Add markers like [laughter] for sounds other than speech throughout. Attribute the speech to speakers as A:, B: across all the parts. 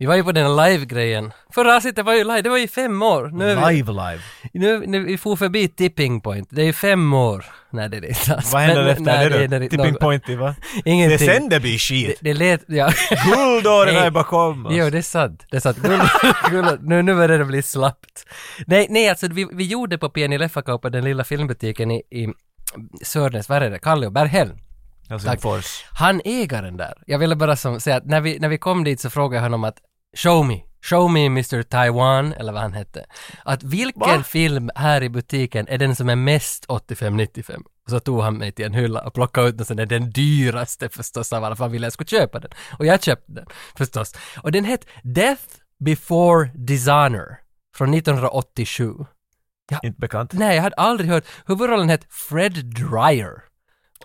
A: Vi var ju på den här live-grejen. Förra avsnittet var ju live, det var ju fem år. Nu är vi,
B: Live live.
A: nu, nu, vi for förbi tipping point. Det är ju fem år. Nej det är det inte alls.
B: Vad händer
A: Men-
B: efter
A: nej,
B: det,
A: är
B: då?
A: inte
B: Tipping
A: något.
B: point, va? Det
A: [laughs]
B: är
A: Ingenting.
B: sen det blir
A: Det,
B: skit.
A: det [laughs] lät,
B: [laughs]
A: ja.
B: Guldåren
A: Nej.
B: är bakom oss.
A: Jo, det är sant. Det är sant. Guld, [laughs] guld, nu, nu börjar det bli slappt. Nej, nej alltså vi, vi gjorde på PNI Leffakaupa, den lilla filmbutiken i, i Sörnäs, vad är det, Kalle och Berghäll.
B: Helsingfors.
A: Han ägaren där, jag ville bara som, säga att när vi, när vi kom dit så frågade jag honom att show me, show me Mr Taiwan, eller vad han hette. Att vilken
B: Va?
A: film här i butiken är den som är mest 85-95? Och så tog han mig till en hylla och plockade ut den, så det är den dyraste förstås av alla, för han ville jag skulle köpa den. Och jag köpte den, förstås. Och den hette Death before Dishonor, från 1987.
B: Inte bekant.
A: Nej, jag hade aldrig hört, huvudrollen hette Fred Dreyer.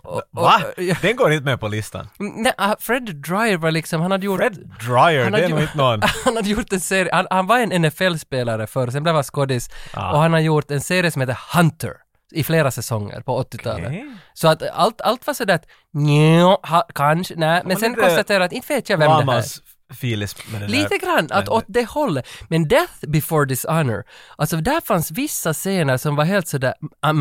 A: Och- och-
B: Va?
A: ja.
B: Den går inte med på listan.
A: Mm, Nej, ah, Fred Dreyer var liksom, han hade gjort...
B: Fred Dreyer,
A: han
B: det
A: hade,
B: är
A: gjort-
B: nog inte någon.
A: [laughs] han hade gjort en serie, han, han var en NFL-spelare förr, sen blev han skådis.
B: Ah.
A: Och han har gjort en serie som heter Hunter i flera säsonger på 80-talet.
B: Okej.
A: Så att allt, allt var sådär att nja, ha, kanske, nej. Men
B: var
A: sen
B: lite
A: konstaterade att inte vet jag vem det här är.
B: Mamas filis med den där.
A: Lite grann, att
B: Men-
A: åt det hållet. Men Death before Dishonor, alltså där fanns vissa scener som var helt sådär uh,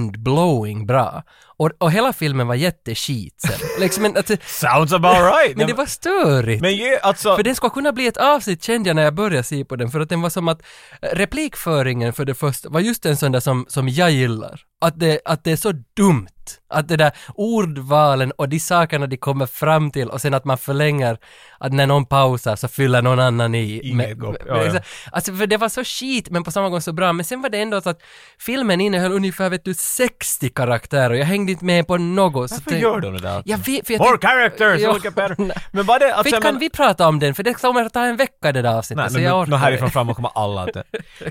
A: mind-blowing bra. Och, och hela filmen var jätteskit
B: [laughs]
A: sen. liksom, men, att,
B: Sounds about
A: [laughs]
B: right!
A: men det var störigt.
B: Men ju, alltså...
A: För den ska kunna bli ett avsnitt kände jag när jag började se på den, för att den var som att eh, replikföringen för det första var just en sån där som, som jag gillar. Att det, att det är så dumt. Att det där ordvalen och de sakerna de kommer fram till och sen att man förlänger, att när någon pausar så fyller någon annan i.
B: Inget gott. Ja, ja.
A: Alltså för det var så skit men på samma gång så bra. Men sen var det ändå så att filmen innehöll ungefär vet du 60 karaktärer. Jag hängde inte med på något. så
B: Varför
A: tänk-
B: gör de det där?
A: Jag vet, för jag
B: More
A: tänkte-
B: characters,
A: Ja. [laughs]
B: olika per... Men var det... Alltså,
A: Fitt
B: jag
A: kan
B: men-
A: vi prata om den, för det kommer att ta en vecka det där avsnittet,
B: Nej,
A: så
B: men
A: jag
B: nu,
A: orkar
B: nu härifrån
A: inte.
B: framåt kommer alla
A: [laughs]
B: att...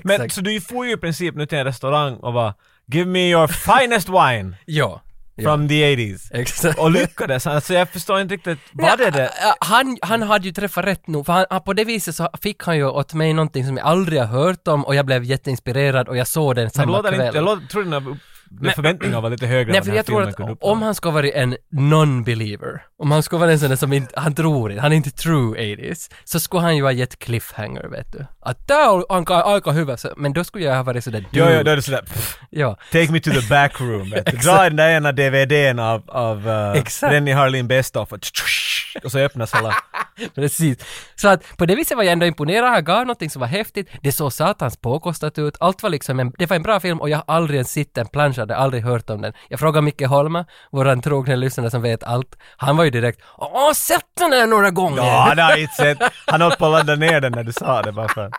B: Men
A: Exakt.
B: så du får ju i princip nu till en restaurang och bara “Give me your finest wine
A: Ja, ja.
B: from the 80s”
A: exakt.
B: och lyckades. Alltså jag förstår inte riktigt, var det det?
A: Ja, äh, Han, han hade ju träffat rätt nog, för han, han, på det viset så fick han ju åt mig någonting som jag aldrig har hört om och jag blev jätteinspirerad och jag såg den
B: Det
A: samma
B: låter
A: kväll.
B: inte, jag låter- tror dina dina förväntningar var lite högre
A: Nej,
B: än
A: för
B: den här
A: jag tror
B: filmen kunde
A: att
B: uppnå.
A: om han ska vara en non-believer, om han ska vara en sån där som inte, han tror inte, han är inte true 80s, så skulle han ju ha gett cliffhanger vet du. Att där har han aika huvud, så- men då skulle jag ha varit sådär
B: Jo, jo,
A: dude.
B: då är det sådär pff,
A: ja.
B: “Take me to the
A: [laughs]
B: back room”. vet du. Dra den där ena DVDn av, av uh,
A: Exakt.
B: Rennie Harlin Bestoff och, och så öppnas hela...
A: [laughs] Precis. Så att på det viset var jag ändå imponerad, han gav någonting som var häftigt, det såg satans påkostat ut, allt var liksom en, det var en bra film och jag har aldrig ens sett den plansch, hade aldrig hört om den. Jag frågade Micke Holma, våran trogna lyssnare som vet allt, han var ju direkt ”Åh, sett den här några gånger!”
B: Ja, det har jag inte sett. Han höll på att ladda ner den när du sa det bara för...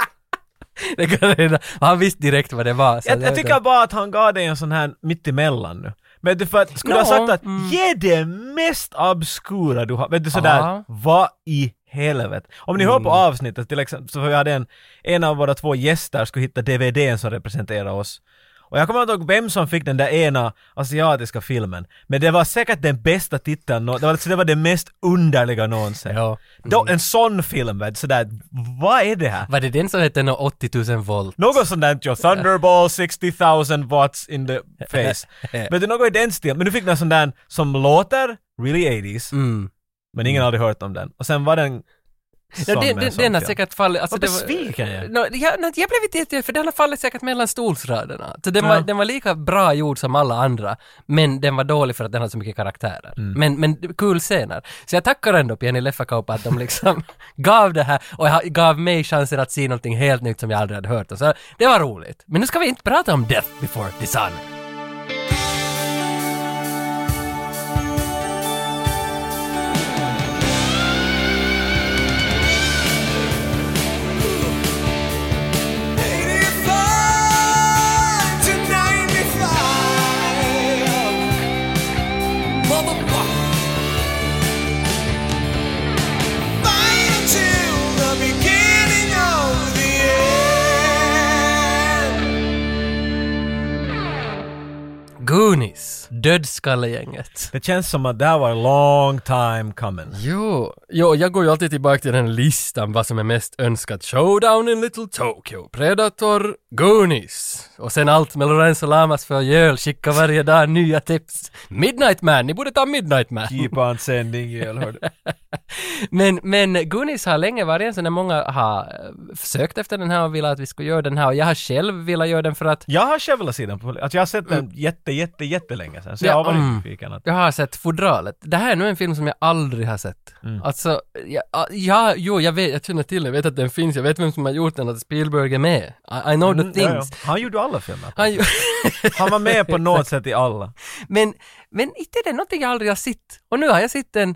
A: [laughs] det kan jag redan, och han visste direkt vad det var. så
B: Jag,
A: det-
B: jag tycker bara att han gav dig en sån här mittemellan nu. Men du för att, skulle du ha
A: Nå,
B: sagt att
A: mm.
B: ge det mest obskura du har, vet du sådär,
A: Ja. Mm.
B: vad i helvete? Om ni hör på avsnittet till exempel, så vi hade en, en av våra två gäster skulle hitta DVDn som representerar oss. Och jag kommer inte ihåg vem som fick den där ena asiatiska filmen, men det var säkert den bästa titeln, nå- det var, alltså, det var det mest underliga någonsin.
A: Ja. Mm.
B: Då, en sån film, vet du, sådär, vad är det här?
A: Var det den som hette nå 80 000 volt?
B: Något sånt där, ja. Thunderball 60,000 watts in the
A: [laughs]
B: face. Men det är något i den stilen. Men du fick någon sån där som låter really 80s,
A: Mm.
B: men ingen har aldrig hört om den. Och sen var den
A: Ja,
B: som
A: den,
B: en
A: den,
B: sån
A: den har
B: film.
A: säkert fallit... Alltså
B: Vad besviken jag är.
A: no, jag, no, jag blev inte jätte... För den har fallit säkert mellan stolsraderna. Så den, var,
B: Ja.
A: den var lika bra gjord som alla andra, men den var dålig för att den hade så mycket karaktärer.
B: Mm.
A: Men, men kul scener. Så jag tackar ändå Pieni Leffakaupa att de liksom [laughs] gav det här och ha- gav mig chansen att se någonting helt nytt som jag aldrig hade hört. Och Så det var roligt. Men nu ska vi inte prata om Death before Dishonor.
C: Beginning of the end.
A: Dödskallegänget.
B: Det känns som att det här var long time coming.
A: Jo, jo, jag går ju alltid tillbaka till den listan vad som är mest önskat. Showdown in Little Tokyo, Predator, Goonies och sen allt med Lorenzo Lamas för Jöl, skicka varje dag nya tips. Midnight Man, ni borde ta Midnight Man.
B: Keep on sending
A: [laughs]
B: you, hörde.
A: Men, men Goonies har länge varit en sån där många har eh, sökt efter den här och velat att vi skulle göra den här och jag har själv velat göra den för att
B: Jag har själv velat se den på att jag har sett den jätte, jätte, jättelänge sedan. Så jag
A: Mm. Ja,
B: har varit
A: mm.
B: nyfiken. Att,
A: Jag har sett Fodralet. Det här är nu en film som jag aldrig har sett.
B: Mm.
A: Alltså, jag, ja, jo, jag vet, jag känner till Jag vet att den finns. Jag vet vem som har gjort den, att Spielberg är med. I, I know the
B: Mm, ja, ja.
A: things.
B: Han gjorde alla filmer.
A: Han ju- [laughs]
B: Han var med på något sätt i alla.
A: men, men inte det är någonting jag aldrig har sett. Och nu har jag sett den,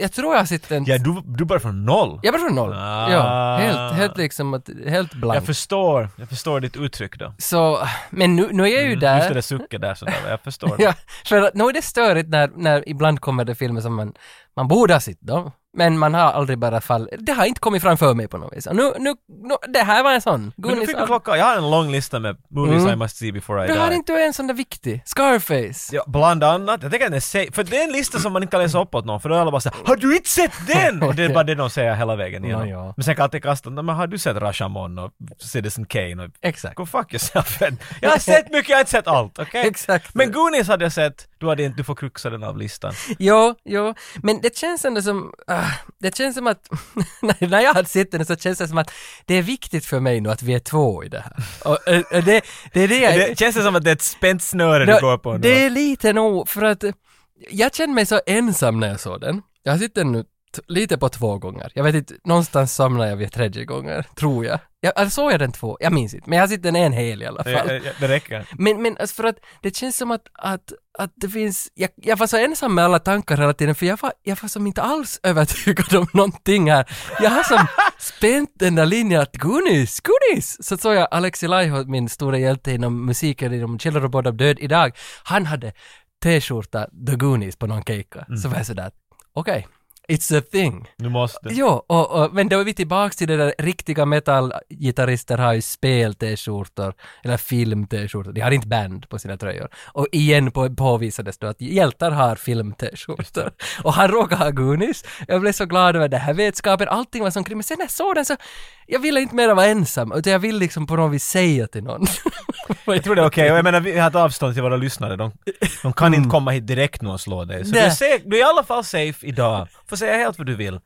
A: jag tror jag har sett den.
B: Ja, du, du började från noll.
A: Jag var från noll.
B: Ah.
A: Ja, helt, helt liksom, att, helt blank.
B: Jag förstår, jag förstår ditt uttryck då.
A: Så, men nu, nu är jag ju där.
B: Mm, Just det där sucket där sådär, jag förstår.
A: [laughs] Ja, för att nog är det störigt när, när ibland kommer det filmer som man, man borde ha sett då, men man har aldrig bara fall. Det har inte kommit framför mig på något vis. Och Nu, nu, nu, det här var en sån.
B: Men nu
A: Goonies-
B: fick du klocka, jag har en lång lista med movies I must see before I
A: Mm. du
B: die.
A: har inte en sån där viktig. Scarface.
B: Ja, bland annat, jag tänker att den är safe, för det är en lista som man inte kan läsa upp åt någon, för då är alla bara såhär ”Har du inte sett
A: [laughs]
B: den?” Och det är bara det de säger hela vägen igenom.
A: Nå, ja.
B: Men sen kan jag alltid kasta "Nej, men har du sett Rashomon och Citizen Kane?” och
A: Exakt.
B: Go fuck yourself. [laughs] Jag har sett mycket, jag har inte sett allt,
A: [laughs]
B: okej?
A: Exakt.
B: Men Goonies hade jag sett, du, hade inte, du får kruxa den av listan.
A: Jo, jo, men det känns ändå som, ah, det känns som att, [laughs] när- när jag har sett den så känns det som att det är viktigt för mig nu att vi är två i det här. Och, eh, eh, det, det är det jag...
B: Det, känns det som att det är ett spänt snöre
A: Nå,
B: du går på nu?
A: Det är lite nog, för att eh, jag kände mig så ensam när jag såg den. Jag har sett den nu t- lite på två gånger. Jag vet inte, någonstans somnade jag vid tredje gånger, tror jag. jag eller såg jag den två? Jag minns inte, men jag har sett den en hel i alla
B: det,
A: fall.
B: det- det räcker.
A: Men, men alltså för att det känns som att, att, att det finns, jag, jag var så ensam med alla tankar hela tiden för jag var, jag var som inte alls övertygad om någonting här. Jag har som spänt den där linjen att Goonies, Goonies! Så såg jag Alexi Laiho, min stora hjälte inom musiken inom Källor och Bord av Död idag, han hade t-skjorta The Goonies på någon keika. Så var jag sådär, okej, it's a thing.
B: Du måste.
A: Jo, och, och, men då är vi tillbaks till det där riktiga metallgitarrister har ju spel-t-skjortor eller film-t-skjortor. De har inte band på sina tröjor. Och igen på, påvisades då att hjältar har film-t-skjortor. Och han råkar ha Goonies. Jag blev så glad över den här vetskapen. Allting var som kring. Men sen när jag såg den så, jag ville inte mer vara ensam utan jag ville liksom på något vis säga till någon.
B: [laughs] Jag tror det är okej, och jag menar vi har ett avstånd till våra lyssnare. De, de kan inte komma hit direkt nu och slå dig. Så du är,
A: Mm. Nej.
B: säk- du är i alla fall safe idag. Får säga helt vad du vill.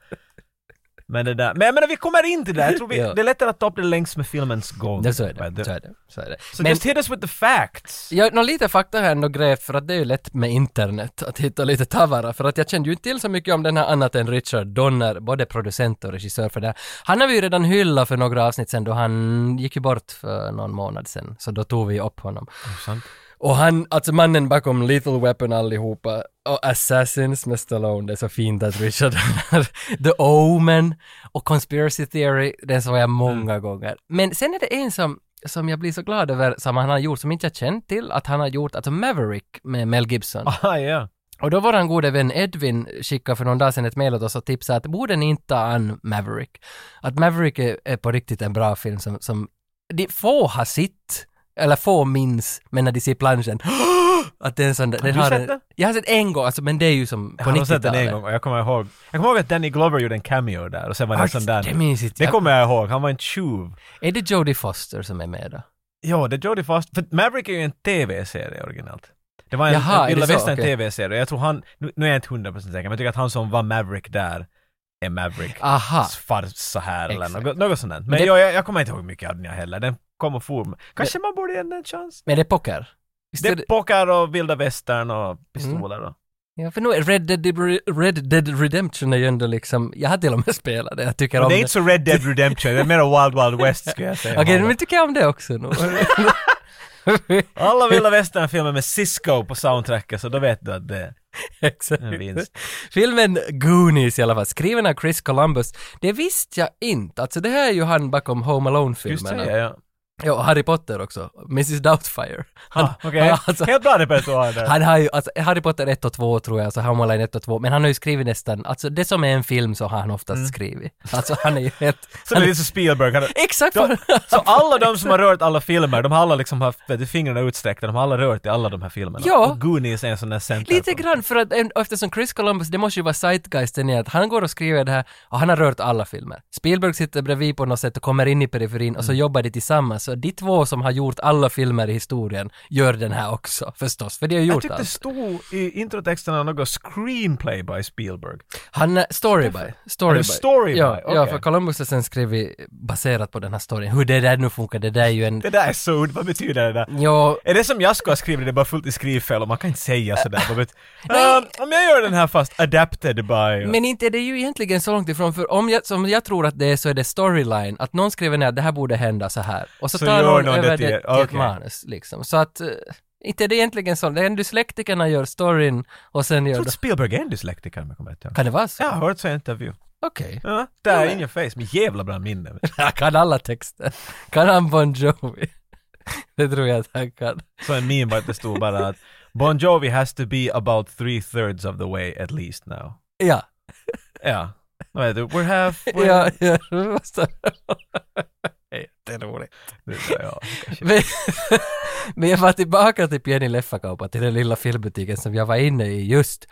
B: Men det där, men jag menar vi kommer in till det. Jag tror vi,
A: Ja.
B: det är lättare att ta upp det längs med filmens gång.
A: [laughs] Ja, så är
B: Men
A: det. Så är det. Så är det.
B: so
A: Men-
B: just hit us with the facts.
A: Ja, nå, lite fakta här ändå grävt för att det är ju lätt med internet att hitta lite tavara för att jag kände ju inte till så mycket om den här annat än Richard Donner, både producent och regissör för det. här. Han har vi ju redan hyllat för några avsnitt sedan då han gick ju bort för någon månad sedan, så då tog vi upp honom.
B: Oh, sant. [laughs]
A: Och han, alltså mannen bakom Lethal Weapon allihopa och Assassins med Stallone, det är så fint att Richard har [laughs] The Omen och Conspiracy Theory, den såg jag många gånger. Men sen är det en som, som jag blir så glad över, som han har gjort, som inte jag känt till, att han har gjort, alltså Maverick med Mel Gibson.
B: Ah, ja.
A: Och då vår gode vän Edvin skickade för någon dag sedan ett mejl åt oss och tipsade att borde ni inte ta an Maverick? Att Maverick är, är på riktigt en bra film som, som de få har sitt eller få minns, men när de ser planschen [gasps] att det är en sån där, den
B: du
A: har
B: sett
A: en,
B: den?
A: Jag har sett en gång, alltså, men det är ju som
B: Jag
A: på
B: har nog sett den en
A: 90-talet.
B: gång och jag kommer ihåg. Jag kommer ihåg att Danny Glover gjorde en cameo där och sen var det en sån
A: Ah, Det
B: där.
A: minns inte
B: Det
A: jag.
B: kommer jag ihåg, han var en tjuv.
A: Är det Jodie Foster som är med då?
B: Ja, det är Jodie Foster. För Maverick är ju en TV-serie originalt. Det var en,
A: Jaha,
B: en
A: är det
B: vilda
A: så?
B: västern
A: Okej.
B: TV-serie. Jag tror han, nu, nu är jag inte hundra procent säker, men jag tycker att han som var Maverick där är Mavericks
A: Aha.
B: farsa här eller
A: Ah. Exakt.
B: något, något sånt där. Men,
A: det-
B: jag, jag, jag kommer inte ihåg mycket av den jag heller. Den kom och for. Kanske man borde ge den en chans?
A: Men det är poker? Visst
B: Det
A: är
B: är
A: det, Mm.
B: pockar och vilda västern och pistoler och...
A: ja, för nu är Red Dead, Red Dead Redemption är ju ändå liksom, jag har till och med [laughs] spelat det, jag tycker
B: Men
A: om
B: det
A: det.
B: är inte så Red Dead Redemption, det är mer Wild Wild West skulle jag säga.
A: Okej, men tycker jag om det också nu.
B: [laughs] Alla vilda västern-filmer med Cisco på soundtracket, så då vet du att det
A: [laughs] Exakt.
B: är en vinst.
A: Filmen Goonies i alla fall, skriven av Chris Columbus. Det visste jag inte. Alltså det här är ju han bakom Home
B: Just det,
A: Alone-filmerna.
B: ja.
A: Jo, Harry Potter också. Mrs Doubtfire. Han,
B: Ah, Okej,
A: han- [laughs] alltså,
B: helt bra repertoar där.
A: han har ju, alltså Harry Potter 1 och 2 tror jag, så Home 1 och 2, men han har ju skrivit nästan, alltså det som är en film så har han oftast skrivit. Alltså han är ju helt...
B: Mm. [laughs] Så det är lite som Spielberg. Han,
A: Exakt vad...
B: så alla de som har rört alla filmer, de har alla liksom haft vet du, fingrarna utsträckta, de har alla rört i alla de här filmerna.
A: Ja.
B: Och Goonies är en sån där center.
A: Lite grann för att en- eftersom Chris Columbus, det måste ju vara zeitgeisten i att han går och skriver det här och han har rört alla filmer. Spielberg sitter bredvid på något sätt och kommer in i periferin
B: Mm.
A: och så jobbar de tillsammans. Så de två som har gjort alla filmer i historien gör den här också förstås, för de har
B: Jag
A: gjort
B: tyckte det
A: allt.
B: stod i introtexterna något screenplay by Spielberg.
A: Han, eh, story by. Story
B: Är det story by?
A: Ja, ja,
B: Okej.
A: för Columbus har sen skrivit baserat på den här storyn. Hur det där nu funkar, det där är ju en...
B: Det där är så ont, vad betyder det där?
A: Ja,
B: Är det som jag skulle ha skrivit, det är bara fullt i skrivfel och man kan inte säga sådär. Vad [laughs] vet-
A: Nej.
B: Ehm, om jag gör den här fast adapted by...
A: Men inte är det ju egentligen så långt ifrån, för om jag, som jag tror att det är så är det storyline, att någon skriver ner att det här borde hända så här, och så,
B: Så
A: tar
B: gör
A: någon
B: någon
A: över det
B: det
A: till,
B: till-
A: ett
B: okej.
A: manus liksom. Så att, eh, inte är det egentligen så, det är en dyslektikerna gör storyn och sen
B: jag
A: gör
B: tror att
A: de...
B: Spielberg är en dyslektiker om jag kommer rätt ihåg.
A: Kan det vara så?
B: Jag har hört så i en intervju.
A: Okej. [laughs]
B: Ja, där
A: Ja.
B: in your face, med jävla bra minne.
A: Han kan alla texter. Kan han Bon Jovi? [laughs] det tror jag att han kan.
B: Så en meme bara att det stod bara att Bon Jovi has to be about three thirds of the way at least now.
A: Ja.
B: Ja. Vad heter det? We're half... We're...
A: Ja, ja. [laughs] det måste- Jätteroligt.
B: Det- ja.
A: [laughs] Men, men jag var tillbaka till Pieni Leffakauppa, till den lilla filmbutiken som jag var inne i just.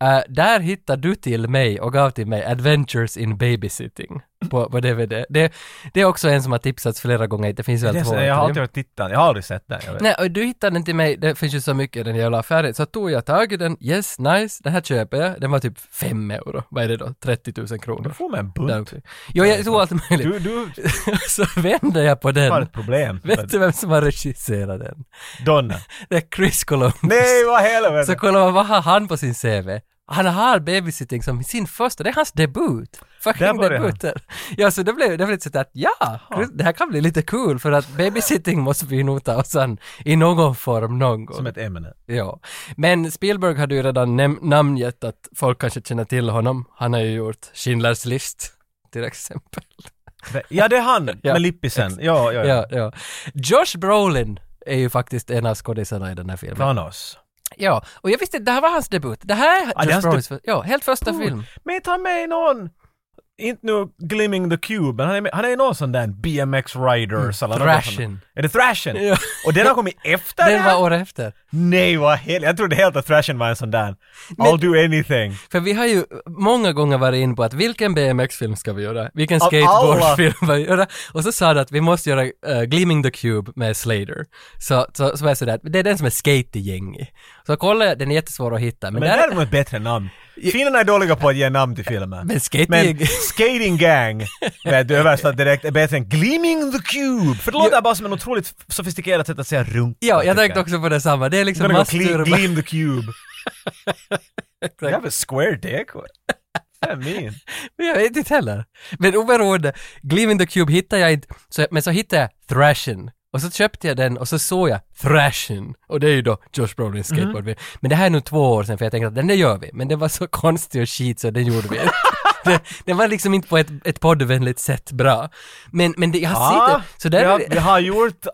A: Eh, där hittade du till mig och gav till mig Adventures in Babysitting på, på DVD. Det, det är också en som har tipsats flera gånger, det finns
B: Det
A: väl
B: är
A: två
B: så, jag har
A: eller tre.
B: alltid varit tittaren, jag har aldrig sett den. Jag vet.
A: Nej, och du hittade den till mig, det finns ju så mycket i den jävla affären, så tog jag tag i den, yes, nice, den här köper jag, den var typ 5 euro, vad är det då, 30 000
B: Du
A: kronor.
B: får med en
A: Där
B: bunt.
A: uppe. Jo, jag tog allt möjligt.
B: Du, du
A: [laughs] Så vände jag på
B: har
A: den.
B: ett problem.
A: Vet du vem som har regisserat den?
B: Donna.
A: [laughs] Det är Chris Columbus.
B: Nej, vad
A: Så
B: helvete!
A: kolla vad har han på sin CV? Han har babysitting som sin första, det är hans debut.
B: Där
A: Fucking
B: började han.
A: debut. där. Ja, så det blev, det blev lite sådär att ja, det här kan bli lite kul för att babysitting [laughs] måste vi nog ta oss an i någon form någon gång.
B: Som ett ämne.
A: Ja. Men Spielberg hade ju redan näm- namngett att folk kanske känner till honom. Han har ju gjort Schindler's list till exempel.
B: Ja, det är han
A: Ja.
B: med lippisen. Ja, ja, ja.
A: Ja, ja. Josh Brolin är ju faktiskt en av skådisarna i den här filmen.
B: Thanos.
A: Ja, och jag visste inte, det här var hans debut. Det här är
B: Ja, det är
A: Josh
B: hans
A: Brolins, för- ja, helt första
B: Cool.
A: film.
B: Men ta med någon! Inte nu Glimming the Cube, men han är, med- han är någon sån där BMX Riders eller något sånt.
A: Mm. Thrashin.
B: Är det Thrashen?
A: Ja.
B: Och den
A: [laughs]
B: har kommit efter det
A: Den
B: här?
A: var året efter.
B: Nej, vad helvete. Jag trodde helt att Thrashen var en sån där. I'll do anything.
A: För vi har ju många gånger varit in på att vilken BMX-film ska vi göra? Vilken
B: Av
A: skateboardfilm ska vi göra? Och så sa du att vi måste göra eh, Gleaming the Cube med Slater. Så, så, så var jag sådär, att det är den som är skategängig. Så kolla, jag, den är jättesvår att hitta. Men,
B: Men
A: där,
B: däremot ett bättre namn. Finnarna är dåliga på att ge namn till filmer.
A: Men skating- [laughs]
B: Men skating gang, vet du, översatt direkt, är bättre än Gleaming the Cube. För det låter bara som en otroligt sofistikerat sätt att säga runka.
A: ja, jag
B: tycker
A: tänkte också på detsamma. Det är liksom
B: Gonna go cle-
A: masturba.
B: Gleam
A: [laughs]
B: the Cube. You have a square dick? What I mean?
A: Men [laughs] Jag vet inte heller. Men oberoende, Gleaming the Cube hittade jag inte, så, men så hittade jag Thrashin. Och så köpte jag den och så såg jag Thrashin. Och det är ju då Josh Brolins
B: Mhm.
A: skateboard. Men det här är nog två år sedan för jag tänkte att den där gör vi. Men det var så [laughs] konstig och skit så den gjorde vi [laughs] inte. det, det var liksom inte på ett, ett poddvänligt sätt bra. Men, men det, jag
B: Ah,
A: har sett det. Så där
B: vi,
A: är
B: har,
A: det,
B: vi har gjort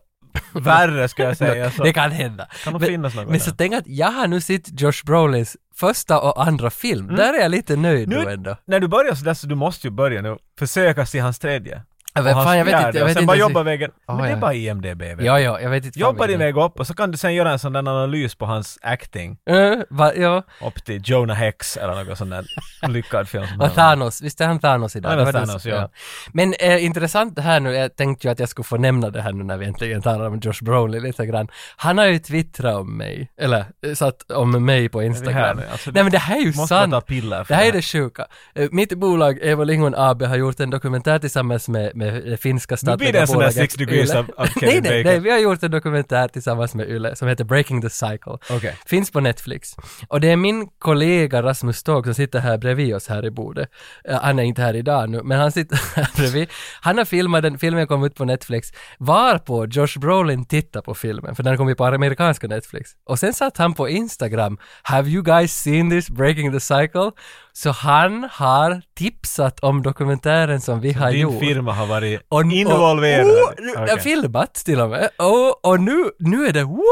B: värre
A: [laughs]
B: ska jag säga. Så.
A: det kan hända.
B: Kan nog
A: men
B: finnas något
A: men
B: där.
A: så tänk att jag har nu sett Josh Brolins första och andra film.
B: Mm.
A: Där är jag lite nöjd nu, ändå.
B: när du börjar sådär så du måste ju börja nu, försöka se hans tredje.
A: Ja,
B: Och
A: men
B: hans
A: fan, jag vet
B: fjärde,
A: inte- jag
B: och
A: vet
B: sen
A: inte
B: bara
A: ens-
B: jobba vägen.
A: Ja,
B: men det
A: ja.
B: är bara IMDB. vet du.
A: Ja, ja, jag vet inte. fan
B: Jobba
A: vilken
B: din
A: det är.
B: väg upp och så kan du sen göra en sån där analys på hans acting
A: Uh, va, ja,
B: upp till Jonah Hex eller någon
A: [laughs]
B: sån där lyckad film. som han
A: och
B: har.
A: Thanos, visst är han Thanos idag?
B: Han är
A: Det var det
B: Thanos,
A: som-
B: ja.
A: Men eh, intressant det här nu, jag tänkte ju att jag skulle få nämna det här nu när vi äntligen talar om Josh Brolin lite grann. Han har ju twittrat om mig, eller eh, satt om mig på Instagram.
B: härligt? Alltså,
A: Nej men det här är ju
B: Måste man
A: sant.
B: ta piller
A: Det
B: för
A: här är det sjuka. Eh, Mitt bolag Evo Lingon AB har gjort en dokumentär tillsammans med, med det finska statliga
B: Nu blir det en sån där
A: bolaget
B: 6 degrees
A: Yle.
B: av, av
A: nej, [laughs]
B: Kevin
A: nej,
B: Bacon.
A: nej, vi har gjort en dokumentär tillsammans med Yle som heter Breaking the Cycle.
B: Okej.
A: Finns på Netflix. Och det är min kollega Rasmus Tåg som sitter här bredvid oss här i bordet. Eh, Han är inte här idag nu, men han sitter [laughs] här bredvid. Han har filmat den, filmen kom ut på Netflix, varpå Josh Brolin tittar på filmen, för den kom ju på amerikanska Netflix. Och sen satt han på Instagram, “Have you guys seen this Breaking the Cycle?” Så han har tipsat om dokumentären som vi har
B: Din
A: gjort.
B: firma har varit
A: Och- och-
B: involverad.
A: Oh, nu-
B: Okej.
A: Filmat till och med. Och, och nu, nu är det woo!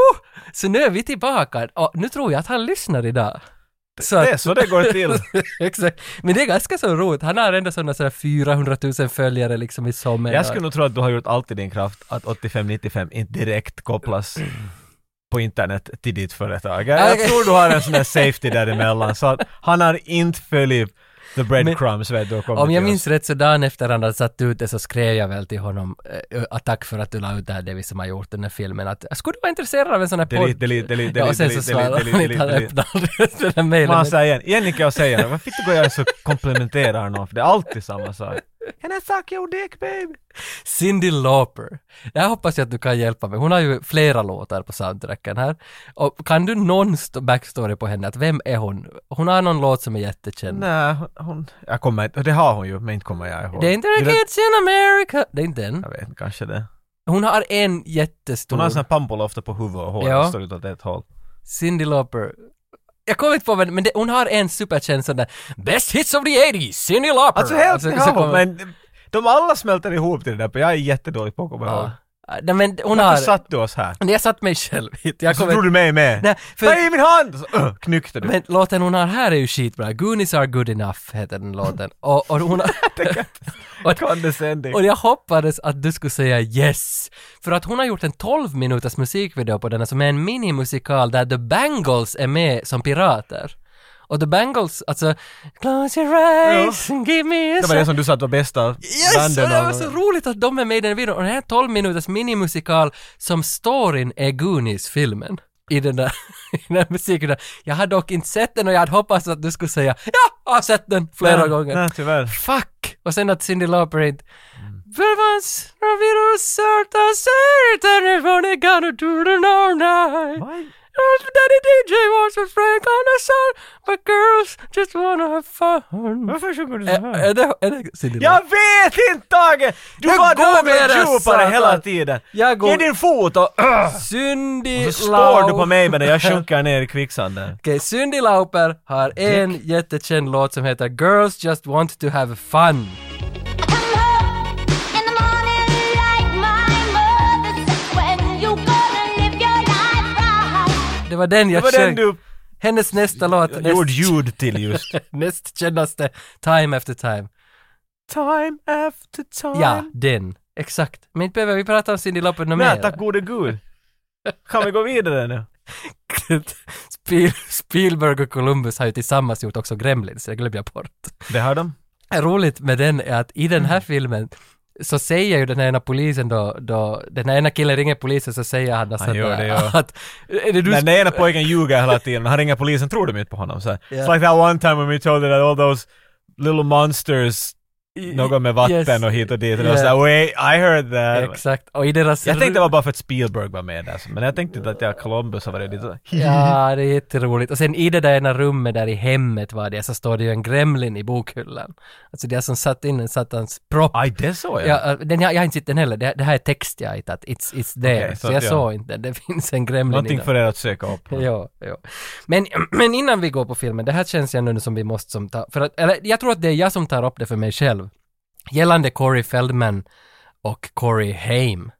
A: Så nu är vi tillbaka. Och nu tror jag att han lyssnar idag. Så
B: Det är så det går till.
A: [laughs] Exakt. Men det är ganska så roligt. Han har ändå sådana sådär 400 000 följare liksom i sommar.
B: Jag skulle nog tro att du har gjort allt i din kraft att 85-95 inte direkt kopplas på internet till ditt företag. Jag, jag
A: Mm. Okej.
B: tror du har en sån där safety däremellan så att han har inte följt the breadcrumbs vet du och kommit
A: Om jag
B: till
A: minns
B: oss.
A: rätt så dagen efter han hade satt ut det så skrev jag väl till honom eh, att tack för att du la ut det här David som har gjort den här filmen att jag skulle vara intresserad av en sån här
B: Delete,
A: podd.
B: delete, delete,
A: ja, och sen så
B: delete, delete,
A: svarade han
B: delete,
A: inte, han
B: delete.
A: öppnade [laughs] aldrig den där mejlen.
B: Man säger igen, Jennica och säger varför fick du gå jag så komplementerar någon för det är alltid samma sak. Can I suck your dick babe?
A: Cyndi Lauper. Det här hoppas jag att du kan hjälpa mig. Hon har ju flera låtar på soundtracken här. Och kan du någon st- backstory på henne? Att vem är hon? Hon har någon låt som är jättekänd.
B: Nej, hon- hon, jag kommer inte, det har hon ju men inte kommer jag ihåg.
A: Det är inte
B: Jo,
A: The
B: det-
A: Kids in America. Det är inte den.
B: Jag vet inte, kanske det.
A: Hon har en jättestor.
B: Hon har en sån här pampola ofta på huvudet och håret
A: Ja.
B: står ut åt ett håll.
A: Cyndi Lauper. Jag kommer inte på vem, men det, hon har en superkänd sån där Best hits of the 80s, Cyndi Lauper.
B: Alltså helt
A: så-
B: i
A: så
B: havet,
A: kommer-
B: men de alla smälter ihop till det där, för jag är jättedålig på att komma ihåg.
A: Ja. Nej men hon
B: Varför
A: har...
B: satt du oss här?
A: Jag satt mig själv hit. Jag
B: Så
A: kommer...
B: drog du mig med?
A: Nej, för-
B: Ta i min hand! Så, uh, knyckte du. [laughs]
A: Men låten hon har här är ju skitbra. Goonies are good enough heter den låten. Och, och
B: [laughs]
A: hon har... och,
B: Condescending.
A: och jag hoppades att du skulle säga yes. För att hon har gjort en 12 minuters musikvideo på denna som är en minimusikal där The Bangles är med som pirater. Och The Bangles, alltså Close your eyes and give me a
B: Det var det som du sa att var bästa
A: Yes! Och
B: banden
A: det
B: av-
A: var så roligt att de är med i den videon. Och den här 12 minuters minimusikal som storyn är Goonies-filmen. I den där, [laughs] i den där musiken där. Jag hade dock inte sett den och jag hade hoppats att du skulle säga ja, jag har sett den flera
B: Nej,
A: gånger.
B: Nej, Mm. tyvärr.
A: Fuck! Och sen att Cyndi Lauper inte... Vervans, ravirus, certa, certa, everyone gonna do the no night.
B: Vad?
A: Daddy DJ wants to break on the sun, but girls just wanna have fun.
B: Varför sjunger du så
A: Är,
B: här?
A: är det, är det Cyndi Lauper?
B: Jag vet inte Tage! Du
A: Jag
B: var
A: går med
B: där
A: det,
B: och djupare
A: satan.
B: hela tiden.
A: Jag går-
B: Ge din fot och... Uh,
A: Cyndi
B: så spår du
A: Lau-
B: på mig
A: [laughs]
B: medan jag sjunker ner i kvicksanden.
A: Okej, Cyndi Lauper har en jättekänd låt som heter “Girls Just Want To Have Fun”.
C: I come up in the morning like my mother says, when you gonna live your life right?
A: Det var den
B: Det
A: jag
B: var den
A: sjöng.
B: du
A: Hennes nästa låt,
B: gjorde
A: näst,
B: ljud till just.
A: näst kändaste, Time After Time.
B: Time after time.
A: Ja, den. Exakt. Men inte behöver vi prata om Cyndi Lauper något
B: Nej, tack
A: mer.
B: gode gud. Kan vi gå vidare nu?
A: [laughs] Spiel, Spielberg och Columbus har ju tillsammans gjort också Gremlins, det glömde jag bort.
B: Det har de.
A: roligt med den är att i
B: Mm.
A: den här filmen så säger ju den här ena polisen då, då den här ena killen ringer polisen så säger han alltså
B: Han gör
A: att,
B: det, ja.
A: att är det du
B: Den ena pojken ljuger hela tiden. Han ringer polisen, tror de inte på honom? Så här.
A: Ja.
B: It's like that one time when we told you that all those little monsters, något med vatten och hit och dit. And I was
A: Yeah.
B: like, wait, I heard that.
A: Exakt, och i deras...
B: Jag tänkte det var bara för att Spielberg var med där, men jag tänkte inte att jag Columbus har varit lite
A: Ja, det är jätteroligt. Och sen i det där ena rummet där i hemmet var det, så står det ju en gremlin i bokhyllan. Alltså det som satt in den satt hans propp.
B: Aj, det såg jag.
A: Ja, äh, den, jag, jag har inte sett den heller, det, det här är text jag har hittat, it's, it's there.
B: Okej,
A: så,
B: så
A: jag
B: att, ja.
A: såg inte den, det finns en gremlin
B: Någonting
A: inom-
B: för er att söka upp.
A: Ja, ja. Men, [clears throat] men innan vi går på filmen, det här känns ju ändå som vi måste som ta, för att, eller jag tror att det är jag som tar upp det för mig själv. Gällande Corey Feldman och Corey Haim.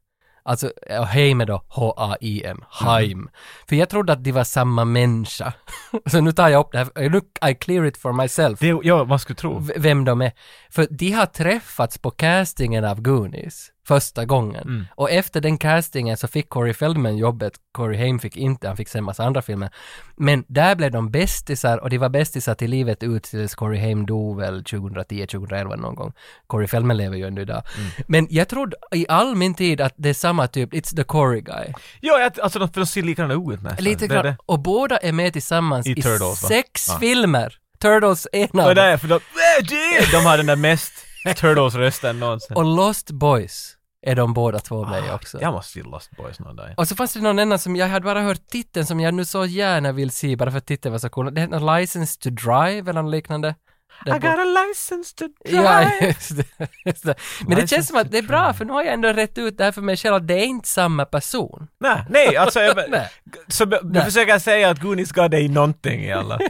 A: Alltså, och Haim är då H-A-I-M, Haim. För jag trodde att de var samma människa. [laughs] Så nu tar jag upp det här, nu I clear it for myself.
B: Det, ja, man skulle tro.
A: v- vem de är. För de har träffats på castingen av Goonies första gången.
B: Mm.
A: Och efter den castingen så fick Corey Feldman jobbet, Corey Haim fick inte, han fick sen massa andra filmer. Men där blev de bästisar och de var bästisar till livet ut tills Corey Haim dog väl 2010, 2011 någon gång. Corey Feldman lever ju ännu idag.
B: Mm.
A: Men jag trodde i all min tid att det är samma typ, it's the Corey guy.
B: Ja, jag, alltså de, för de ser likadana ut nästan.
A: Lite
B: Det är
A: grann. Och båda är med tillsammans i,
B: I Turtles, va?
A: sex
B: Ja.
A: filmer. Turtles är en
B: Det
A: av
B: var
A: dem.
B: därför de... Äh, det- De har den där mest Turtles-rösten någonsin.
A: Och Lost Boys är de båda två med
B: Ah,
A: också.
B: Jag måste se Lost Boys någon dag.
A: Och så fanns det någon annan som jag hade bara hört titeln som jag nu så gärna vill se bara för att titeln var så cool. Det hette någon License to Drive eller något liknande. där
B: I
A: på-
B: got a license to drive.
A: Ja, [laughs] just det, just det. Men det
B: License
A: känns som att det är bra för nu har jag ändå rätt ut det här för mig själv att det är inte samma person.
B: Nej, nej, alltså jag,
A: [laughs] Nej.
B: Så du
A: Nej.
B: försöker säga att Goonies gav dig någonting i alla.
A: [laughs]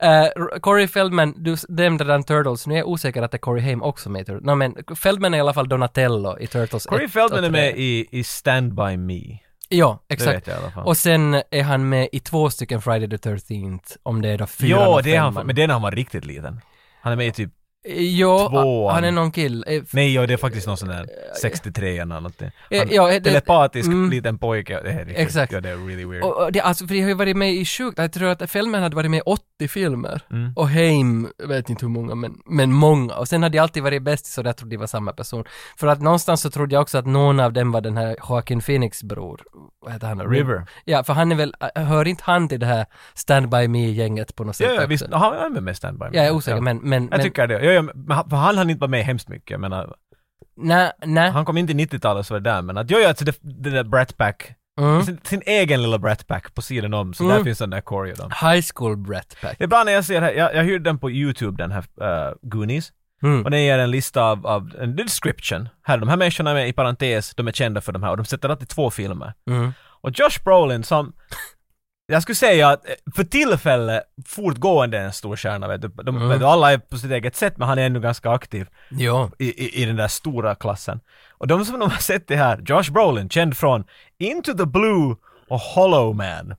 A: Eh, R- Corey Feldman, du s- nämnde den Turtles, nu är jag osäker att det är Corey Haim också med i Turtles. No, men Feldman är i alla fall Donatello i Turtles
B: Corey
A: ett
B: Feldman
A: och tre.
B: är med i, i Stand By Me.
A: Ja,
B: Det vet
A: exakt.
B: jag i alla fall.
A: Och sen är han med i två stycken Friday the 13th, om det är då fyran
B: Jo,
A: och
B: det är han,
A: femman.
B: men det är när han var riktigt liten. Han är med i typ,
A: Jo,
B: Tvåan.
A: han är någon kill. Eh, f-
B: nej, ja, det är faktiskt någon sån där 63 eller något. Han,
A: Eh, ja, det-
B: telepatisk
A: mm.
B: liten pojke. Det är riktigt,
A: Exakt.
B: Ja, det är really weird.
A: Och, och det, alltså, för det har ju varit med i sjukt, jag tror att Feldman hade varit med i 80 filmer.
B: Mm.
A: Och Heim, jag vet inte hur många, men, men många. Och sen hade jag alltid varit bäst så jag trodde det var samma person. För att någonstans så trodde jag också att någon av dem var den här Joaquin Phoenix bror. Vad heter han? då?
B: River.
A: Ja, för han är väl, äh, hör inte han till det här Stand By Me-gänget på något sätt?
B: Ja, ja,
A: också?
B: visst, han han är med i Stand By Me.
A: Jag är osäker, men, men,
B: Jag
A: men
B: tycker det. Ja, ja, men han- för han hann inte vara med hemskt mycket. Jag menar,
A: nej, nej.
B: han kom inte i 90-talet så var det där, men att jag gör alltså det, det där Brat Pack,
A: Mm.
B: sin, sin egen lilla Brat Pack på sidan om, så
A: Mm.
B: där finns den där Corey och dem.
A: High School Brat Pack.
B: Ibland när jag ser här, jag, jag hyrde den på YouTube den här eh, Goonies,
A: Mm.
B: Och den ger en lista av, av en description. Här, de här människorna är med i parentes, de är kända för de här och de sätter alltid två filmer.
A: Mm.
B: Och Josh Brolin som, jag skulle säga att eh, för tillfället fortgående är en stor stjärna vet du. De,
A: Mm.
B: vet du. Alla är på sitt eget sätt men han är ännu ganska aktiv
A: Ja.
B: i, i, i den där stora klassen. Och de som de har sett det här, Josh Brolin, känd från Into the Blue och Hollow Man.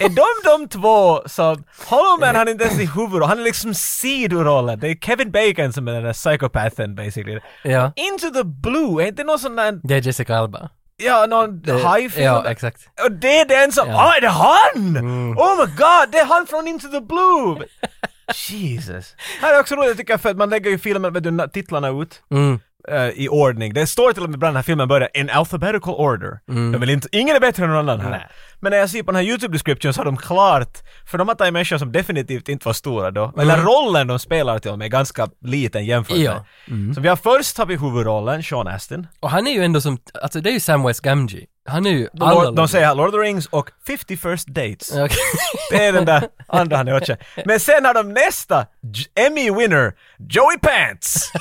B: är de de två som... Hollow Man han är inte ens i huvudrollen, han är liksom sidorollen. Det är Kevin Bacon som är den där psykopathen basically.
A: ja.
B: Into the Blue, är inte någon sån där...
A: Det är Jessica Alba.
B: Ja, någon
A: Det-
B: hajfilm?
A: Ja,
B: [laughs]
A: exakt.
B: Och det är den som...
A: Ja.
B: Ah, är det han?
A: Mm.
B: Oh my god, det är han från Into the Blue! Jesus. Här är också roligt tycker jag för att man lägger ju filmen, vet du, na- titlarna ut
A: Mm.
B: eh, i ordning. Det står till och med ibland när filmen börjar in alphabetical order. De vill inte, ingen är bättre än någon annan här.
A: Mm. Nej.
B: Men när jag ser på den här YouTube-description så har de klart, för de har tagit människor som definitivt inte var stora då, eller rollen de spelar till och med är ganska liten jämfört
A: Mm. Ja. Mm.
B: med. Så vi har först har vi huvudrollen, Sean Astin.
A: Och han är ju ändå som, alltså det är ju Sam West Gamgee. Han är ju alla
B: Lord, de säger Lord of the Rings och 50 First Dates.
A: Okej. [laughs]
B: Det är den där andra han är också. Men sen har de nästa J- Emmy-winner, Joey Pants!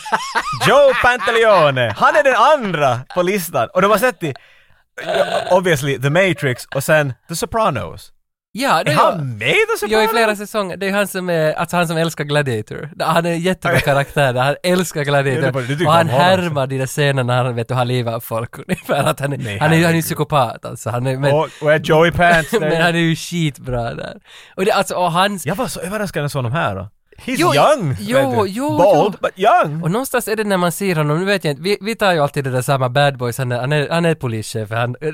B: Joe Pantaleone. Han är den andra på listan. Och de har sett i, ja, obviously, The Matrix och sen The Sopranos.
A: Ja, det
B: Är
A: är jag.
B: han med i The
A: Jag i
B: Sopranos?
A: flera säsonger, det är han som är, alltså han som älskar Gladiator. Han är en jättebra karaktär, han älskar
B: Jag
A: Gladiator.
B: vet inte, du tycker
A: Och han
B: om honom, alltså.
A: härmar de där scenerna när han vet att han lever av folk [laughs] ungefär. Att han, är-
B: Nej,
A: han är ju han är ju
B: herregud.
A: psykopat alltså. Han är, men,
B: Och, och är Joey
A: [laughs]
B: Pants
A: men han
B: där?
A: är ju skitbra där. Och det, alltså, och hans...
B: Jag var så överraskad när jag såg honom här då. He's
A: Jo,
B: young!
A: jo,
B: vet du.
A: jo,
B: Bald,
A: jo.
B: but young!
A: Och någonstans är det när man ser honom, nu vet jag inte, vi, vi tar ju alltid det där samma bad boys, han är, han är, han är polischef, han...
B: Did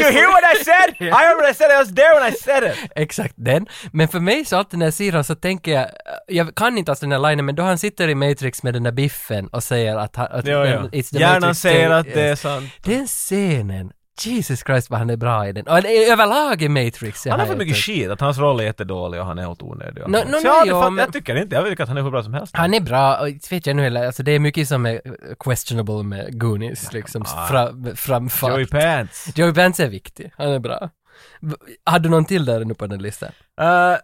B: you hear what I said? I heard what I said, I was there when I said it!
A: [laughs] Exakt den. Men för mig så alltid när jag ser honom så tänker jag, jag kan inte alls den här linen, men då han sitter i Matrix med den där biffen och säger att, han, att
B: Jo,
A: den-
B: jo.
A: it's the
B: Hjärnan
A: Matrix
B: säger
A: thing.
B: att det är
A: Yes.
B: sant.
A: Den scenen, Jesus Christ vad han är bra i den. Och i- överlag i Matrix.
B: Han har
A: jag
B: fått mycket
A: tyckt.
B: skit, att hans roll är jättedålig och han är helt onödig.
A: Nå-
B: Så
A: nå-
B: jag, har aldrig
A: jo,
B: fatt,
A: men-
B: jag tycker inte, jag tycker att han är hur bra som helst.
A: Han är bra, och inte vet jag nu heller, alltså det är mycket som är questionable med Goonies liksom, fra, framfart.
B: Joey Pants.
A: Joey Pants är viktig, han är bra. V- Hade du någon till där nu på den listan?
B: Eh, eh,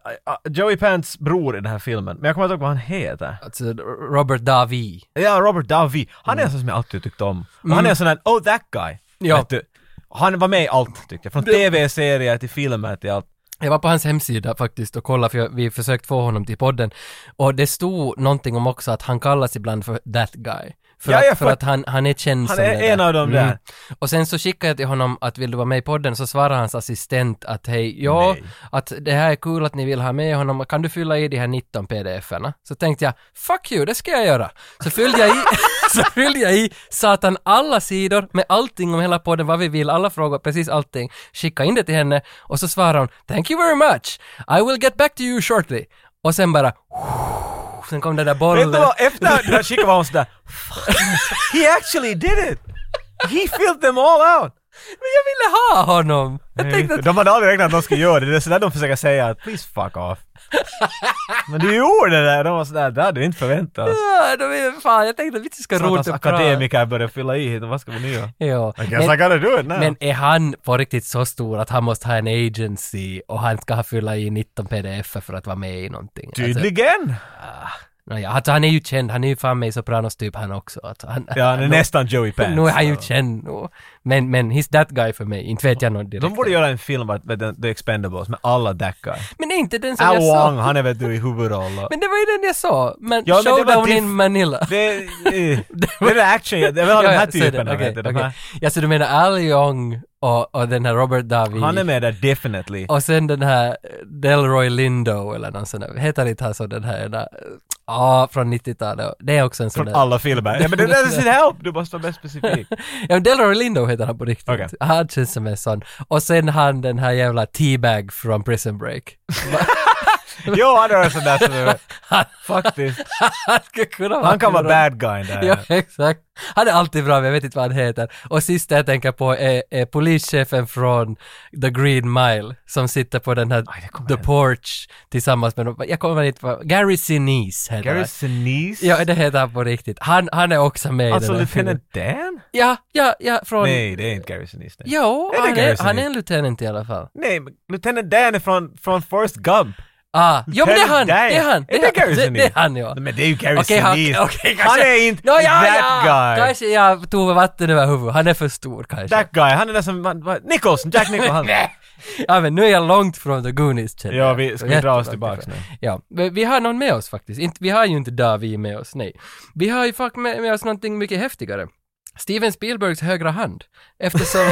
B: Joey Pants bror i den här filmen, men jag kommer inte ihåg vad han heter.
A: Alltså Robert Davi.
B: Ja, Robert Davi. Han är en sån som jag alltid tyckt om. Och han är en sån där, oh that guy.
A: Mm. Ja.
B: Vet du, han var med i allt tyckte jag, från tv-serier till filmer till allt.
A: Jag var på hans hemsida faktiskt och kollade för jag, vi försökt få honom till podden och det stod någonting om också att han kallas ibland för that guy. För,
B: Ja,
A: att,
B: jag
A: för
B: fatt-
A: att han, han är känd
B: Han
A: som
B: är
A: det
B: en
A: där. Mm.
B: av dem där.
A: Och sen så skickade jag till honom att vill du vara med i podden så svarar hans assistent att hej, ja,
B: Nej.
A: att det här är kul att ni vill ha med honom, kan du fylla i de här 19 pdf-erna? Så tänkte jag, fuck you, det ska jag göra. Så fyllde jag i, [laughs] så fyllde jag i satan alla sidor med allting om hela podden, vad vi vill, alla frågor, precis allting. Skicka in det till henne och så svarar hon, thank you very much, I will get back to you shortly. Och sen bara, [laughs] sen kom den där
B: Vet du
A: bollen.
B: vad, efter när Chico var hon sådär,
A: [laughs]
B: "Fuck, he actually did it! He filled them all out!
A: Men jag ville ha honom! Jag tänkte att
B: De hade aldrig räknat att de skulle göra det, det är sådär de försöker säga att “please fuck off”. Men du gjorde det där, de var sådär, det hade vi inte förväntat oss.
A: Ja, de är, fan, jag tänkte att vi inte ska
B: Alltså- Satans
A: rota prat.
B: akademiker börjar fylla i hit, vad ska vi nu göra?
A: Ja.
B: I guess I
A: typ Men,
B: gotta do it now.
A: men är han på riktigt så stor att han måste ha en agency och han ska ha fylla i 19 pdf för att vara med i någonting? Alltså,
B: Tydligen!
A: Nåja, alltså han är ju känd, han är ju fan mig Sopranos typ han också. Alltså, han,
B: Ja, han är nästan Joey
A: [laughs]
B: Pants.
A: nu är han ju känd nu. Men, men he's that guy för mig, inte vet jag någon direkt.
B: De borde göra en film med The- The Expendables med alla that guy.
A: Men är inte den som
B: Al
A: jag
B: Wong,
A: sa?
B: han är väl du i huvudroll. och-
A: Men det var ju den jag sa, men
B: Ja, men det var
A: Showdown
B: diff-
A: in Manila.
B: Det,
A: [laughs]
B: eh, det är väl action, det är väl de här
A: så är det.
B: typerna.
A: Okej,
B: vet du, de
A: okej.
B: här-
A: Ja, så du menar Al Young och, och den här Robert Davi
B: Han är med där definitely.
A: och sen den här Delroy Lindo eller någon sån där, heter inte han så den här, ena- ja, från 90-talet. Det är också en sån
B: Från
A: där.
B: alla filmer. Ja
A: [laughs]
B: men det där är sin help, du måste vara mer specifik.
A: Ja, men Delroy Lindo heter han på riktigt.
B: Okej.
A: Han känns som en sån. Och sen han den här jävla T-bag från Prison Break. [laughs]
B: [laughs] Jo, han är en sån där som är... Faktiskt.
A: han ska kunna vara
B: Han kan vara
A: huvudroll.
B: bad guy där.
A: Ja, exakt. Han är alltid bra, men jag vet inte vad han heter. Och sista jag tänker på är, är polischefen från The Green Mile som sitter på den här
B: Aj, det kommer
A: The
B: jag-
A: Porch tillsammans med någon- jag kommer inte vad, Gary Sinise heter
B: Gary
A: han.
B: Sinise?
A: Ja, det heter han på riktigt. Han, han är också med i
B: alltså
A: den här filmen.
B: Lieutenant Dan?
A: Ja, ja, ja, från...
B: Nej, det är inte Gary Sinise. nej.
A: Jo,
B: Är det
A: han
B: Gary
A: är, han
B: Sinise?
A: är en lieutenant i alla fall.
B: Nej, men Lieutenant Dan är från, från Forrest Gump.
A: Ah, jo men det är han,
B: Lieutenant
A: det
B: Dan.
A: är han,
B: Är det Gary
A: han, det,
B: Sinise?
A: det är han ja.
B: Men det är ju Gary
A: Okej, han,
B: Sinise.
A: okej,
B: han
A: kanske-
B: är inte
A: Nå, ja,
B: that
A: ja,
B: guy.
A: Kanske jag tog vatten över huvudet, han är för stor kanske.
B: That guy, han är den som... han- vad- Nicholson, Jack Nicholson.
A: [laughs]
B: Han.
A: Ja men nu är jag långt från The Goonies känner
B: Ja,
A: jag.
B: vi ska
A: Jättelångt
B: dra oss tillbaks
A: ifrån.
B: nu.
A: Ja, men vi har någon med oss faktiskt. Inte, vi har ju inte Davi med oss, nej. Vi har ju fuck med, med oss någonting mycket häftigare. Steven Spielbergs högra hand.
B: [laughs]
A: Eftersom...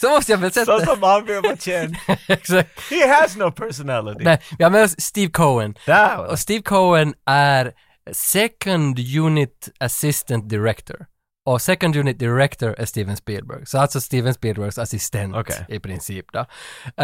A: så måste jag väl sätta...
B: Så som han vill vara känd.
A: [laughs] Exakt.
B: He has no personality.
A: Nej, vi har med oss Steve Cohen.
B: Där var det.
A: Och Steve Cohen är Second Unit Assistant Director. Och Second Unit Director är Steven Spielberg. Så alltså Steven Spielbergs assistent
B: Okej.
A: i princip då.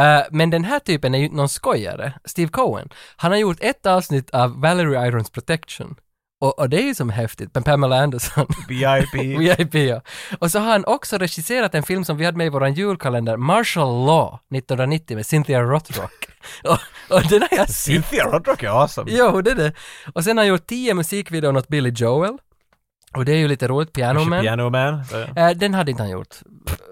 A: Eh, men den här typen är ju någon skojare, Steve Cohen. Han har gjort ett avsnitt av Valerie Irons Protection. Och, och det är ju som häftigt, men Pamela Anderson. [laughs]
B: VIP.
A: VIP ja. Och så har han också regisserat en film som vi hade med i våran julkalender, Martial Law 1990 med Cynthia Rothrock. [laughs] och, och den har jag sett.
B: Cynthia Rothrock är awesome.
A: Jo, det är det. Och sen har han gjort tio musikvideon åt Billy Joel. Och det är ju lite roligt, Piano Man.
B: Piano Man.
A: Eh, den hade inte han gjort.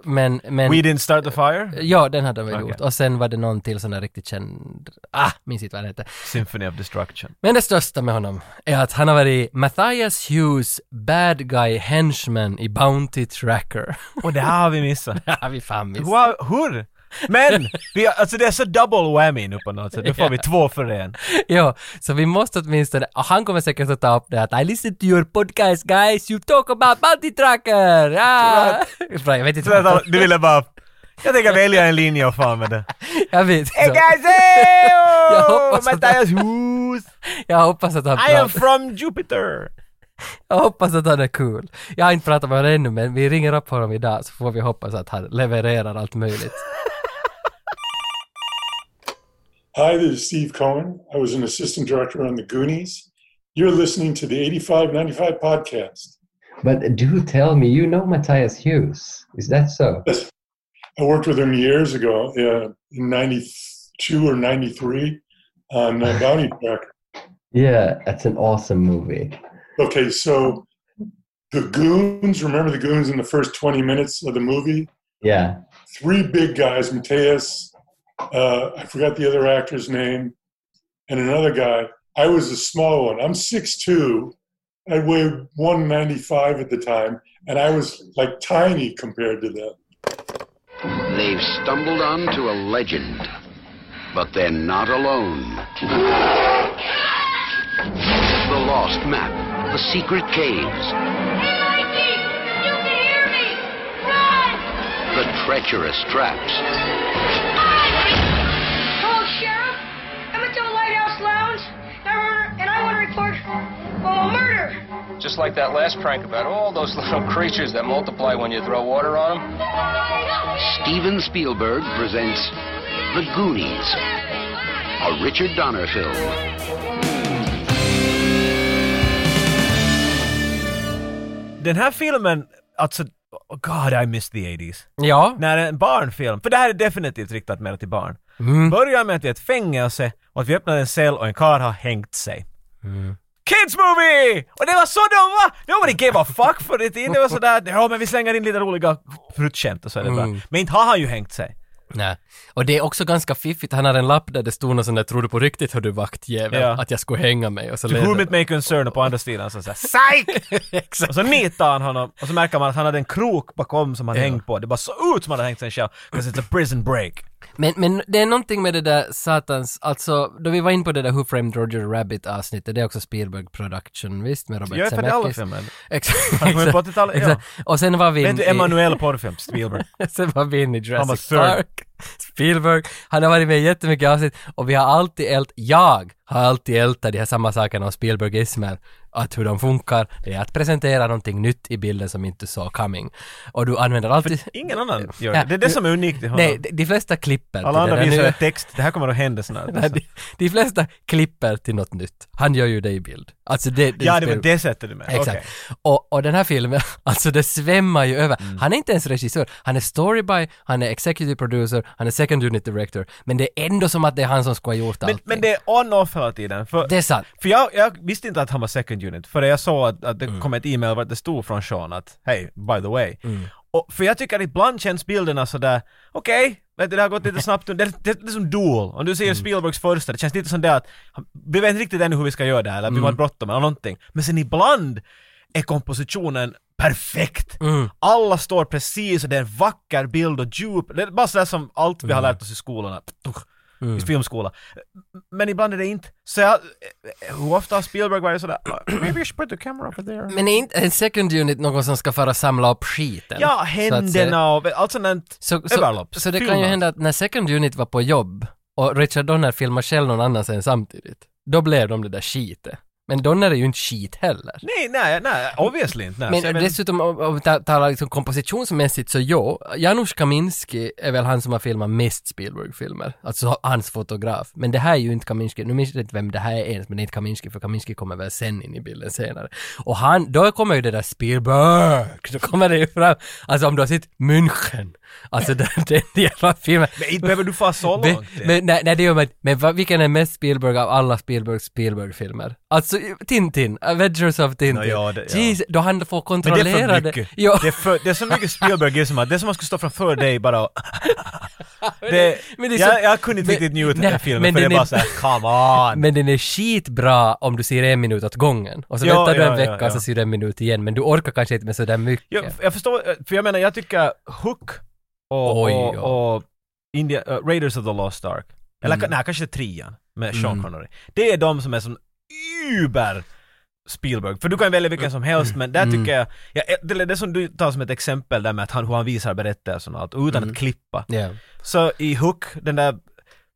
A: Men, men...
B: We didn't start the fire.
A: ja, den hade han väl
B: Okej.
A: gjort. Och sen var det någon till sån där riktigt känd... Ah, minns inte vad han hette.
B: Symphony of Destruction.
A: Men det största med honom är att han har varit Matthias Hughes bad guy henchman i Bounty Tracker. [laughs]
B: Och det här har vi missat.
A: Ja, vi fan missat.
B: Wow, hur?
A: [laughs]
B: Men! Vi, alltså det är så double whammy nu på något sätt. Nu får vi två för en.
A: Ja, så vi måste åtminstone, och han kommer säkert att ta upp det att I listen to your podcast guys, you talk about bounty tracker! Ah! Bra, jag vet inte
B: Så
A: vad
B: att alla- Du ville bara... Jag tänker välja en linje och fan med det.
A: Jag vet
B: Hey
A: inte.
B: guys, hey! oh!
A: [laughs] Jag hoppas att-
B: Mattias Hus!
A: Jag hoppas att han
B: I
A: pratar.
B: am from Jupiter!
A: Jag hoppas att han är kul. Cool. Jag har inte pratat med honom ännu men vi ringer upp honom idag så får vi hoppas att han levererar allt möjligt.
D: Hi, this is Steve Cohen. I was an assistant director on The Goonies. You're listening to the 8595 podcast.
A: But do tell me, you know Matthias Hughes, is that so?
D: I worked with him years ago uh, in 92 or 93 on uh, Bounty Tracker.
A: Yeah, that's an awesome movie.
D: Okay, so the goons, remember the goons in the first 20 minutes of the movie?
A: Yeah.
D: Three big guys, Mateus, uh, I forgot the other actor's name, and another guy. I was the small one. I'm 6'2. I weighed 195 at the time, and I was like tiny compared to them.
E: They've stumbled onto a legend, but they're not alone. The lost map, the secret caves, the treacherous traps,
F: Hello, Sheriff. I'm at the Lighthouse Lounge, and I want- and I want to report a murder.
G: Just like that last prank about all those little creatures that multiply when you throw water on them.
E: Steven Spielberg presents The Goonies, a Richard Donner film.
B: Den här filmen, alltså... oh God, I miss the 80s.
A: Ja.
B: när en barnfilm, för det här är definitivt riktat mer till barn,
A: Mm.
B: börjar med att vi är ett fängelse och att vi öppnar en cell och en karl har hängt sig.
A: Mm.
B: Kids movie! Och det var så de var! Nobody gave a fuck för
A: Mm.
B: det tiden. Det var sådär, ja men vi slänger in lite roliga pruttskämt och så är det bra. Men inte har han ju hängt sig.
A: Nej. Och det är också ganska fiffigt, han har en lapp där det stod något sånt där ”Tror du på riktigt hör du vaktjävel
B: Ja.
A: att jag skulle hänga mig?” och så
B: To
A: läser-
B: whom it may concern och på andra sidan så såhär psych!
A: [laughs] Exakt.
B: Och så nitar han honom och så märker man att han hade en krok bakom som han hängt på. Det bara såg ut som han hade hängt sig själv. 'Cause it's a prison break.
A: Men, men det är någonting med det där satans, alltså då vi var in på det där Who Framed Roger Rabbit avsnittet, det är också Spielberg Production, visst med Robert
B: Jag är för det
A: [laughs]
B: alla
A: Zemeckis.
B: filmer.
A: Exakt.
B: Han kom ju på 80-talet, ja.
A: exakt. Och sen var vi
B: Vet
A: in
B: du,
A: i,
B: Emanuel porrfilm, Spielberg.
A: [laughs] sen var vi in i Jurassic
B: Han var third.
A: Park. Spielberg, han har varit med i jättemycket avsnitt och vi har alltid ält, jag har alltid ältat de här samma sakerna om Spielbergismer, att hur de funkar, det är att presentera någonting nytt i bilden som inte såg coming. Och du använder alltid...
B: Ingen annan gör
A: Ja,
B: det. Det är det
A: nu-
B: som är unikt i honom.
A: Nej, de, de flesta klipper till
B: Alla andra
A: det där.
B: visar
A: Nu-
B: en text, det här kommer att hända snart.
A: [laughs] Nej, de, de flesta klipper till något nytt. Han gör ju det i bild. Alltså det, det
B: ja, det
A: spelar-
B: var det sättet du menar.
A: Exakt.
B: Okej. Mm.
A: Och, och den här filmen, [laughs] alltså det svämmar ju över. Han är inte ens regissör, han är storyby, han är executive producer, han är second unit director. Men det är ändå som att det är han som ska ha gjort
B: Men,
A: allting.
B: men det är on-off hela tiden. För,
A: Det är sant.
B: för jag, jag visste inte att han var second unit, för jag såg att, att det kom ett e-mail där det stod från Sean att hej, by the way. Och, för jag tycker att ibland känns bilderna sådär, okej, vet du, det har gått lite snabbt, det, det, det är som Duel. Om du ser Spielbergs första, det känns lite som det att han- vi vet inte riktigt ännu hur vi ska göra det här, eller vi har bråttom eller någonting. Men sen ibland är kompositionen perfekt. Alla står precis och det är en vacker bild och djup. Det är bara sådär som allt vi har lärt oss i skolorna. I filmskola. Men ibland är det inte. Så jag, hur ofta har Spielberg varit sådär "Ah, “Maybe you should put the camera over there”?
A: Men är inte en second unit någon som ska fara och samla upp skiten?
B: ja,
A: så att säga?
B: händerna alltså och allt sånt där.
A: Så, så,
B: överlopps-
A: så det kan ju
B: fyllnads.
A: hända att när Second Unit var på jobb och Richard Donner filmar själv någon annan sen samtidigt, då blev de det där skitet. Men Donner är ju inte skit heller.
B: Nej, nej, nej, obviously inte. Nej. Så jag
A: Men
B: vet-
A: dessutom, om om vi ta- talar liksom kompositionsmässigt så ja, Janusz Kaminski är väl han som har filmat mest Spielberg-filmer, alltså hans fotograf. Men det här är ju inte Kaminski, nu minns jag inte vem det här är ens, men det är inte Kaminski, för Kaminski kommer väl sen in i bilden senare. Och han, då kommer ju det där Spielberg, då kommer det ju fram, alltså om du har sett München, alltså [laughs] den, den jävla filmen.
B: Men inte behöver du fara så
A: [laughs] Men-
B: långt.
A: Men, nej, nej, det gör man inte. Men vad- vilken är mest Spielberg av alla Spielbergs Spielberg-filmer? Alltså Tintin, Avengers of Tintin.
B: Nå, ja, det- ja.
A: Jeez, då han får
B: Men
A: kontrollera
B: det är för mycket.
A: det. Ja, [laughs]
B: Det, är för, det är så mycket Spielbergism att det är som att man skulle stå framför dig bara och... det,
A: men [laughs] det är
B: jag,
A: så-
B: jag kunde inte
A: men-
B: riktigt njuta av den här
A: nej,
B: filmen
A: men
B: för det är
A: den
B: bara
A: är-
B: såhär “Come on”.
A: men den är skitbra om du ser en minut åt gången. Och så
B: Ja,
A: väntar du
B: ja,
A: en vecka
B: ja,
A: och
B: ja.
A: så ser du en minut igen. Men du orkar kanske inte med sådär mycket.
B: Jag, jag förstår, eh, för jag menar jag tycker Hook och,
A: Oj,
B: och,
A: ja.
B: och India, äh, Raiders of the Lost Ark, eller mm. nej kanske trean med Sean
A: Mm.
B: Connery. Det är de som är som uber Spielberg, för du kan välja vilken som helst men där
A: Mm.
B: tycker jag, jag det är det som du tar som ett exempel där med att han, hur han visar berättelsen och allt, utan
A: Mm.
B: att klippa.
A: Ja.
B: Så i Hook, den där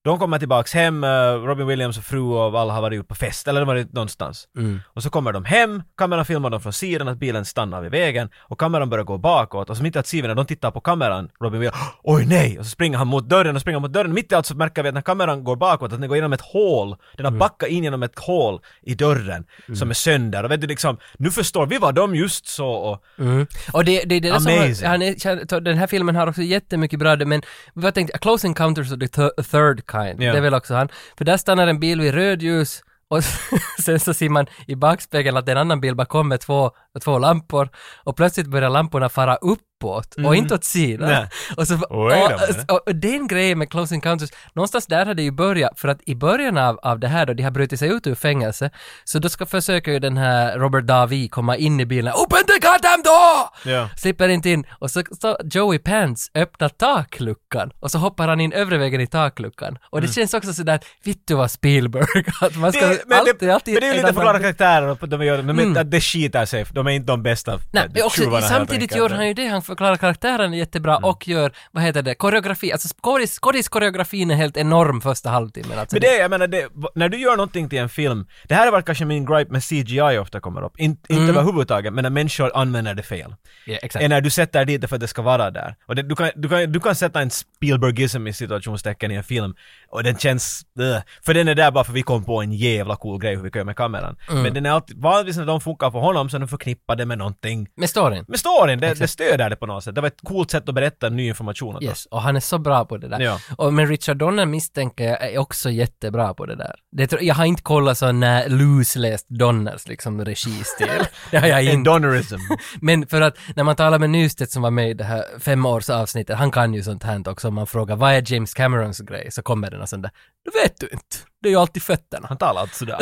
B: de kommer tillbaks hem, eh, Robin Williams och fru och alla har varit ute på fest, eller de har varit någonstans.
A: Mm.
B: Och så kommer de hem, kameran filmar dem från sidan, att bilen stannar vid vägen och kameran börjar gå bakåt och som inte att Steven, när de tittar på kameran, Robin Williams ”Oj nej!” och så springer han mot dörren och springer mot dörren. Mitt i allt så märker vi att när kameran går bakåt, att den går genom ett hål, den har backat in genom ett hål i dörren som är sönder och vet du liksom, nu förstår vi vad de just så och
A: Mm. Och det, det, det är det som
B: Amazing.
A: har, han är, den här filmen har också jättemycket bra, men vad tänkte jag, Close Encounters of the Thir- Third Kind,
B: Ja.
A: det är väl också han. För där stannar en bil vid rödljus och [laughs] sen så ser man i backspegeln att det är en annan bil bakom med två, två lampor och plötsligt börjar lamporna fara uppåt och inte åt sidan.
B: Mm. Nej.
A: Och, så,
B: Oj då, men.
A: och, och den grejen med Close Encounters, någonstans där hade det ju börjat, för att i början av, av det här då, de har brutit sig ut ur fängelse, så då ska försöka ju den här Robert Davi komma in i bilen, Open the goddamn door!
B: Ja.
A: Slipper inte in, och så står Joey Pants öppnar takluckan, och så hoppar han in övre vägen i takluckan. Och det känns också sådär, att, vittu vad Spielberg, [laughs] att man ska
B: Mm. det, men,
A: alltid,
B: det,
A: alltid...
B: men det är ju
A: en
B: lite
A: annan-
B: förklara karaktärer och de gör, men
A: Mm.
B: att det skitar sig, de är inte de bästa
A: Nej,
B: eh,
A: men också,
B: tjuvarna helt
A: samtidigt
B: enkelt.
A: gör han ju det, han förklarar karaktären jättebra
B: Mm.
A: och gör, vad heter det, koreografi, alltså skådis, skådiskoreografin är helt enorm första halvtimmen. Alltså,
B: Men det, jag menar, det, när du gör någonting till en film, det här har varit kanske min gripe med CGI ofta kommer upp, In,
A: Mm.
B: inte överhuvudtaget, men när människor använder det fel.
A: Ja, exakt.
B: Är när du sätter dit det för att det ska vara där. Och det, du, kan, du, kan, du kan sätta en Spielbergism i situationstecken i en film, och den känns... ugh. för den är
A: Mm.
B: där bara för vi kom på en jävla cool grej hur vi kan göra med kameran. Men den är alltid, vanligtvis när de funkar för honom så är den förknippa det med någonting.
A: Med storyn.
B: Men storyn, det, det stöder det på något sätt. Det var ett coolt sätt att berätta ny information åt oss.
A: Yes, och han är så bra på det där.
B: Ja.
A: Och, men Richard Donner misstänker jag är också jättebra på det där. Det, tror- jag har inte kollat sån här loose-läst Donners liksom
B: [laughs]
A: registil. det har jag
B: En
A: inte.
B: Donnerism.
A: Men för att när man talar med Nystedt som var med i det här femårsavsnittet, han kan ju sånt här också. Om man frågar vad är James Camerons grej så kommer det någon sån där, det vet du inte. Det är ju alltid fötterna.
B: [laughs] Han talar alltid sådär.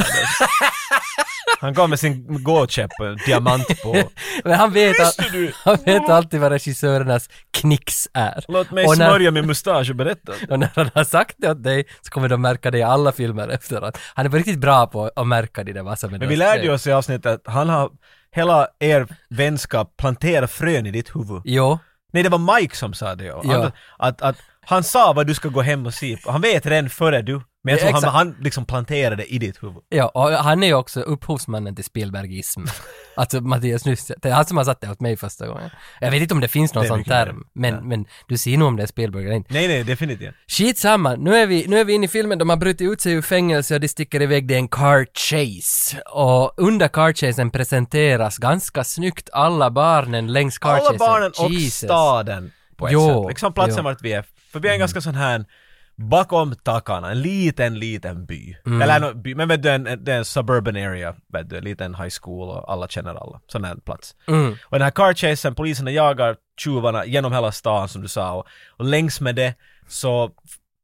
B: Han går med sin gåkäpp och diamant på.
A: Men han vet, all, [laughs] han vet alltid vad regissörernas knicks är.
B: Låt mig
A: Och när-
B: smörja min mustasch och berätta.
A: Och när han har sagt det åt dig så kommer de märka det i alla filmer efteråt. Han är riktigt bra på att märka det där vad som är
B: Men vi
A: deras
B: lärde
A: grej.
B: ju oss i avsnittet att han har hela er vänskap plantera frön i ditt huvud.
A: Jo,
B: Nej, det var Mike som sa det ju. Han,
A: Ja.
B: att, att han sa vad du ska gå hem och se på. Han vet redan före du. Men jag
A: Ja,
B: tror han,
A: exakt.
B: han liksom planterade det i ditt huvud.
A: ja, och han är ju också upphovsmannen till Spielbergism. [laughs] alltså Mattias Nystedt, det är han som har satt det åt mig första gången. Jag vet inte om det finns någon
B: Det är
A: sån
B: mycket möjligt.
A: term, men,
B: Ja.
A: men du ser nog om det är Spielberg eller inte.
B: Nej, nej, definitivt.
A: Skitsamma, nu är, vi, nu är vi inne i filmen, de har brutit ut sig ur fängelse och de sticker iväg, det är en car chase. Och under car chasen presenteras ganska snyggt alla barnen längs car
B: Alla
A: chasen.
B: barnen och
A: Jesus.
B: staden på ett
A: Jo,
B: sätt. Liksom platsen
A: jo.
B: vart vi är. För vi är en ganska sån här bakom Takana, en liten, liten by.
A: Mm.
B: Eller no, by, men vet du, en, en, det är en suburban area, vet du, en liten high school och alla känner alla. Sån här plats.
A: Mm.
B: Och den här car chasen, poliserna jagar tjuvarna genom hela stan som du sa och, och längs med det så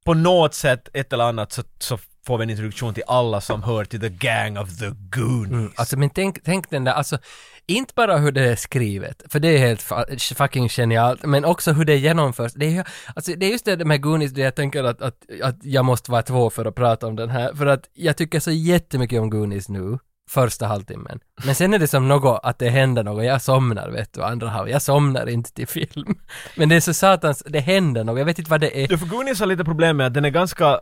B: på något sätt, ett eller annat, så, så får vi en introduktion till alla som hör till the gang of the goonies.
A: Alltså men tänk, tänk den där, alltså inte bara hur det är skrivet, för det är helt fa- fucking genialt, men också hur det genomförs. Det är, ju- alltså, det är just det med Goonies där jag tänker att, att, att jag måste vara två för att prata om den här, för att jag tycker så jättemycket om Goonies nu, första halvtimmen. Men sen är det som något, att det händer något, jag somnar vet du, andra halv, jag somnar inte till film. Men det är så satans, det händer något, jag vet inte vad det är.
B: Du, för Goonies har lite problem med att den är ganska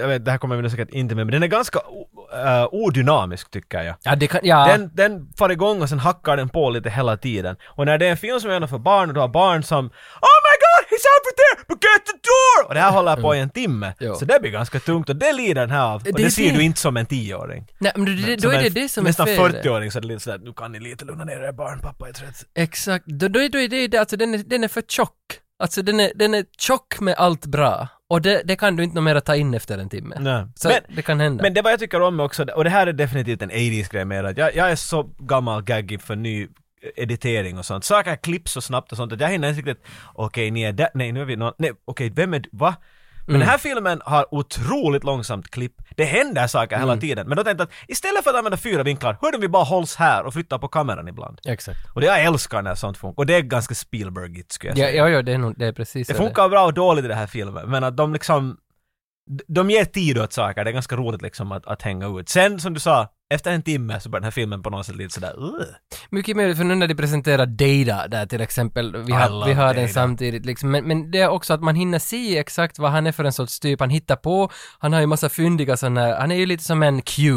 B: jag vet, det här kommer vi nog säkert inte med, men den är ganska o- eh, odynamisk tycker jag.
A: Ja, det kan, ja.
B: Den, den far igång och sen hackar den på lite hela tiden. Och när det är en film som är för barn och du har barn som Oh my god, he's over there! But get the door! Och det här håller på i en timme.
A: Mm. Jo.
B: Så det blir ganska tungt och det lider den här av. Och
A: Det
B: det,
A: är
B: ser
A: det.
B: du inte som en tioåring.
A: Nej, men det, då
B: Som
A: är det
B: en-
A: det som är
B: Nästan
A: fel.
B: 40-åring så är det lite sådär, nu kan ni lite lugna ner er barn, pappa är trött.
A: Exakt, då, då, är- då är det det, alltså den är, den är för tjock. Alltså den är, den är tjock med allt bra. Och det, det kan du inte nå mera ta in efter en timme.
B: Nej.
A: Så
B: Men-
A: det kan hända.
B: Men det var jag tycker om också, och det här är definitivt en 80s-grej mer att jag, jag är så gammal gaggig för ny eh, editering och sånt. Saker klipps så snabbt och sånt att jag hinner inte riktigt, okej ni är där, nej nu är vi någon, nej okej vem är du, va? Men den här filmen har otroligt långsamt klipp. Det händer saker hela tiden. Men då tänkte jag att istället för att använda fyra vinklar, hur om vi bara hålls här och flyttar på kameran ibland.
A: Exakt.
B: Och det jag älskar när sånt funkar. Och det är ganska Spielbergigt skulle jag
A: Ja,
B: säga.
A: ja, ja det, är nog, det är precis
B: Det
A: så
B: funkar bra och dåligt i den här filmen, men att de liksom... De ger tid åt saker, det är ganska roligt liksom att, att hänga ut. Sen som du sa, efter en timme så börjar den här filmen på något sätt lite sådär... "Ugh."
A: Mycket mer för nu när de presenterar Data där till exempel, vi har,
B: love
A: vi har den
B: Data.
A: samtidigt liksom, men, men det är också att man hinner se exakt vad han är för en sorts typ, han hittar på, han har ju massa fyndiga sådana, han är ju lite som en Q.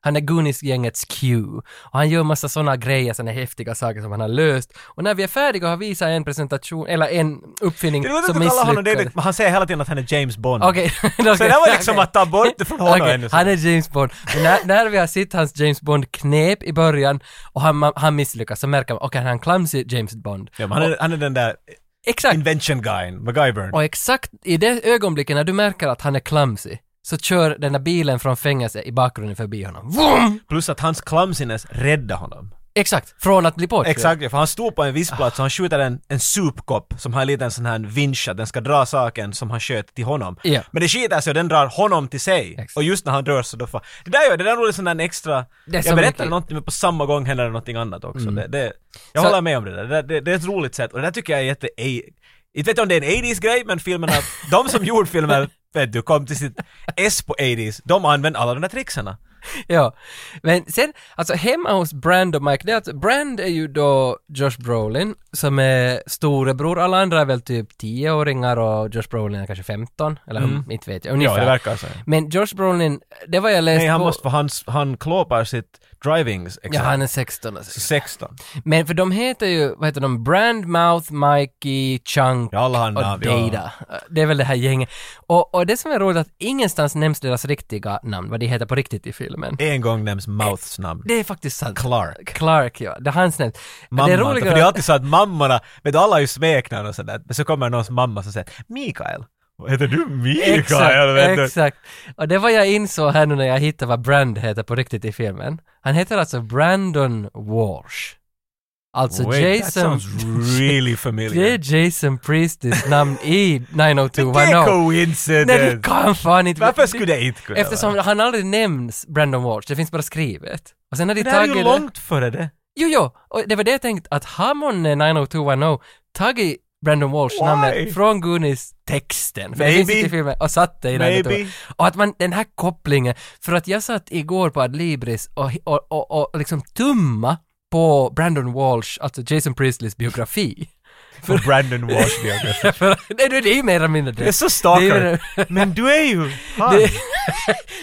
A: Han är Goonies-gängets Q. Och han gör massa sådana grejer, sådana häftiga saker som han har löst. Och när vi är färdiga och har visat en presentation, eller en uppfinning
B: Det låter
A: Mm, som
B: som att alla honom
A: misslyckades.
B: David, men han säger hela tiden att han är James Bond.
A: Okej. [laughs]
B: Så det var liksom att ta bort det från honom ännu så.
A: Han är James Bond. Men när, [laughs] när vi har sett hans James Bond-knep i början och han, man- han misslyckas så märker man, okej han är en clumsy James Bond.
B: Ja, men han, är, han är den där
A: Exakt.
B: invention guyen, MacGyver.
A: Och exakt i det ögonblicket när du märker att han är clumsy så kör den där bilen från fängelse i bakgrunden förbi honom. Vroom!
B: Plus att hans clumsiness räddar honom.
A: Exakt, från att bli påkörd.
B: Exakt, ja, för han står på en
A: Ah.
B: viss plats och han skjuter en, en supkopp som har en liten sån här vinsch att den ska dra saken som han sköt till honom.
A: Ja.
B: Men det skiter sig och den drar honom till sig.
A: Exakt.
B: Och just när han dör så då får... Det där är det där är roligt sån där extra...
A: Det är så
B: jag berättar
A: mycket. Mm.
B: någonting men på samma gång händer det någonting annat också. Det, det, jag
A: Så-
B: håller med om det där. Det, det, det är ett roligt sätt och det där tycker jag är jätte... ej- Inte vet jag om det är en 80s-grej men filmerna...
A: [laughs]
B: de som gjorde filmen, vet du, kom till sitt S på 80s. De använde alla de där trixarna.
A: Ja. Men sen, alltså hemma hos Brand och Mike, det är alltså, Brand är ju då Josh Brolin som är storebror, alla andra är väl typ 10-åringar och Josh Brolin är kanske 15, eller hum, inte vet jag, ungefär.
B: Mm. Ja, det verkar så.
A: Men Josh Brolin, det var jag läst
B: Nej, han
A: på...
B: måste... För han, han klåpar sitt drivings
A: Ja, han är 16 alltså.
B: 16.
A: Men för de heter ju, vad heter de, Brandmouth, Mikey, Chunk
B: Ja, alla äh, har
A: och
B: namn, ja.
A: Data. Det är väl det här gänget. Och, och det som är roligt är att ingenstans nämns deras riktiga namn, vad de heter på riktigt i filmen.
B: En gång nämns Mouths namn.
A: Det är faktiskt sant.
B: Clark.
A: Clark, ja. Det är hans namn.
B: Mamman,
A: det är
B: för det
A: roligare
B: är [laughs] alltid så att mammorna, vet du, alla är ju smeknamn och sådär, men så kommer någons mamma som säger Mikael. Vad Heter du Mikael? vet
A: Exakt,
B: du?
A: exakt. Och det var jag insåg här nu när jag hittade vad Brand heter på riktigt i filmen. Han heter alltså Brandon Walsh. Alltså
B: Wait, that
A: Jason...
B: sounds really
A: [laughs]
B: familiar.
A: Det är Jason Priestis namn i
B: [laughs] Det är
A: 90210. Nej, du
B: coincidence!
A: kan fan inte...
B: Varför skulle det inte kunna
A: Eftersom
B: vara?
A: han aldrig nämns Brandon Walsh, det finns bara skrivet. Och sen har de
B: Det här är
A: tagit
B: ju långt
A: [laughs]
B: före det.
A: Jo, jo, och det var det jag tänkte att oh har man 90210 tagit Brandon Walsh
B: Why?
A: namnet från Goonies texten, för det finns
B: Maybe.
A: inte i filmen, och satt det i
B: Maybe.
A: 90210. Och att man, den här kopplingen, för att jag satt igår på Adlibris och, och, och, och liksom tumma på Brandon Walsh, alltså Jason Priestleys biografi. [laughs]
B: För Brandon Walsh biografi.
A: För, nej, det är ju mer eller mindre det.
B: Det är så
A: Det är
B: stalker.
A: ju-
B: Men du är ju han.
A: Det,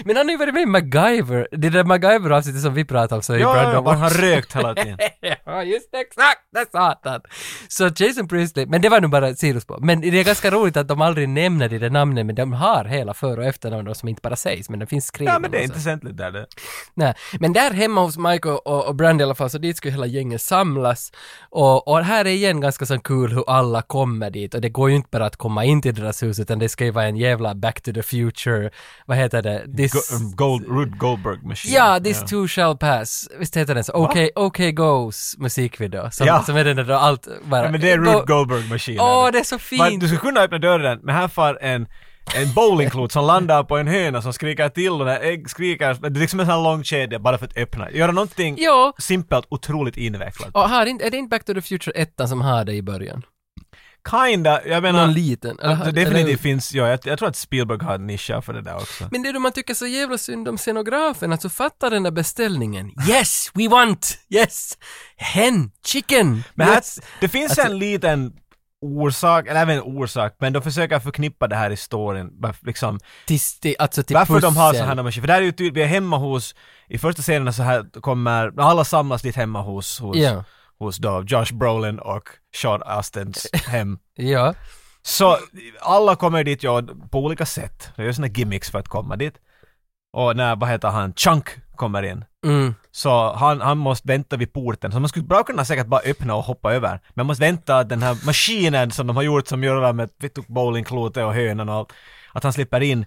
A: men han har ju varit med i MacGyver, det där MacGyver-avsnittet som vi pratade om så är ju
B: Ja,
A: Brandon
B: ja, man har
A: Walsh.
B: rökt
A: [laughs]
B: hela tiden.
A: ja, just det, exakt, det sa han. Så Jason Priestley, men det var nu bara ett sidospår. Men det är ganska roligt att de aldrig nämner det där namnet, men de har hela för och efternamn då som inte bara sägs, men det finns skrivet.
B: Ja, men det är intressant lite där det.
A: Nej. Men där hemma hos Mike och, och, och Brandy i alla fall, så dit skulle hela gänget samlas. Och, och här är igen ganska så kul hur alla kommer dit. Och det går ju inte bara att komma in till deras hus, utan det ska ju vara en jävla Back to the Future, vad heter det? This...
B: Go- um, Gold, Rud Goldberg Machine.
A: Ja, this too shall pass. Visst heter den så? Okej, okej goes musikvideo. Som,
B: Ja.
A: som är den där då allt bara...
B: Ja, men det är
A: Go-
B: Rud Goldberg Machine.
A: Åh, det är så
B: Man,
A: fint!
B: du skulle kunna öppna dörren, men här far en, en bowlingklot som landar på en höna som skriker till och när ägg skriker, det är liksom en sån här lång kedja bara för att öppna. Göra någonting
A: Jo.
B: simpelt, otroligt invecklat.
A: Och här, är inte- är det inte Back to the Future 1 som har det i början?
B: Kinda, jag menar...
A: Någon liten? eller har-
B: det
A: eller-
B: definitivt finns, ja, jag, jag tror att Spielberg har en nisch för det där också.
A: Men det är då man tycker så jävla synd om scenografen, alltså fatta den där beställningen. Yes, we want! Yes! Hen, chicken!
B: Men här,
A: yes. Alltså-
B: det finns en liten orsak, eller även en orsak, men de försöker förknippa det här i storyn, varf- liksom,
A: Tills det, alltså till
B: Varför de har
A: pussel.
B: så här maskiner? För där är ju tydligt, vi är hemma hos, i första scenen så här kommer, alla samlas dit hemma hos, hos,
A: Ja.
B: hos då Josh Brolin och Sean Astens hem.
A: Ja.
B: Så alla kommer dit ja, på olika sätt. Det är ju såna gimmicks för att komma dit. Och när, vad heter han, Chunk kommer in.
A: Mm.
B: Så han, han måste vänta vid porten. Så man skulle bra kunna säkert bara öppna och hoppa över. Men man måste vänta att den här maskinen som de har gjort som gör det där med vet du, bowlingklotet och hönan och allt, att han slipper in.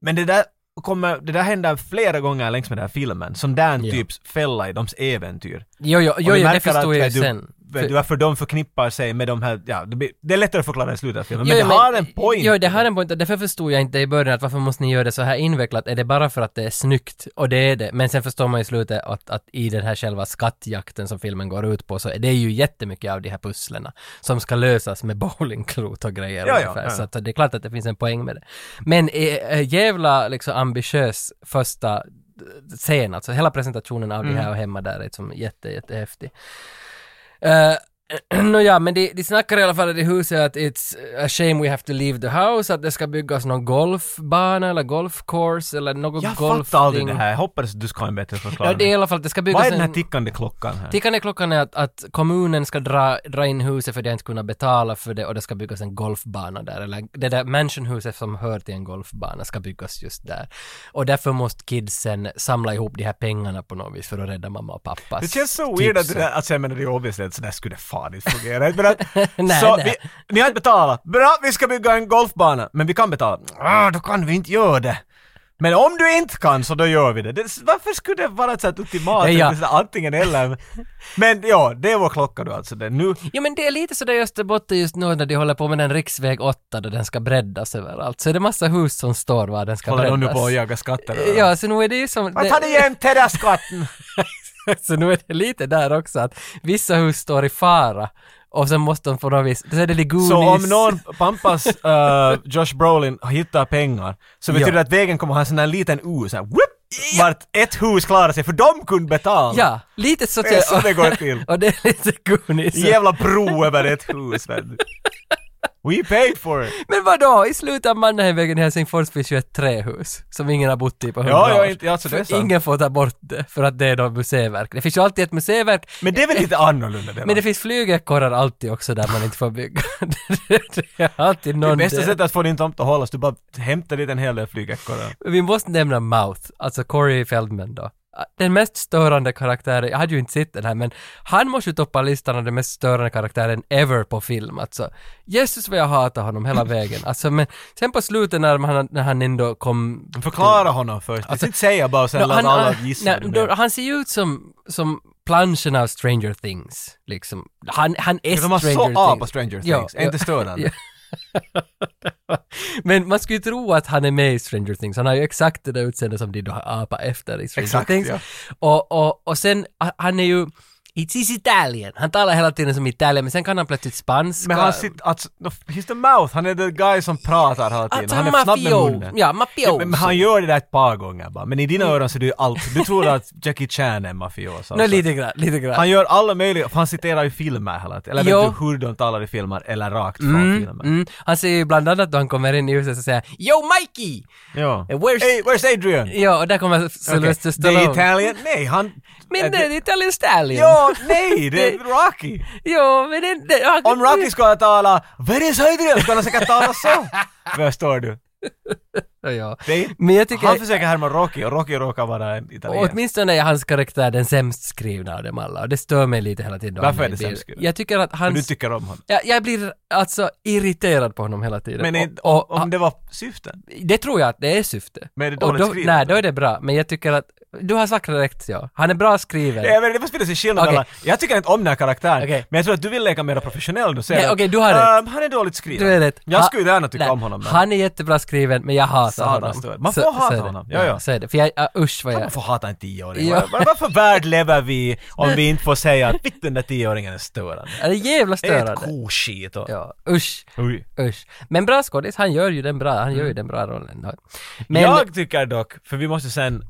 B: Men det där kommer, det där händer flera gånger längs med den här filmen. Som där en
A: Ja.
B: typs fälla i dems äventyr.
A: Jo, jo,
B: Och
A: jo,
B: du
A: jo det
B: märker
A: förstår
B: att,
A: jag
B: vet
A: ju
B: du,
A: sen.
B: Vet du, varför de förknippar sig med de här, ja, det, blir, det är lättare att förklara i slutet av filmen.
A: Jo,
B: men
A: jo,
B: det har en poäng.
A: Jo, det har en poäng. och Därför förstod jag inte i början att varför måste ni göra det så här invecklat? Är det bara för att det är snyggt? Och det är det. Men sen förstår man i slutet att, att i den här själva skattjakten som filmen går ut på så är det ju jättemycket av de här pusslerna som ska lösas med [laughs] bowlingklot och grejer
B: Ja, ja,
A: ungefär.
B: ja.
A: Så att det är klart att det finns en poäng med det. Men eh, eh, jävla liksom ambitiös första scen, alltså hela presentationen av
B: Mm.
A: det här och hemma där är liksom jätte, jättehäftig. Eh, [clears throat] Nåja, men de, de snackar i alla fall i det huset att it's a shame we have to leave the house, att det ska byggas någon golfbana eller golfcourse eller något
B: Jag
A: golfding.
B: fattar aldrig det här. Jag hoppas att du ska ha en bättre förklaring.
A: Ja, det är i alla fall, det ska byggas
B: Vad är den här
A: en-
B: tickande klockan här?
A: Tickande klockan är att, att kommunen ska dra, dra in huset för det har inte kunnat betala för det och det ska byggas en golfbana där. Eller det där mansionhuset som hör till en golfbana ska byggas just där. Och därför måste kidsen samla ihop de här pengarna på något vis för att rädda mamma och pappa.
B: Det känns så weird att det där, alltså jag menar det är obviously att sådär skulle fan inte fungera. Men att,
A: [laughs] Nej,
B: så
A: nej.
B: Vi, ni har inte betalat. Bra, vi ska bygga en golfbana. Men vi kan betala. Ah, då kan vi inte göra det. Men om du inte kan så då gör vi det. det varför skulle det vara ett sånt ultimat?
A: Nej, ja.
B: Det är så här Antingen eller. Men ja, det är vår klocka då alltså. Det. Nu,
A: Ja men det är lite sådär i Österbotten just nu när de håller på med den riksväg 8 där den ska breddas överallt. Så är det massa hus som står var den ska
B: håller de nu
A: breddas.
B: på att jaga skatter.
A: Ja, så nu är det ju som...
B: Vad tar det igen terrasskatten?
A: [laughs] så nu är det lite där också att vissa hus står i fara och sen måste de på något vis, så är det de Goonies.
B: [laughs] Så om någon pampas eh, Josh Brolin hittar pengar så betyder
A: Ja.
B: det att vägen kommer ha en sån här liten U så här, whoop, vart ett hus klarar sig för de kunde betala.
A: Ja, lite så.
B: Det
A: [laughs]
B: är så det går till.
A: och det är lite Goonies.
B: Jävla bro över ett hus. vet du. We paid for it!
A: Men vadå, i slutet av Mannheimvägen i Helsingfors finns ju ett trähus som ingen har bott i på hundra
B: ja,
A: år.
B: inte- alltså, det är
A: För
B: sant.
A: Ingen får ta bort det, för att det är då museiverk. Det finns ju alltid ett museiverk,
B: Men det är väl lite annorlunda det
A: men
B: va?
A: det finns flygekorrar alltid också där man inte får bygga. [laughs] det är alltid
B: Det
A: någon
B: bästa
A: del.
B: sättet att få din tomt att hållas, du bara hämtar dit en hel del flygekorrar.
A: Vi måste nämna Mouth, alltså Corey Feldman då. Den mest störande karaktären, jag hade ju inte sett den här men han måste ju toppa listan av den mest störande karaktären ever på film alltså. Jesus vad jag hatar honom hela vägen. Alltså men sen på slutet när han, när han ändå kom...
B: Förklara honom först, alltså, inte säga bara och sen
A: Nå,
B: låt alla
A: nej,
B: gissa. vad det
A: då,
B: blev.
A: han ser ju ut som, som planschen av Stranger Things. Liksom. Han, han är
B: De har
A: Stranger
B: så
A: Things.
B: A på Stranger
A: Ja,
B: Things, är inte
A: ja.
B: störande.
A: [laughs] Men man skulle ju tro att han är med i Stranger Things. Han har ju exakt det där utseendet som de då har apat efter i Stranger
B: Exakt,
A: Things.
B: ja.
A: Och, och, och sen, a- han är ju... It's is Italien. Han talar hela tiden som Italien, men sen kan han plötsligt spanska.
B: Men han sitter, alltså, no, he's the mouth, han är the guy som pratar hela tiden.
A: Alltså,
B: han är
A: han
B: snabb med
A: mafio-
B: munnen.
A: ja, mafioso.
B: men, men han gör det där ett par gånger bara. Men i dina öron så är det ju allt. Du tror att Jackie Chan är en mafioso.
A: Nej,
B: alltså.
A: lite grann, lite grann.
B: Han gör alla möjliga, för han citerar ju filmer hela tiden. Eller
A: Jo.
B: vet du hur de talar i filmer, eller rakt från filmer.
A: Mm. Han säger ju bland annat då han kommer in i huset och säger ”Yo Mikey!”
B: Ja.
A: Eh, Where's-
B: Hey, Eh, where's Adrian?
A: Ja, och där kommer Sylvester Stallone.
B: Det är Italien? Nej, han...
A: Men
B: Äh,
A: det är Italien Stallion.
B: Ja, nej, det är Rocky!
A: Jo, men det, det, han-
B: Om Rocky skulle tala ”Where is Adrian?” skulle han säkert tala
A: [laughs]
B: så! Förstår du?
A: Ja, ja.
B: Det är,
A: Men jag tycker...
B: Han försöker härma Rocky och Rocky råkar vara en
A: Och
B: italienare.
A: åtminstone är hans karaktär den sämst skrivna av dem alla och det stör mig lite hela tiden. då
B: Varför
A: han
B: är det
A: blir-
B: sämst skrivna?
A: Jag tycker att
B: Men
A: han...
B: du tycker om honom.
A: jag, jag blir alltså irriterad på honom hela tiden.
B: Men inte-
A: och, och,
B: Om det var syften.
A: det tror jag att det är syfte.
B: Men är det
A: och
B: dåligt
A: då,
B: skrivet?
A: Nej, då är det bra. Men jag tycker att... Du har sagt rätt, ja. Han är bra skriven.
B: Nej, men det måste finnas en skillnad
A: Okej.
B: mellan... Jag tycker inte om den här karaktären,
A: Okej.
B: men jag tror att du vill leka mer professionell nu. säger
A: Nej,
B: att,
A: okej, du har
B: "Ehm, Han är dåligt skriven.
A: Du är rätt.
B: Jag
A: Ha-
B: skulle gärna tycka
A: nej,
B: om honom. men-
A: Han är jättebra skriven, men jag hatar
B: Satan,
A: honom.
B: stör. Man
A: Så-
B: får hata
A: så är det.
B: honom. Ja, ja.
A: Så är det. För jag, uh, usch vad
B: Man
A: jag...
B: får hata en tioåring.
A: Ja.
B: Var- var- Varför värld lever vi om vi inte får säga att "Fitt, den där tioåringen är störande?
A: Det är jävla
B: Det är ett
A: störande.
B: koskit och...
A: Ja, usch.
B: Oj.
A: Usch. Men bra skådis, han gör ju den bra, han gör ju den bra rollen. då. Men
B: Mm. Jag tycker dock, för vi måste sen...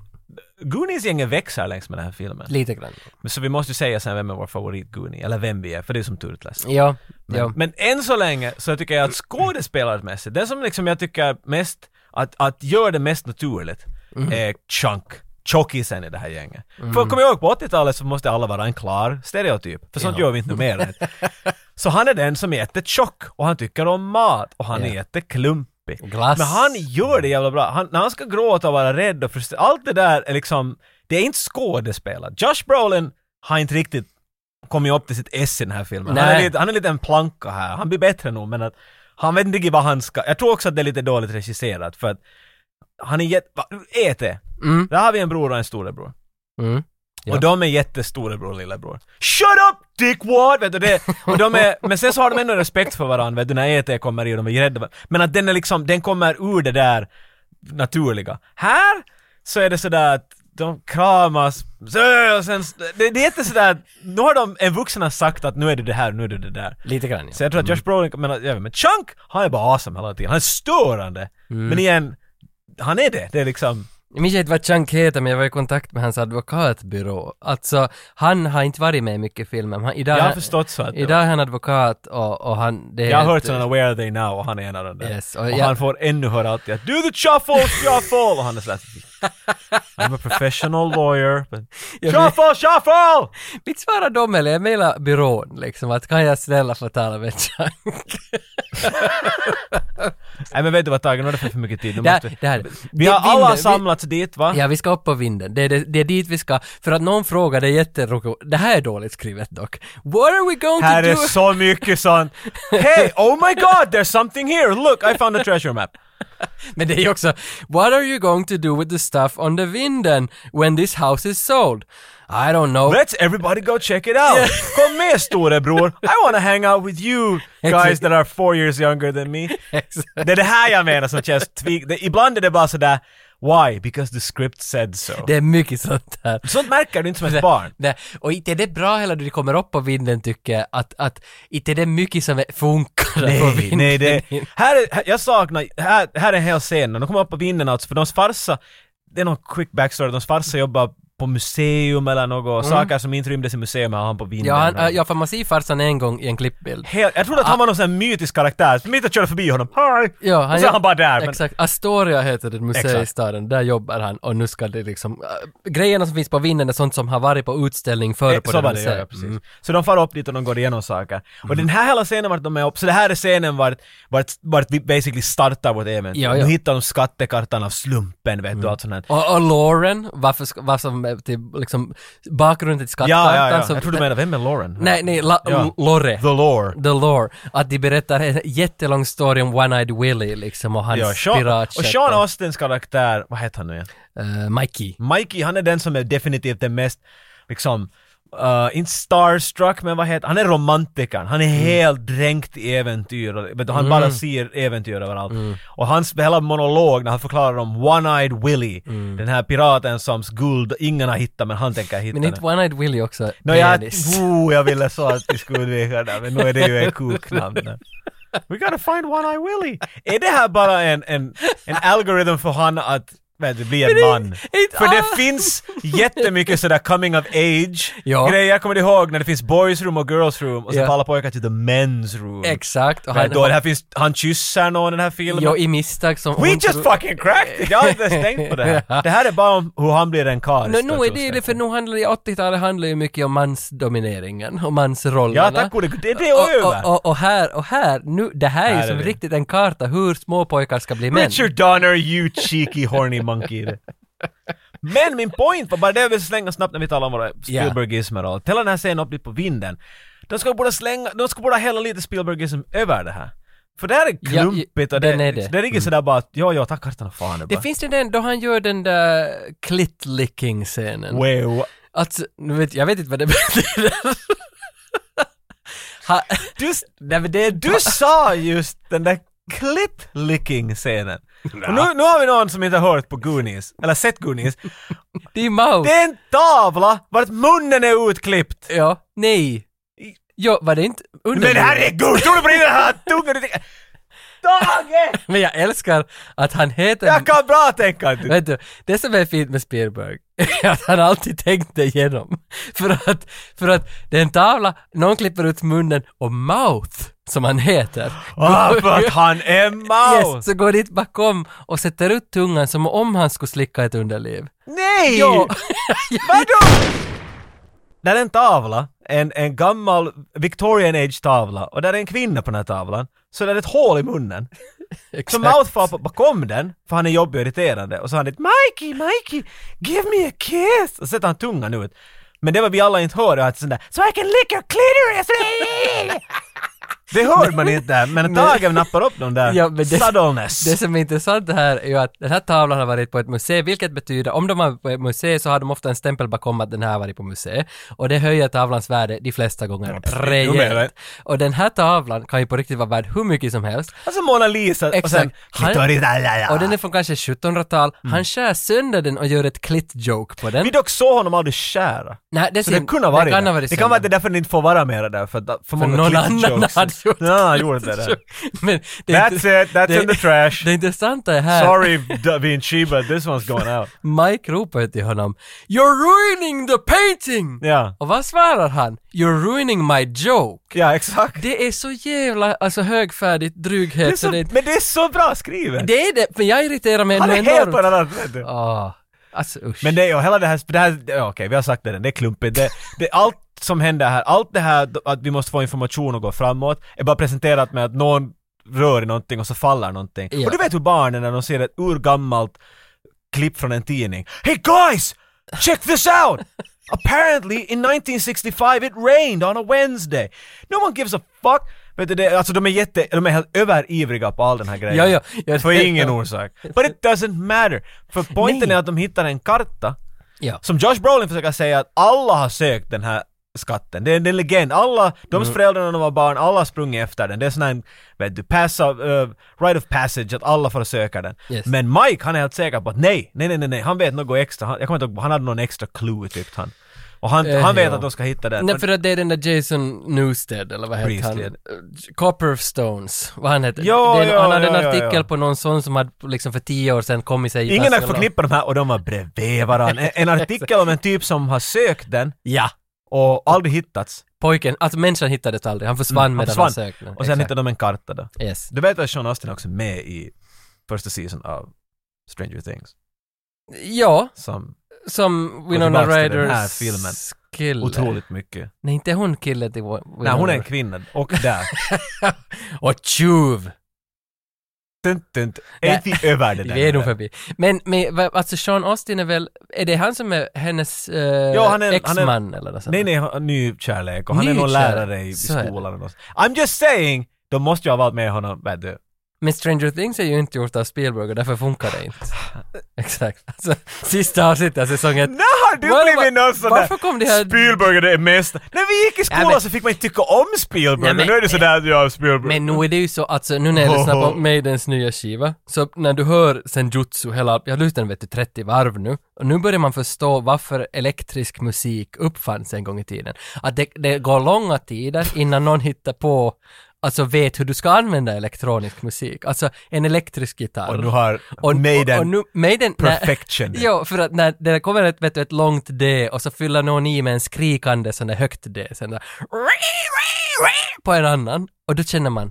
B: Goonies-gänget växer längs med den här filmen.
A: lite grann.
B: Men Så vi måste ju säga sen vem är vår favorit Goonie, eller vem vi är, för det är som Turtles.
A: Ja, ja.
B: Men än så länge så tycker jag att skådespelarmässigt, den som liksom jag tycker mest, att, att gör det mest naturligt,
A: Mm.
B: är Chunk. Tjockisen i det här gänget. För kom ihåg, på 80-talet så måste alla vara en klar stereotyp, för sånt
A: Ja.
B: gör vi inte numera.
A: [laughs]
B: så han är den som är jättetjock och han tycker om mat och han
A: Ja.
B: är jätteklumpig.
A: Glass.
B: Men han gör det jävla bra. Han, när han ska gråta och vara rädd och frustrerad, allt det där är liksom, det är inte skådespelat. Josh Brolin har inte riktigt kommit upp till sitt S i den här filmen. Han är,
A: Nej.
B: lite, han är lite en planka här. Han blir bättre nog men att han vet inte riktigt vad han ska... Jag tror också att det är lite dåligt regisserat för att han är jätte... va- E.T.
A: Mm.
B: Där har vi en bror och en storebror.
A: Mm. Ja.
B: Och de är jättestorebror och lillebror. Shut up Dick Ward! Vet du, det, och de är, men sen så har de ändå respekt för varandra, vet du, när E.T. kommer i och de är rädda. Men att den är liksom, den kommer ur det där naturliga. Här så är det sådär att de kramas, så- och sen, det, det är inte sådär, att- nu har de, en vuxen har sagt att nu är det det här, nu är det det där.
A: Lite grann,
B: Så
A: ja.
B: jag tror att Josh Brolin, men, jag vet, men Chunk, han är bara awesome hela tiden. Han är störande. Men igen, han är det. Det är liksom,
A: Jag minns inte vad Chunk heter, men jag var i kontakt med hans advokatbyrå. Alltså, han har inte varit med i mycket filmer. men Han, idag,
B: jag har förstått så att det
A: Idag är han advokat och, och han... Det är
B: Jag har
A: ett-
B: hört sådana “Where are they now?” och han är en av de där.
A: Yes, och
B: och
A: jag-
B: han får ännu höra alltid att “Do the shuffle, shuffle!” och han är sådär “I'm a professional lawyer,
A: [laughs]
B: but shuffle, shuffle!”
A: Mitt svar är dem, eller jag mejlar byrån liksom, att kan jag snälla få tala med Chunk?
B: Nej men vet du vad Tage, nu har det fått för mycket tid. Du
A: Där-
B: måste...
A: där.
B: Vi
A: Det-
B: har alla
A: vinden- vi-
B: samlats dit va?
A: Ja, vi ska upp på vinden. Det är, det, det är dit vi ska. För att någon frågade jätteroligt. Det här är dåligt skrivet dock. What are we going
B: Här
A: to
B: är
A: do?
B: så mycket
A: [laughs]
B: sånt. Hey, oh my god, there's something here! Look, I found a treasure map.
A: Men det är ju också What are you going to do with the stuff on the vinden when this house is sold? I don't know.
B: Let's everybody go check it out! [laughs] Kom med storebror! I wanna hang out with you guys that are four years younger
A: [laughs]
B: than me. Det är det här jag menar som känns tvig... Det, ibland är det bara sådär Why? Because the script said so.
A: det är mycket sånt där.
B: Sånt märker du inte som ett barn.
A: Nej, och inte är det bra heller när du kommer upp på vinden tycker jag, att, att inte är det mycket som är- funkar på
B: Nej,
A: vinden.
B: nej det... Här, är- här, jag saknar... Här, här är en hel scen. När de kommer upp på vinden alltså, för deras farsa... Det är någon quick backstory. Deras farsa jobbar på museum eller något, saker som inte rymdes i museum har han på vinden.
A: Mm. Ja, han,
B: och-
A: äh, ja, för man ser farsan en gång i en klippbild.
B: Hel- jag trodde att han var någon sån här mytisk karaktär, mitt att köra förbi honom, hej!
A: Ah. Ja,
B: och så är han bara där. Men,
A: Exakt. Astoria heter det museet i
B: Exakt.
A: staden, där jobbar han och nu ska det liksom... äh, grejerna som finns på vinden är sånt som har varit på utställning förr
B: Eh,
A: på
B: så
A: det
B: var det, ja, ja,
A: museet. Mm.
B: precis. Så de far upp dit och de går igenom saker. Och den här hela scenen vart de är upp, så det här är scenen vart, vart, vart vi basically startar vårt äventyr.
A: Ja, ja.
B: Nu hittar de skattekartan av slumpen, vet du, allt sånt här.
A: Och, och Lauren, varför, ska- vad som är till, liksom, bakgrunden till
B: Ja,
A: skattkartan
B: ja, ja.
A: som-
B: Jag tror du menar, vem är Lauren?
A: Nej, nej, la,
B: Ja.
A: Lore.
B: The Lore.
A: The Lore. Att de berättar en jättelång story om One-Eyed Willie liksom och hans
B: Ja, Sean,
A: piratkätt.
B: och Sean Austens karaktär, vad heter han nu igen?
A: eh, Mikey.
B: Mikey, han är den som är definitivt den mest, liksom, eh, inte starstruck, men vad heter han? är romantikern. Han är
A: Mm.
B: helt dränkt i äventyr. och- Vet du, han bara ser äventyr överallt.
A: Mm.
B: Och hans hela monolog när han förklarar om One-Eyed Willie,
A: Mm.
B: den här piraten som guld ingen har hittat, men han tänker hitta
A: Men
B: det.
A: inte One-Eyed Willie också?
B: Nå, jag,
A: penis.
B: oh, jag ville så att vi skulle undvika det, men nu är det ju en kuknamn. We gotta find One-Eye Willie! Är det här bara en, en, en algoritm för han att vet, du, bli en man?
A: inte
B: För det
A: all-
B: finns jättemycket sådär coming of age
A: Ja.
B: grejer, kommer du ihåg när det finns boys room och girls room och så
A: Ja.
B: yeah. alla pojkar till the men's room.
A: Exakt. Och
B: Vet du, Och
A: han,
B: det här finns, han kysser någon i den här filmen.
A: jo, i misstag som...
B: We
A: hon
B: just
A: tror-
B: fucking cracked it! Jag har inte ens tänkt på det
A: [laughs]
B: här. Det här är bara om hur han blir en karl.
A: Nå, nu är det ju det, för nu handlar det, 80-talet handlar ju mycket om mansdomineringen och mansrollerna.
B: Ja, tack gode gud. Det, det är över!
A: och, och, och, och här, och här, nu, det här är
B: Här
A: ju
B: är
A: som
B: vi.
A: riktigt en karta hur små pojkar ska bli män.
B: Richard Donner, you cheeky horny monkey. Men min point var bara det jag vill slänga snabbt när vi talar om våra Spielbergismer och allt. Hela den här scenen upp dit på vinden. De ska borde slänga, de ska borde hälla lite Spielbergism över det här. För det här är
A: ja,
B: klumpigt och det,
A: den är
B: det,
A: det.
B: ligger sådär bara att ja, ja, tack kartan och fan.
A: Det finns ju den då han gör den där klittlicking-scenen.
B: Wow.
A: Alltså, nu vet, jag vet inte vad det [laughs] betyder. ha,
B: Du, s- nej, men det, du sa just den där clit-licking-scenen. Och nu, nu har vi någon som inte har hört på Goonies, eller sett Goonies.
A: det är Mao.
B: Det är en tavla vart munnen är utklippt!
A: Ja, nej. Jo, var det inte under...
B: Men herregud, tror du på det här tungan? Tage!
A: Men jag älskar att han heter...
B: Jag kan bra tänka att du...
A: Vet du, det som är fint med Spielberg [laughs] är att han alltid tänkte igenom. För att, för att det är en tavla, någon klipper ut munnen och Mouth, som han heter.
B: Ah, för att han är Mao!
A: Yes, så går dit bakom och sätter ut tungan som om han skulle slicka ett underliv.
B: Nej! [laughs]
A: Jo.
B: Vadå? Där är en tavla, en, en gammal Victorian Age-tavla, och där är en kvinna på den här tavlan, så där är ett hål i munnen. Så Mouth far på- bakom den, för han är jobbig och irriterande, och så har han dit “Mikey, Mikey, give me a kiss!” och sätter han tungan ut. Men det var vi alla inte hörde, att sån där “So I can lick your clitoris!” [laughs] Det hör man inte där, men Tage nappar upp de där
A: Ja, men det-
B: subtleness.
A: Det som är intressant här är ju att den här tavlan har varit på ett museum, vilket betyder om de har varit på ett museum så har de ofta en stämpel bakom att den här har varit på museum. Och det höjer tavlans värde de flesta gånger
B: numera.
A: rejält. Och den här tavlan kan ju på riktigt vara värd hur mycket som helst.
B: Alltså Mona Lisa och sen...
A: Exakt. Han-
B: Clitoris, la, la, la.
A: Och den är från kanske 1700-tal.
B: Mm.
A: Han skär sönder den och gör ett klitt-joke på den.
B: Vi dock såg honom aldrig skära.
A: Nej, det,
B: Så
A: ser-
B: det kunde ha varit det.
A: kan ha varit
B: det kan
A: sönder.
B: vara att det är därför ni inte får vara mera där, för, att- för
A: För
B: många
A: någon
B: clip
A: annan
B: jokes.
A: hade gjort
B: Ja, han gjorde
A: [laughs]
B: det där.
A: Men det är
B: That's
A: inte-
B: it, that's
A: det-
B: in the trash.
A: Det intressanta är här,
B: Sorry Da Vinci, but this one's going out.
A: Mike ropar till honom “You're ruining the painting!”
B: Ja,
A: Och vad svarar han? “You're ruining my joke!”
B: [laughs] ja exakt.
A: Det är så jävla alltså, högfärdigt dryghet
B: Det är så,
A: så det,
B: men det är så bra skrivet!
A: det är det, men jag irriterar mig
B: Han
A: ändå
B: är helt på
A: enormt.
B: en annan vet du.
A: Ah, alltså usch.
B: Men det, och hela det här, det här det- ja, okej vi har sagt det redan, det är klumpigt. Det, det, allt som händer här, allt det här d- att vi måste få information och gå framåt, är bara presenterat med att någon rör i någonting och så faller någonting.
A: Ja.
B: Och du vet hur barnen när de ser ett urgammalt klipp från en tidning. Hey guys! Check this out! Apparently in 1965 it rained on a Wednesday. No one gives a fuck. Vet du, det, alltså de är jätte, de är helt överivriga på all den här grejen.
A: Ja, ja. Ja,
B: För
A: det-
B: ingen orsak. But it doesn't matter. För poängen
A: Nej.
B: är att de hittar en karta
A: ja.
B: som Josh Brolin försöker säga att alla har sökt den här skatten. Det är det är en legend. Alla, de
A: Mm.
B: föräldrar när de var barn, alla har sprungit efter den. Det är sån här, vet du, pass of, eh, right of passage att alla får söka den.
A: Yes.
B: Men Mike, han är helt säker på att nej, nej, nej, nej, nej. han vet något extra. Han, jag kommer inte ihåg, han hade någon extra clue tyckte han. Och han,
A: Eh,
B: han vet
A: ja.
B: att de ska hitta den.
A: Nej, för att det är den där Jason Newsted, eller vad heter han?
B: Priestley.
A: Eh, Copperstones, vad han heter.
B: Jo,
A: det är en,
B: jo,
A: han hade
B: jo,
A: en
B: jo,
A: artikel
B: jo.
A: på någon sån som hade liksom för tio år sedan kommit sig i
B: Ingen har
A: Barcelona.
B: förknippat de här och de var bredvid varandra. En,
A: [laughs]
B: en artikel om en typ som har sökt den
A: Ja,
B: och aldrig hittats.
A: pojken, alltså människan hittades aldrig, han försvann
B: Mm, Han
A: medan
B: försvann.
A: han sökte.
B: Och sen hittade de en karta då.
A: de... Yes.
B: Du vet att Sean Austin är också med i första säsongen av Stranger Things?
A: Ja,
B: Som
A: som Winona
B: tillbaks till den här
A: Ryders
B: filmen.
A: kille.
B: otroligt mycket.
A: Nej, inte hon killen till Winona
B: Nej, hon är en kvinna. Och
A: [laughs]
B: där.
A: Och tjuv!
B: Tunt, tunt. Är vi över det där?
A: Vi är nog förbi. Men, men va- alltså Sean Austin är väl, är det han som är hennes eh,
B: Ja, han är- han är-
A: exman eller något sånt?
B: Nej, nej, han har ny kärlek och han
A: Ny
B: är någon
A: kärlek.
B: lärare i, i
A: Så är det.
B: skolan. Och så. I'm just saying! De måste ju ha varit med honom, vet du.
A: Men Stranger Things är ju inte gjort av Spielberg och därför funkar det inte. Exakt. Alltså, [laughs] sista avsnittet av säsongen.
B: När har du
A: Var-
B: blivit
A: var-
B: någon sån där
A: varför kom det här-
B: Spielberg är det mesta? När vi gick i skolan
A: Nej, men-
B: så fick man inte tycka om Spielberg,
A: Nej,
B: men
A: men-
B: nu är det sådär att jag är Spielberg.
A: Men nu är det ju så, alltså nu när jag lyssnar på Maidens nya skiva, så när du hör Senjutsu hela, jag lyssnar den, vet du 30 varv nu, och nu börjar man förstå varför elektrisk musik uppfanns en gång i tiden. Att det, det går långa tider innan någon hittar på, alltså vet hur du ska använda elektronisk musik. Alltså en elektrisk gitarr.
B: och nu har
A: Och,
B: Maiden...
A: och, och nu, Maiden nej.
B: perfection.
A: [laughs] Jo, för att när det kommer ett, vet du, ett långt D och så fyller någon i med en skrikande sån där högt D, sen där, på en annan och då känner man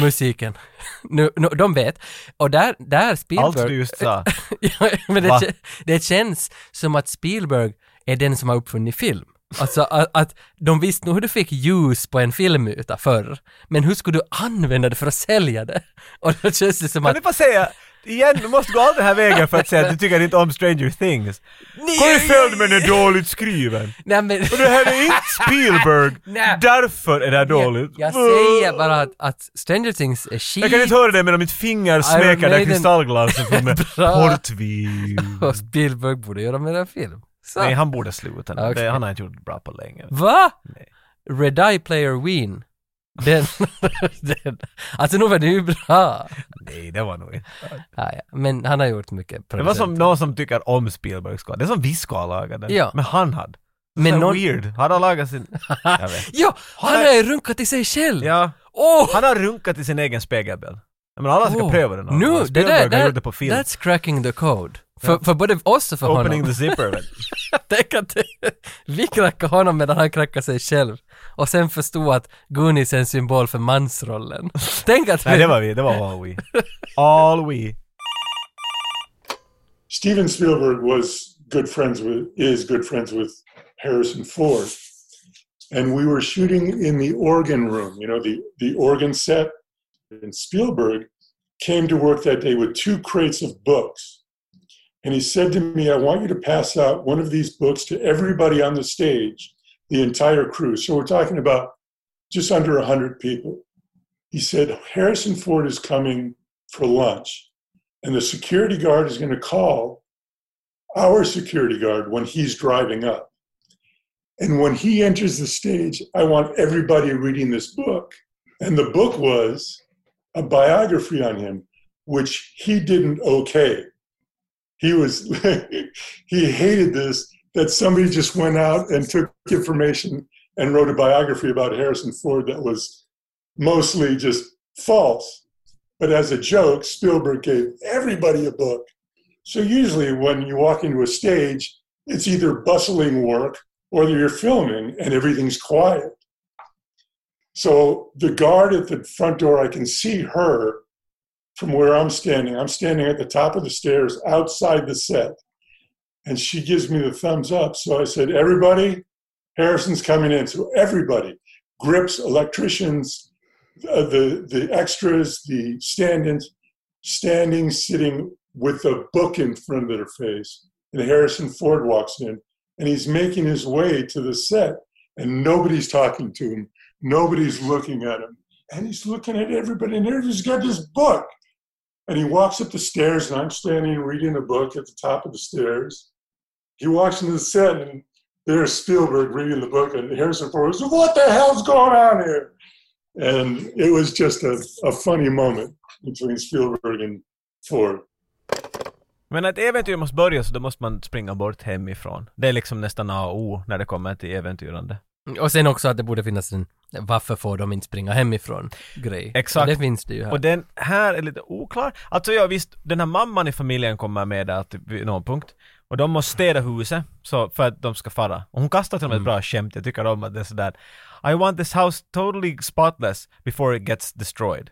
A: musiken. [laughs] Nu, nu, de vet. Och där, där
B: Allt
A: Spielberg...
B: du just sa.
A: [laughs] Ja, men det,
B: Va?
A: kä- det känns som att Spielberg är den som har uppfunnit film. Alltså att, att de visste nog hur du fick ljus på en filmyta förr, men hur skulle du använda det för att sälja det? Och då känns det som
B: Kan
A: att...
B: du bara säga igen, du måste gå all den här vägen för att säga att du tycker inte om Stranger Things. Corey Feldman är dåligt skriven.
A: Nej, men...
B: Och det här är inte Spielberg.
A: Nej.
B: Därför är det här dåligt.
A: Jag, jag säger bara att, att Stranger Things är shit.
B: Jag kan inte höra det medan mitt finger smeker där
A: Maiden-
B: kristallglasen från mig.
A: [laughs] Bra.
B: portvin.
A: [laughs] Och Spielberg borde göra mer än film. Så.
B: Nej, han borde sluta. nu.
A: Okej.
B: Det, han har inte gjort bra på länge.
A: Va? Red Eye Player Ween. Den, [laughs] den. Alltså nog var det ju bra.
B: Nej, det var nog inte.
A: Ja, ja. Men han har gjort mycket
B: Det var som någon som tycker om Spielberg ska. Det är som vi ska ha lagat den.
A: Ja.
B: Men han hade.
A: Men
B: Men någon...
A: någon-
B: weird. Han har
A: [laughs]
B: lagat sin... Jag vet.
A: Ja, han
B: Han
A: har ju runkat i sig själv!
B: Ja.
A: Åh!
B: Han har runkat i sin egen spegelbild. Jag menar alla ska
A: Åh.
B: pröva den.
A: Nu, det
B: Spielberg
A: där,
B: har
A: där,
B: gjort det på film.
A: that's cracking the code. För, för både oss och för
B: Opening
A: honom.
B: the zipper. vet du.
A: Tänk att [laughs] vi knackade honom medan han knackade sig själv. Och sen förstod att Goonies är en symbol för mansrollen. [laughs] Tänk att...
B: Nej, det var vi. Det var all we. All we.
D: Steven Spielberg was good friends with is good friends with Harrison Ford, and we were shooting in the organ room, you know, the the organ set. And Spielberg came to work that day with two crates of books, and he said to me, "I want you to pass out one of these books to everybody on the stage, the entire crew." So we're talking about just under hundred people. He said, "Harrison Ford is coming for lunch." and the security guard is going to call our security guard when he's driving up. And when he enters the stage, I want everybody reading this book. And the book was a biography on him, which he didn't okay. He was, [laughs] he hated this that somebody just went out and took information and wrote a biography about Harrison Ford that was mostly just false. But as a joke, Spielberg gave everybody a book. So usually when you walk into a stage, it's either bustling work or you're filming and everything's quiet. So the guard at the front door, I can see her from where I'm standing. I'm standing at the top of the stairs outside the set. And she gives me the thumbs up. So I said, Everybody, Harrison's coming in. So everybody, grips, electricians, uh, the the extras, the stand-ins, standing, sitting with a book in front of their face, and Harrison Ford walks in, and he's making his way to the set, and nobody's talking to him, nobody's looking at him, and he's looking at everybody, and everybody's got this book, and he walks up the stairs, and I'm standing reading a book at the top of the stairs. He walks into the set, and there's Spielberg reading the book, and Harrison Ford says, "What the hell's going on here?" and it was just a, a funny moment between Spielberg and Ford.
B: Men ett äventyr måste börja så då måste man springa bort hemifrån. Det är liksom nästan A och O när det kommer till äventyrande.
A: Och sen också att det borde finnas en varför får de inte springa hemifrån grej.
B: Exakt.
A: Och det finns det ju här.
B: Och den här är lite oklar. Alltså jag visst, den här mamman i familjen kommer med där typ vid någon punkt. Och de måste städa huset så, för att de ska fara. Och hon kastar till och med
A: Mm.
B: ett bra skämt, jag tycker om att det är sådär I want this house totally spotless before it gets destroyed.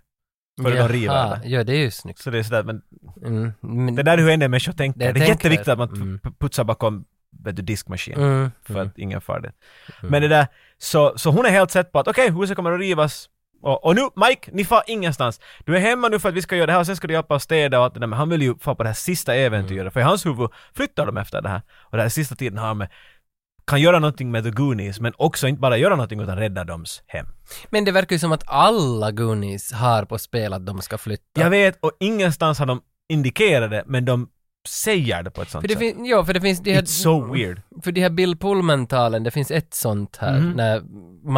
B: För de river
A: Jaha,
B: det.
A: Ja, det är ju snyggt.
B: Så det är sådär, men
A: Mm. Men,
B: det där är hur en del människor tänker. Det,
A: Det
B: är
A: tänker.
B: jätteviktigt att man p-
A: Mm.
B: p- putsar bakom vet du, diskmaskinen.
A: mm.
B: för
A: mm.
B: att ingen far det. Men det där, så, så hon är helt sett på att okej, huset kommer att rivas. Och, och nu, Mike, ni far ingenstans. Du är hemma nu för att vi ska göra det här och sen ska du hjälpa oss städa och allt det där. Men han vill ju fara på det här sista äventyret,
A: Mm.
B: för i hans huvud flyttar de efter det här. Och den här sista tiden har han med kan göra någonting med The Goonies, men också inte bara göra någonting utan rädda dems hem.
A: Men det verkar ju som att alla Goonies har på spel att de ska flytta.
B: Jag vet, och ingenstans har de indikerat det, men de säger det på ett sånt
A: för det
B: sätt.
A: fin- ja, för det finns de här,
B: It's so weird.
A: för de här Bill Pullman-talen, det finns ett sånt här när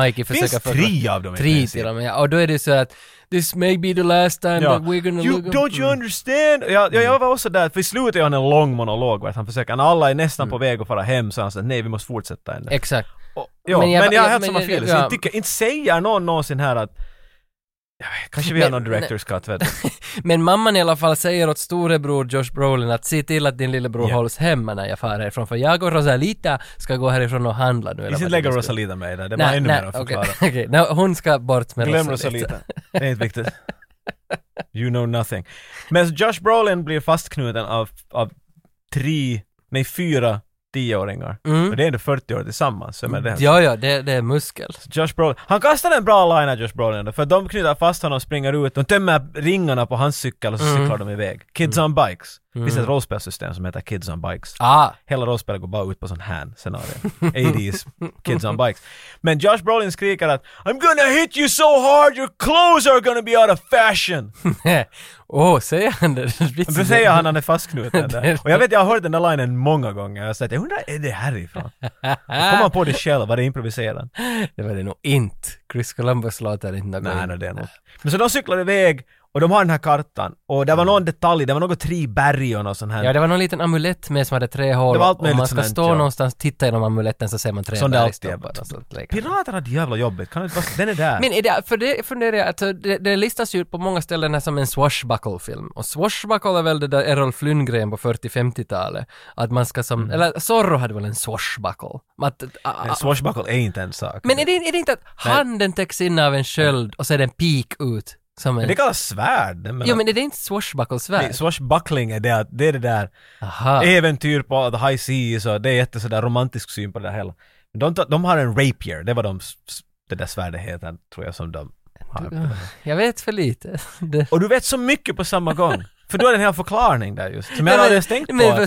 A: Mikey
B: Det Mhm. finns
A: försöker
B: tre av dem i
A: Tre
B: princip.
A: till och med, ja. Och då är det ju så att this may be the last time
B: Ja.
A: that we're gonna Mm.
B: You,
A: look
B: don't you understand? Ja, ja, jag var också där, för i slutet gör han en lång monolog vart han försöker, han alla är nästan på väg att fara hem så han säger nej vi måste fortsätta ändå.
A: Exakt.
B: Och, ja, men
A: men
B: jag,
A: jag-
B: men jag har
A: jag-
B: helt
A: men
B: samma
A: jag-
B: fel.
A: ja.
B: Jag tycker, inte säger någon någonsin här att jag vet, Kanske vi har
A: Men-
B: någon director's cut [laughs] vet du.
A: Men mamman i alla fall säger åt storebror Josh Brolin att se till att din lillebror
B: Ja.
A: hålls hemma när jag far härifrån, för jag och Rosalita ska gå härifrån och handla nu. eller
B: Vi ska
A: vad
B: inte
A: det
B: lägga
A: nu skulle-
B: Rosalita med där, det var
A: Nej,
B: ännu
A: nej,
B: mer att
A: okej. [laughs]
B: förklara.
A: Okej, nej, hon ska bort med
B: [laughs] Glöm
A: Rosalita.
B: Rosalita. Det är inte viktigt. You know nothing. Men Josh Brolin blir fastknuten av, av tre, nej fyra tioåringar.
A: Mm.
B: Och det är ändå 40 år tillsammans. Så jag menar, det här-
A: Ja, ja, det, det är muskel.
B: Josh Brolin. Han kastade en bra line av Josh Brolin ändå, för de knyter fast honom och springer ut, de tömmer ringarna på hans cykel och så cyklar de iväg. Kids on Bikes. Det finns ett rollspelssystem som heter Kids on Bikes.
A: Ah, [laughs]
B: Hela rollspelet går bara ut på sån här scenario. 80s, Kids on Bikes. Men Josh Brolin skriker att I'm gonna hit you so hard your clothes are gonna be out of fashion!
A: åh, säger han det?
B: Men då säger han att han är fastknuten där. Och jag vet, jag har hört den där linen många gånger, jag har sagt jag undrar, är det härifrån? Då kom han på det själv, var det improviserat?
A: Ah, Det var det nog inte. Chris Columbus låter inte något.
B: Nej, nej,
A: in.
B: det är nog. Men så de cyklar iväg och de har den här kartan och det var någon detalj, det var något tre berg och något sånt här.
A: Mm. Ja, det var någon liten amulett med som hade tre hål.
B: Det var allt
A: Om man
B: möjligt
A: ska
B: sånt,
A: stå
B: ja.
A: någonstans och titta genom amuletten så ser man tre
B: Sånt där alltid
A: bergstoppar
B: är
A: och sånt liknande.
B: Pirater hade jävla jobbigt, kan det inte vara så- Den är där.
A: Men är det, för det funderar jag, alltså, det, det listas ju på många ställen här som en swashbuckle-film. Och swashbuckle är väl det där Errol Flynn-grejen på 40-50-talet. Att man ska som,
B: Mm.
A: eller Zorro hade väl en swashbuckle. Att, a,
B: Men
A: a,
B: swashbuckle är inte en sak.
A: men är det, är det inte att handen täcks in av en sköld och så är det en pik ut? Som
B: Men
A: en,
B: det kallas svärd. Jag menar-
A: jo men är det inte swashbuckle-svärd?
B: Nej, Swashbuckling är det, att- det är det där
A: Aha.
B: äventyr på the high seas och det är jätte sådär romantisk syn på det där hela. Men de, tar- de har en rapier, det var de, s- s- det där svärdet heter tror jag som de har.
A: Jag vet för lite. [laughs] Det,
B: Och du vet så mycket på
A: [laughs]
B: samma gång. För du har en hel förklaring där just, som jag aldrig ens tänkt på.
A: men
B: att-
A: för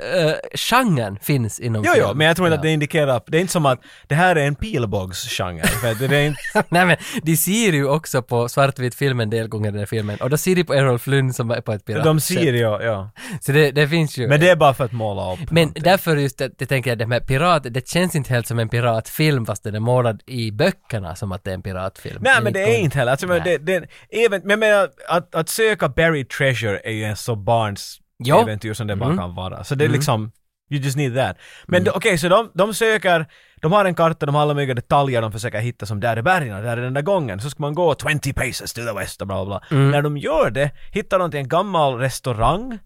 A: swashbuckle-genren finns inom
B: Jo, jo,
A: film.
B: men jag tror inte att det
A: Ja.
B: indikerar... Det är inte som att det här är en pilbågsgenre. för att Det är
A: [laughs]
B: inte...
A: Nej men de ser ju också på svartvit film en del gånger den här filmen och då ser de på Errol Flynn som är på ett pirat.
B: De ser ju, ja.
A: Så det, det finns ju.
B: Men det är bara för att måla upp.
A: men därför just att jag tänker att det med pirat, det känns inte helt som en piratfilm fast den är målad i böckerna som att det är en piratfilm.
B: Nej, men det är inte heller... Alltså, men
A: Nej.
B: det, det, även, men jag menar, att, att söka buried treasure är ju en så barns
A: Ja.
B: äventyr som det bara
A: Mm.
B: kan vara. Så det är liksom... You just need that. Men då- okej, så de, de söker... De har en karta, de har alla möjliga detaljer de försöker hitta som där är bergen och där är den där gången. Så ska man gå 20 paces to the west och bla bla bla.
A: Mm.
B: När de gör det hittar de till en gammal restaurang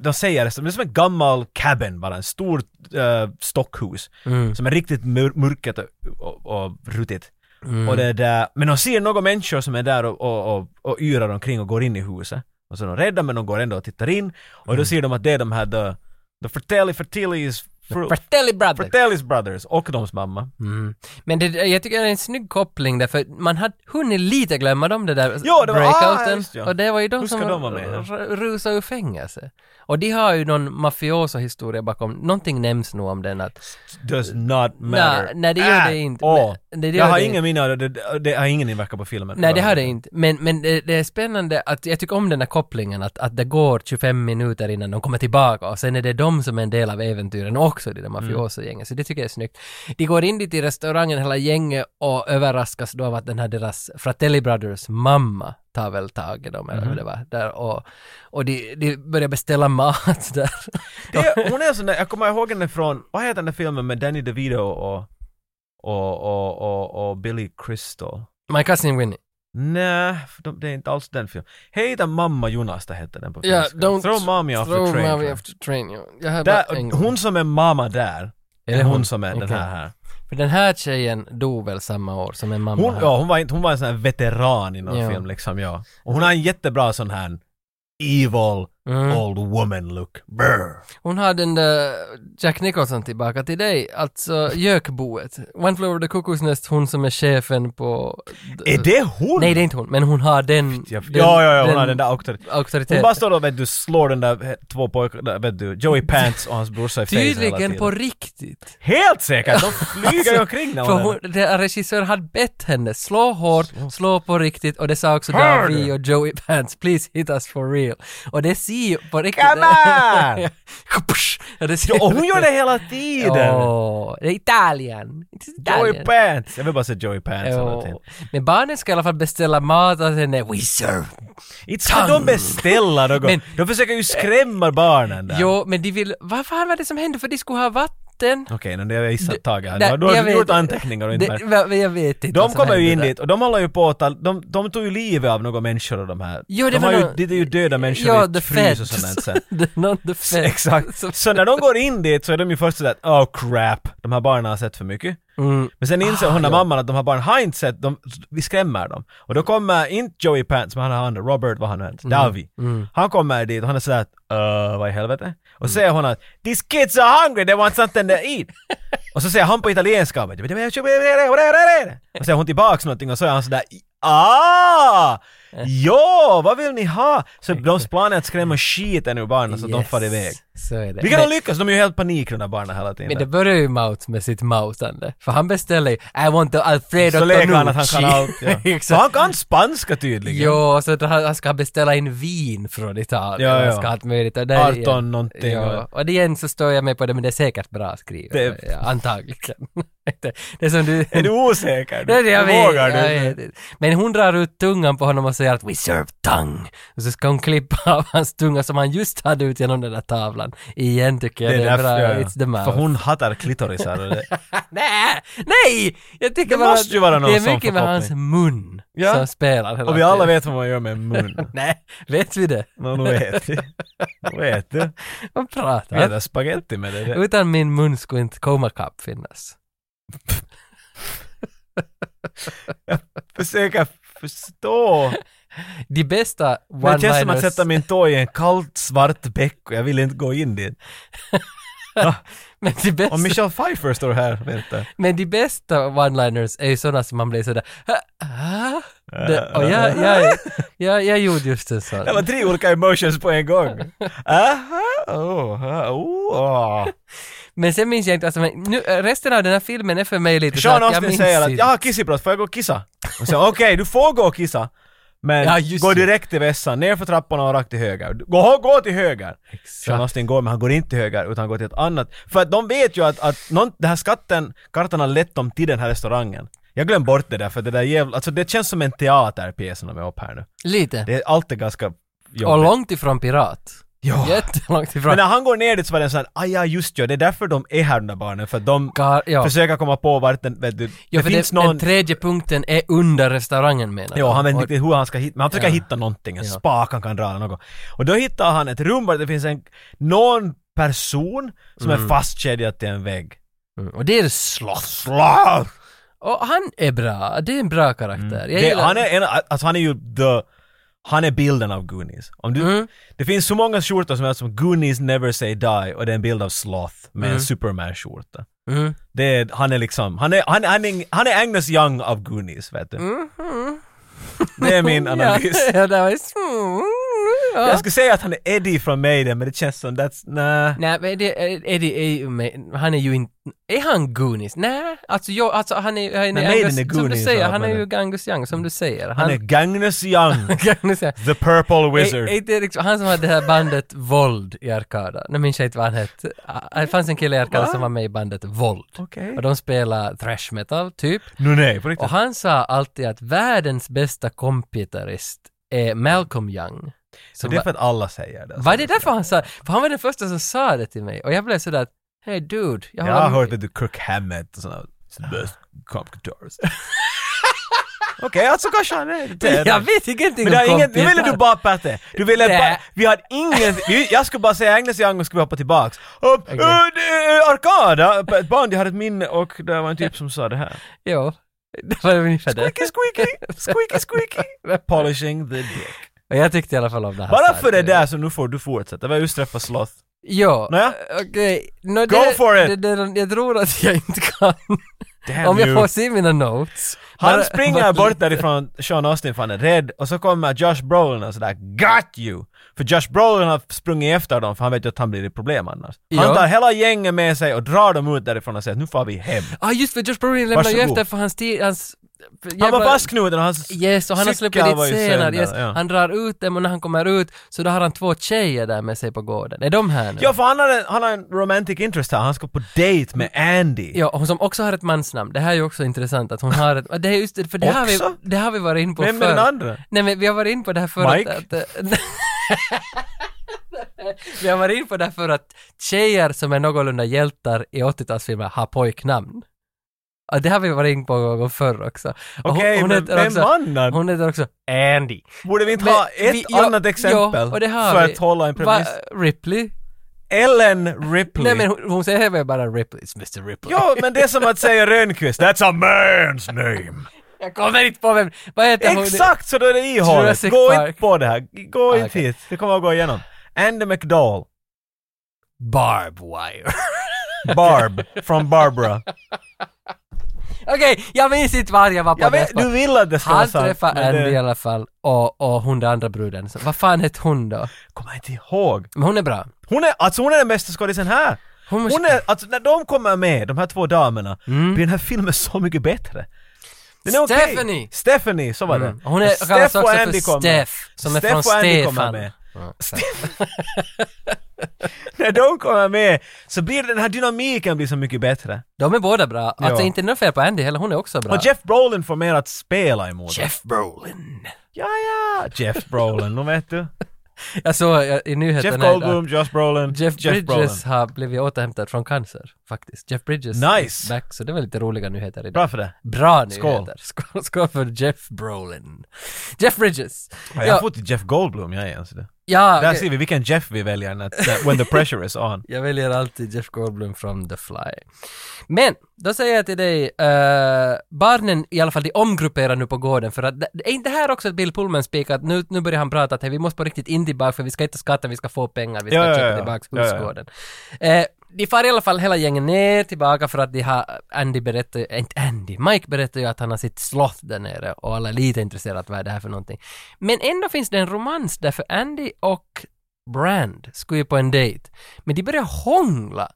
B: de säger det, det är som en gammal cabin bara, en stor eh, stockhus
A: Mm.
B: som är riktigt mör- mörket och, och, och ruttigt.
A: Mm.
B: Och det är där, men de ser några människor som är där och, och, och, och yrar omkring och går in i huset. Och så är de rädda men de går ändå och tittar in och
A: Mm.
B: då ser de att det är de här the, the Fratelli Fratellis Fru-
A: Fratelli Brothers.
B: Fratellis Brothers och deras mamma.
A: Mm. Men det, jag tycker det är en snygg koppling därför man hade hunnit lite glömma dem det där
B: Ja, det var-
A: breakouten.
B: ah, just ja.
A: Och det var ju de
B: Hur ska
A: som
B: de vara med, ja?
A: r- rusade ur fängelse. Och de har ju någon mafioso-historia bakom, någonting nämns nog om den att
B: Does not matter.
A: Nej, nej, det gör det
B: Äh,
A: inte.
B: åh.
A: Men det gör
B: jag har
A: det
B: ingen minne av det, det, det har ingen inverkan på filmen.
A: Nej, det har det inte. Men, men det, det är spännande att jag tycker om den här kopplingen att, att det går 25 minuter innan de kommer tillbaka och sen är det de som är en del av äventyren också, det där
B: Mm.
A: mafioso-gänget. Så det tycker jag är snyggt. De går in dit i restaurangen, hela gänget, och överraskas då av att den här deras Fratelli Brothers mamma tar väl tag i dem
B: Mm.
A: eller hur det var där och, och de, de börjar beställa mat [laughs] där.
B: Det, hon är sån där, jag kommer ihåg henne från, vad heter den där filmen med Danny DeVito och, och, och, och, och Billy Crystal?
A: My cousin Winnie.
B: Nej, för de- det är inte alls den filmen. Hej den mamma Jonas, det hette den på
A: Ja,
B: finska.
A: don't
B: Throw mommy off the train.
A: Mommy off the train. ja. Jag har
B: Där,
A: bara en gång.
B: hon som är mamma där,
A: Är
B: är
A: det
B: hon,
A: hon?
B: som är den
A: Okej.
B: här här.
A: För den här tjejen dog väl samma år som en mamma
B: Hon,
A: här.
B: ja, hon, var inte, hon var en sån här veteran i någon
A: Ja.
B: film liksom, ja. Och hon har en jättebra sån här evil
A: Mm.
B: old woman look. Brr.
A: Hon har den där Jack Nicholson tillbaka till dig, alltså Jökboet. One Floor of the Cuckoo's Nest, hon som är chefen på...
B: Är det hon?
A: Nej, det är inte hon, men hon har den...
B: Ja,
A: den
B: ja, ja, hon har den där auktoriteten. Hon
A: auktoriteten.
B: bara står och vet du, slår den där eh, två pojkar, där, vet du,
A: [laughs]
B: Joey Pants och hans brorsa i face hela
A: Tydligen
B: tiden.
A: på riktigt.
B: Helt säkert! De
A: [laughs]
B: flyger ju omkring när
A: För
B: hon
A: hon,
B: är-
A: den regissör hade bett henne slå hårt, slå på riktigt och det sa också
B: Hör
A: Davi
B: du?
A: och Joey Pants, please hit us for real. Och det ser ju på riktigt...
B: Come on!
A: [laughs] ja, det ser
B: Ja, och hon gör det hela tiden!
A: Åh, det är Italien. It's
B: Joey
A: Italien.
B: Pants! Jag vill bara se Joey Pants hela
A: Jo.
B: tiden.
A: Men barnen ska i alla fall beställa mat och sen är we serve.
B: Inte ska de beställa något!
A: Men-
B: de försöker ju skrämma barnen där.
A: Jo, men de vill... Vad fan var det som hände? För de skulle ha vatten.
B: Okej, okay, jag gissat Tage här.
A: Nej,
B: Du har- Du har
A: jag vet-
B: gjort anteckningar och inte märkt.
A: Det, va- jag vet inte vad
B: De
A: som
B: kommer ju
A: hände
B: in
A: där.
B: dit och de håller ju på att ta, de, de tog ju livet av några människor och de här.
A: Jo, det
B: de
A: var
B: har ju,
A: nå-
B: det är ju döda människor
A: Ja,
B: i
A: the
B: frys och
A: feds. [laughs]
B: sånt där. sen.
A: The- Not the feds. Som-
B: [laughs] Exakt. Så när de går in dit så är de ju först sådär oh crap, de här barnen har sett för mycket.
A: Mm.
B: Men sen inser hon, den här mamman, att de här barnen har inte sett, de, vi skrämmer dem. Och då kommer inte Joey Pants, men han har andra, Robert, vad han nu heter,
A: Mm.
B: Davi. Han kommer dit och han är sådär uh, vad i helvete? Och
A: Mm.
B: säger hon att “These kids are hungry, they want something
A: [laughs]
B: to eat”. och så säger han på italienska och säger hon tillbaks någonting och så är han sådär Ah!
A: Eh.
B: Ja, vad vill ni ha? Så de planerar att skrämma skiten ur barnen så att Alltså, de
A: Yes.
B: far iväg.
A: Så är det.
B: Vilket
A: Men-
B: de lyckas, de är ju helt panik de där barnen hela tiden.
A: Men det börjar ju Maut med sitt mautande. För han beställer ju I want the Alfredo
B: så leker han att han
A: Tonucci." [laughs]
B: kan allt. Ja.
A: Exakt.
B: Så han kan spanska tydligen.
A: Jo, så att han, han ska beställa in vin från Italien.
B: Ja, ja.
A: Han ska ha allt möjligt. Och där
B: 18
A: igen-
B: någonting.
A: Ja, och det igen så står jag med på det, men det är säkert bra skrivet.
B: Det-
A: Ja, antagligen. [laughs] det, det är som du...
B: Är du
A: [laughs]
B: osäker?
A: det, jag vet,
B: Vågar du?
A: jag vet. inte. Men hon drar ut tungan på honom och säger att “We serve tongue” och så ska hon klippa [laughs] av hans tunga som han just hade ut genom den där tavlan. Igen tycker jag det är, bra.
B: ja, ja.
A: It's the mouth.
B: För hon hatar klitorisar. och det-
A: [laughs] Nej, nej! Jag tycker
B: Det
A: bara
B: måste
A: att
B: ju vara någon
A: Det
B: sån
A: är mycket med hans mun
B: Ja.
A: som spelar [laughs] hela
B: Och vi alla
A: tiden.
B: vet vad man gör med mun.
A: Nej, vet vi det?
B: Nå, nu vet vi. Nu vet du.
A: Vad
B: Vi
A: pratar
B: äter spagetti med det. det.
A: Utan min mun skulle inte Coma Cup finnas.
B: Försöka förstå.
A: De bästa
B: Men det känns som att
A: one-liners...
B: sätta min tå i en kallt svart bäck och jag vill inte gå in dit.
A: [laughs] Men de
B: Om
A: bästa,
B: Michelle Pfeiffer står här, vänta.
A: men de bästa one-liners är ju sådana som man blir sådär... "Hä? Ah?" Det, och jag, jag, jag, jag gjorde just en sån.
B: Det var tre olika emotions på
A: [laughs]
B: en gång. Aha, oh, ah, oh, oh.
A: Men sen minns jag inte, alltså, men nu, resten av den här filmen är för mig lite så
B: Sean
A: att jag
B: Austin
A: minns
B: säger att
A: inte.
B: jag har kissebrott, får jag gå och kissa? Och säger okej, du får gå och kissa. Men
A: Ja, just
B: gå
A: det.
B: direkt till vässan, ner för trappan och rakt till höger. Gå, gå till höger! Sean Austin går, men han går inte till höger, utan han går till ett annat. För att de vet ju att, att någon, den här skatten, kartan har lett dem till den här restaurangen. Jag glömde bort det där, för det där jävla, alltså det känns som en teaterpjäs när de är upp här nu.
A: Lite.
B: Det är alltid ganska
A: och
B: jobbigt.
A: långt ifrån pirat.
B: Ja.
A: Jättelångt ifrån.
B: Men när han går ner dit så var det en sån här, "Ah, ja just ja, det är därför de är här de där barnen, för att de
A: Gar, ja.
B: försöker komma på vart den, vet du,
A: ja,
B: det
A: för
B: finns
A: det,
B: någon...
A: Den tredje punkten är under restaurangen menar
B: Ja,
A: jag.
B: han vet inte
A: Och-
B: riktigt hur han ska hitta, men han försöker
A: Ja.
B: hitta någonting, en
A: Ja.
B: spak han kan dra eller något. Och då hittar han ett rum där det finns en, någon person som är fastkedjad till en vägg.
A: Mm, Och det är slåss.
B: Slav!
A: Och han är bra, det är en bra karaktär. Jag
B: Mm. Det,
A: gillar-
B: han är en, alltså han är ju the, han är bilden av Goonies. Om du,
A: Mm.
B: Det finns så många skjortor som är som Goonies never say die och det är en bild av Sloth med en Superman-skjorta.
A: Mm.
B: Det är, han är liksom, han är, han, han, är, han är Agnes Young av Goonies vet du.
A: Mhm.
B: Det är min analys.
A: Mm. [laughs] Ja, ja, det var mm, ja.
B: Jag skulle säga att han är Eddie från Maiden men det känns som that's, nah.
A: Nej, men det, är- Eddie är ju med, han är ju inte, är han Goonies? Nej, alltså jag, alltså han är, han är,
B: Nej, Maiden är
A: som du
B: Goonies,
A: säger,
B: ja,
A: han är
B: men- Mm.
A: ju Gangus Young, som du säger.
B: Han är Gangnus Young,
A: [laughs] Gangus Young. [laughs]
B: the purple wizard.
A: Är, är det liksom, han som hade det här bandet Våld i Arkada. Nu minns jag inte vad han hette. Ah, Det fanns en kille i Arkada som var med i bandet Våld.
B: Okej.
A: Och de spelade thrash metal, typ.
B: Nu nej, på riktigt.
A: Och han sa alltid att världens bästa kompitarist är Malcolm Young.
B: Så
A: Som
B: det är
A: bara-
B: för att alla säger det.
A: Var det därför han sa, för han var den första som sa det till mig och jag blev sådär att, hey dude, jag
B: Jag har
A: varit-
B: hört det till Kirk Hammett och sådana best comp guitars. [laughs] Okej, alltså kanske han är
A: [laughs]
B: det.
A: Jag vet ingenting
B: Men det har
A: om
B: ingen, nu
A: kompisar.
B: ville du bara Patte. Du ville
A: Nej.
B: bara, vi hade ingen, vi- jag skulle bara säga Agnes Young och skulle vi hoppa tillbaks. Och, okay. Arkada, ett band jag hade ett minne och det var en typ som sa det här.
A: Jo, det var ungefär [laughs] det.
B: Squeaky, squeaky, squeaky, squeaky.
A: [laughs]
B: Polishing the dick.
A: Och jag tyckte i alla fall om det här.
B: Bara
A: svaret.
B: för det där så nu får du fortsätta. Vi har just träffat Sloth.
A: Jo,
B: Nåja.
A: okej. Nå,
B: Go
A: det-
B: for it.
A: Det, det, jag tror att jag inte kan.
B: Damn
A: om jag
B: you.
A: får se mina notes.
B: Han
A: Bara-
B: springer
A: [laughs] bara-
B: bort därifrån Sean Austin för han är rädd och så kommer Josh Brolin och sådär ”Got you!” För Josh Brolin har sprungit efter dem för han vet ju att han blir ett problem annars. Han
A: Ja.
B: tar hela gänget med sig och drar dem ut därifrån och säger att ”Nu får vi hem”.
A: Ja, ah, just för Josh Brolin lämnar ju
B: Varsågod.
A: efter för hans tid, hans...
B: Han var fastknuten och hans
A: Yes, och han har
B: cykel
A: släppt dit
B: var ju
A: senare.
B: sönder,
A: Yes.
B: ja.
A: Han drar ut dem och när han kommer ut så då har han två tjejer där med sig på gården. Är de här nu?
B: Ja, för han har, en, han har en romantic interest här. Han ska på dejt med Andy.
A: Ja, hon som också har ett mansnamn. Det här är ju också intressant att hon har ett... Det är just det, för det, har vi,
B: Också?
A: det har vi varit in på
B: Vem är
A: förr.
B: den andra?
A: Nej men vi har varit in på det här förut
B: Mike?
A: att... [laughs] eh, vi har varit in på det här för att tjejer som är någorlunda hjältar i 80-talsfilmer har pojknamn. Ja, det har vi varit in på någon gång förr också. Och hon-
B: Okej,
A: hon
B: men
A: heter
B: vem
A: också-
B: mannen?
A: Hon heter också Andy.
B: Borde vi inte
A: Men
B: ha ett
A: vi- ja,
B: annat exempel
A: ja, och det har
B: för
A: vi.
B: att hålla en
A: Va,
B: premiss?
A: Ripley?
B: Ellen Ripley.
A: Nej men hon, hon säger väl bara Ripley, it's Mr Ripley.
B: [laughs] Ja, men det är som att säga Rönnqvist. That's a man's name.
A: Jag kommer inte på vem, vad heter hon?
B: Exakt, så då är det ihåligt.
A: Jurassic
B: Gå
A: Park.
B: inte på det här. Gå
A: Ah,
B: inte
A: okej.
B: hit. Det kommer att gå igenom. Andy McDowell.
A: Barb Wire.
B: Barb.
A: [laughs]
B: från Barbara.
A: Okej, jag minns inte var jag var på
B: Jag
A: det
B: vet,
A: spåret.
B: du vill att det ska vara
A: Han
B: sant.
A: träffade
B: men
A: Andy i
B: det-
A: alla fall och, och hon den andra bruden. Så, vad fan hette hon då?
B: Kommer inte ihåg.
A: Men hon är bra.
B: Hon är, alltså hon är den bästa skådisen här.
A: Hon Mm. måste-
B: Hon är, alltså när de kommer med, de här två damerna, blir den här filmen så mycket bättre. Den är okej.
A: Stephanie!
B: Stephanie, så var det.
A: Mm. Hon är,
B: Steff
A: kallas
B: och
A: också
B: Andy
A: för
B: kommer.
A: Steff, som är
B: Steff
A: från
B: och Andy kommer
A: Stefan.
B: med.
A: Ja, exakt.
B: När de kommer med så blir den här dynamiken blir så mycket bättre.
A: De är båda bra. Alltså
B: Ja.
A: inte något fel på Andy heller, hon är också bra.
B: Och Jeff Brolin får mer att spela emot.
A: Jeff Brolin.
B: Ja, ja! Jeff Brolin, nu
A: [laughs]
B: vet du.
A: Jag såg eh, i nyheterna
B: Jeff
A: idag
B: Goldblum, Josh Brolin,
A: att Jeff,
B: Brolin.
A: Bridges har blivit återhämtad från cancer, faktiskt. Jeff Bridges
B: Nice.
A: är back, så det var lite roliga nyheter idag.
B: Bra för det.
A: Bra
B: Skål.
A: nyheter. [laughs] Skål, skål för Jeff Brolin. Jeff Bridges.
B: Ja, jag har fått till Jeff Goldblum, jag är ens det.
A: ja
B: Där
A: okej.
B: ser vi vilken Jeff vi väljer när, när, when the pressure is on.
A: Jag väljer alltid Jeff Goldblum från The Fly. Men, då säger jag till dig, eh, barnen i alla fall, de omgrupperar nu på gården för att, det- är inte här också att Bill Pullman spikar att nu, nu börjar han prata att hey, vi måste på riktigt in tillbaka för vi ska inte skatta, vi ska få pengar, vi ska
B: Ja, ja,
A: köpa
B: ja.
A: tillbaka
B: Ja, ja.
A: husgården. Eh, de far i alla fall hela gängen ner tillbaka för att de har, Andy berättar, ju- inte Andy, Mike berättar ju att han har sitt slott där nere och alla är lite intresserade av vad är det här för någonting. Men ändå finns det en romans där för Andy och Brand skulle ju på en dejt. Men de börjar hångla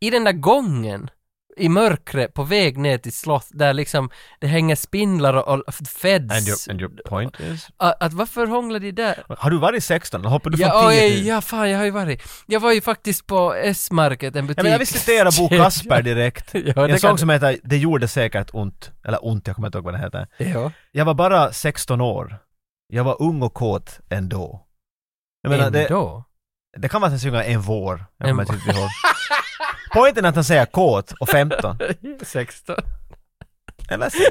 A: i den där gången i mörkret på väg ner till slott där liksom det hänger spindlar och, och feds.
B: And your, and your point is?
A: att, att varför hånglar de där?
B: Har du varit 16? Hoppar du från
A: ja,
B: 10
A: oj,
B: till...
A: ja, fan, jag har ju varit. Jag var ju faktiskt på S-market, en butik.
B: Ja, men jag vill citera
A: [laughs]
B: Bo Kasper direkt.
A: Ja,
B: I
A: det
B: en
A: kan
B: sång
A: du.
B: som heter ”Det gjorde säkert ont”, eller ont, jag kommer inte ihåg vad den heter.
A: ja.
B: Jag var bara 16 år. Jag var ung och kåt ändå. Jag menar, det,
A: Ändå.
B: Det kan vara att han sjunger en vår. Jag
A: En
B: kommer inte ihåg. Poängen är att han säger kåt och 15. [laughs]
A: 16.
B: Eller 16.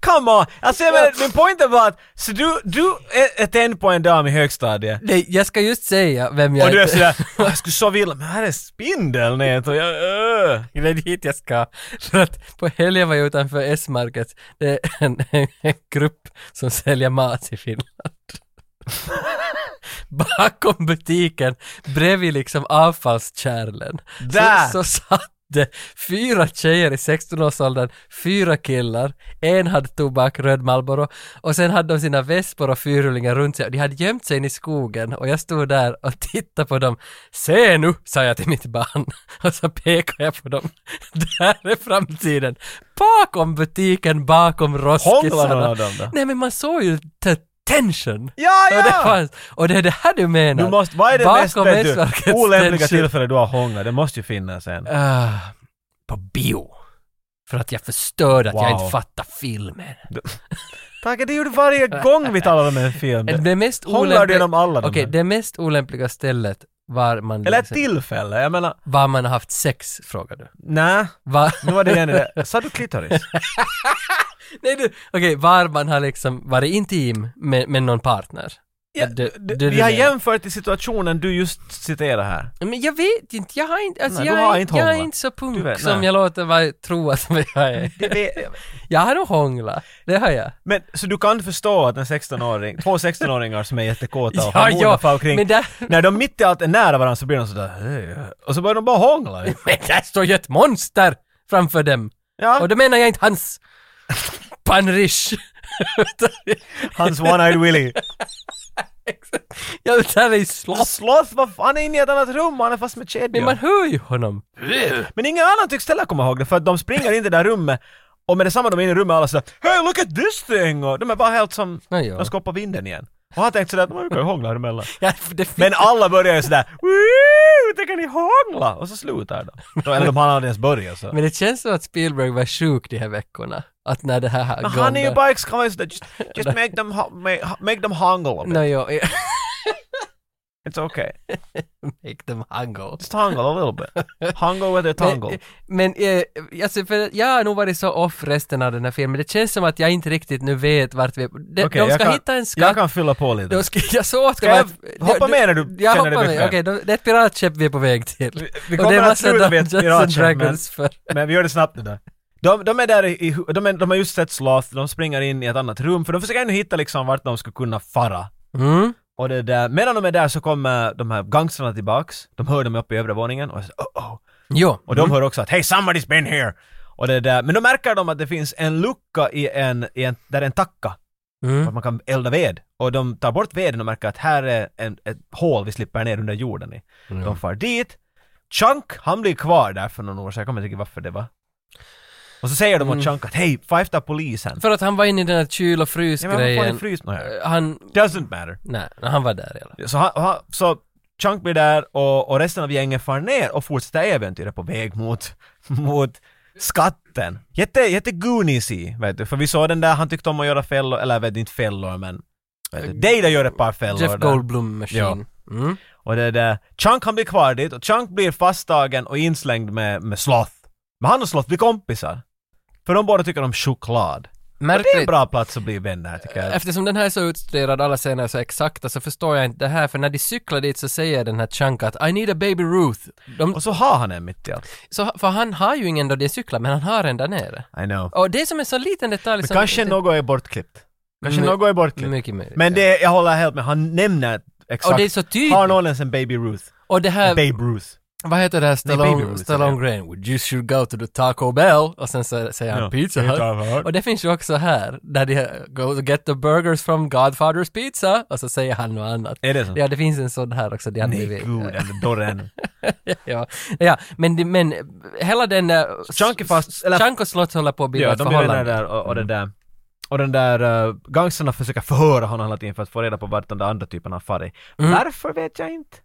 B: Come on! Alltså jag menar, min poäng var att, så du, du är är tänd på en dam i högstadiet.
A: Nej, jag ska just säga vem jag
B: Och du är
A: inte-
B: sådär, jag skulle så vilja, men här är spindelnät och jag, öh.
A: [laughs] Det är dit jag ska. För att på helgen var jag utanför S-market. Det är en, [laughs] en, en grupp som säljer mat i Finland. Bakom butiken, bredvid liksom avfallskärlen.
B: Där!
A: Så, så satt det fyra tjejer i 16-årsåldern, fyra killar, en hade tobak, röd Marlboro och sen hade de sina vespor och fyrhjulingar runt sig och de hade gömt sig in i skogen och jag stod där och tittade på dem. Se nu, sa jag till mitt barn [laughs] och så pekade jag på dem. [laughs] Där är framtiden! Bakom butiken, bakom
B: Hånglade någon av
A: roskisarna.
B: dem då?
A: Nej men man såg ju t- tension!
B: Ja,
A: Och det,
B: ja!
A: fanns, och det är det här du menar.
B: Du måste, vad är det mest,
A: Bakom
B: vet du,
A: S-markets
B: olämpliga
A: tension.
B: tillfälle du har hånglat? Det måste ju finnas en.
A: Ah, på bio. För att jag förstörde att jag
B: Wow.
A: inte fattar filmen.
B: Tage, det gjorde varje gång vi talade om
A: [laughs]
B: en film.
A: Det mest
B: Hånglar du
A: olämpliga...
B: genom alla de
A: Okej,
B: här?
A: det mest olämpliga stället var man...
B: Eller ett
A: liksom-
B: tillfälle, jag menar,
A: Var man har haft sex, frågar du.
B: nej.
A: Var...
B: [laughs] Nu var det igen i det. Sa du klitoris?
A: [laughs] Nej du, okej, var man har liksom varit intim med, med någon partner.
B: Ja,
A: Det- det
B: d- vi
A: du menar.
B: har jämfört i situationen du just citerar här.
A: Men jag vet inte, jag har inte, alltså
B: Nej,
A: jag,
B: du har
A: är-
B: inte
A: jag är
B: hånglat.
A: inte så punk
B: Du vet,
A: som
B: nej.
A: jag låter vara, tro att jag är. Jag har nog hånglat, det har jag.
B: Men så du kan förstå att en 16-åring, två 16-åringar som är jättekåta och
A: Ja,
B: hormoner
A: ja,
B: far omkring,
A: men där-
B: när de mitt i allt är nära varandra så blir de sådär "Hej." och så börjar de bara hångla.
A: Men där står ju ett monster framför dem! [laughs]
B: Ja,
A: Och då menar jag inte hans panrish. [laughs]
B: hans one-eyed Willy.
A: jag där är slopp.
B: Sloth, vad fan, han är inne i ett annat rum och han är fast med kedjor.
A: Men man hör ju honom.
B: Men ingen annan tycks heller komma ihåg det för att de springer in i det där rummet och med detsamma de är inne i rummet alla sådär ”Hey, look at this thing!” och de är bara helt som...
A: Ja, ja.
B: De ska hoppa vinden igen. Och han tänkte sådär att ”Man kan ju hångla här emellan”.
A: Ja, för [laughs] det finns...
B: Men alla börjar ju sådär ”Woo, tänker ni hångla?” och så slutar de. de eller de har aldrig ens börjat så.
A: Men det känns som att Spielberg var sjuk de här veckorna. Att när det här har
B: Men han är ju
A: gått-
B: bara exklusiv sådär just, just make them, ho- make, make them hångla. a bit.
A: No, jo, ja. [laughs]
B: It's okay.
A: make them haggle.
B: Just hångla a little bit. Hångla with their tongue.
A: Men, men eh, alltså, för jag har nog varit så off resten av den här filmen. Det känns som att jag inte riktigt nu vet vart vi är. De,
B: Okej,
A: de
B: jag
A: ska
B: kan-
A: hitta en skatt.
B: Jag kan fylla på lite.
A: De ska, jag såg att...
B: Ska jag hoppa med när du
A: Jag
B: känner dig
A: hoppar med,
B: bekväm?
A: okej. då- Det är ett piratskepp vi är på väg till.
B: Vi- Vi
A: Och
B: kommer
A: det
B: att
A: måste
B: sluta
A: de
B: med
A: [laughs]
B: ett
A: Dungeons and
B: piratskepp men,
A: Dragons för.
B: men vi gör det snabbt nu då. De, de är där i, i hu- de, är, de har just sett Sloth, de springer in i ett annat rum för de försöker ännu hitta liksom vart de ska kunna fara.
A: Mm.
B: Och det där, medan de är där så kommer de här gangstrarna tillbaks, de hör dem uppe i övre våningen och så, oh, oh.
A: Jo.
B: Och de hör också att ”Hey, somebody's been here!” och det där, men då märker de att det finns en lucka i en, i en där är en tacka,
A: Mm.
B: att man kan elda ved. Och de tar bort veden och märker att här är en, ett hål vi slipper ner under jorden i. De far dit, Chunk, han blir kvar där för någon år så jag kommer inte ihåg varför det var. Och så säger de åt Chunk att ”Hej, fifta polisen!”
A: Mm. För att han var inne i den här kyl och
B: Ja, men vad fan är
A: frysgrejen.
B: frys nu här?
A: Eh, Han...
B: Doesn't matter.
A: Nej, han var där i alla fall.
B: Så, han, han, så Chunk blir där och, och resten av gänget far ner och fortsätter äventyret på väg mot, [laughs] mot skatten. Jätte, jätte Goonies-y, vet du. För vi såg den där, han tyckte om att göra fällor, eller vet du, inte fällor men... vet du, Data gör ett par fällor
A: Jeff
B: där.
A: Goldblum Machine. Mm.
B: Och det där, Chunk han blir kvar dit och Chunk blir fasttagen och inslängd med, med Sloth. Men han och Sloth blir kompisar. För de båda tycker om choklad. Och det är en
A: Märkligt.
B: bra plats att bli vänner tycker jag.
A: Eftersom den här är så utstuderad, alla scener är så exakta, så förstår jag inte det här, för när de cyklar dit så säger den här Chunk att I need a baby Ruth. De,
B: Och så har han en mitt i allt.
A: så, för han har ju ingen då de cyklar, men han har en där nere.
B: I know.
A: Och det är som en sån liten detalj
B: Men
A: som...
B: kanske något är bortklippt. Kanske
A: My-
B: något är bortklippt.
A: Mycket möjligt.
B: Men det, jag håller helt med, han nämner exakt.
A: Och det är så tydligt.
B: Har någon ens en Baby Ruth?
A: Och det här,
B: Babe Ruth.
A: vad heter det här
B: Baby
A: Stallone,
B: Ruth,
A: Stallone
B: ja.
A: Graham? Would you should go to the Taco Bell? Och sen så säger han
B: Ja,
A: Pizza Hut. Och det finns ju också här, där de go to get the burgers from Godfather's Pizza. Och så säger han något annat.
B: Är det så?
A: Ja, det finns en sån här också. Det hade
B: Nej
A: vi-
B: gud, den dörren.
A: [laughs] ja, ja, men, det- men hela den där...
B: Chunk är fast- eller-
A: Chunk och Slott håller på att bilda
B: ja,
A: ett
B: de blir vänner
A: förhållande.
B: där och, och det där. Och den där uh, gangsterna försöker förhöra honom hela tiden för att få reda på vart den där andra typen har farit.
A: Mm.
B: Varför vet jag inte.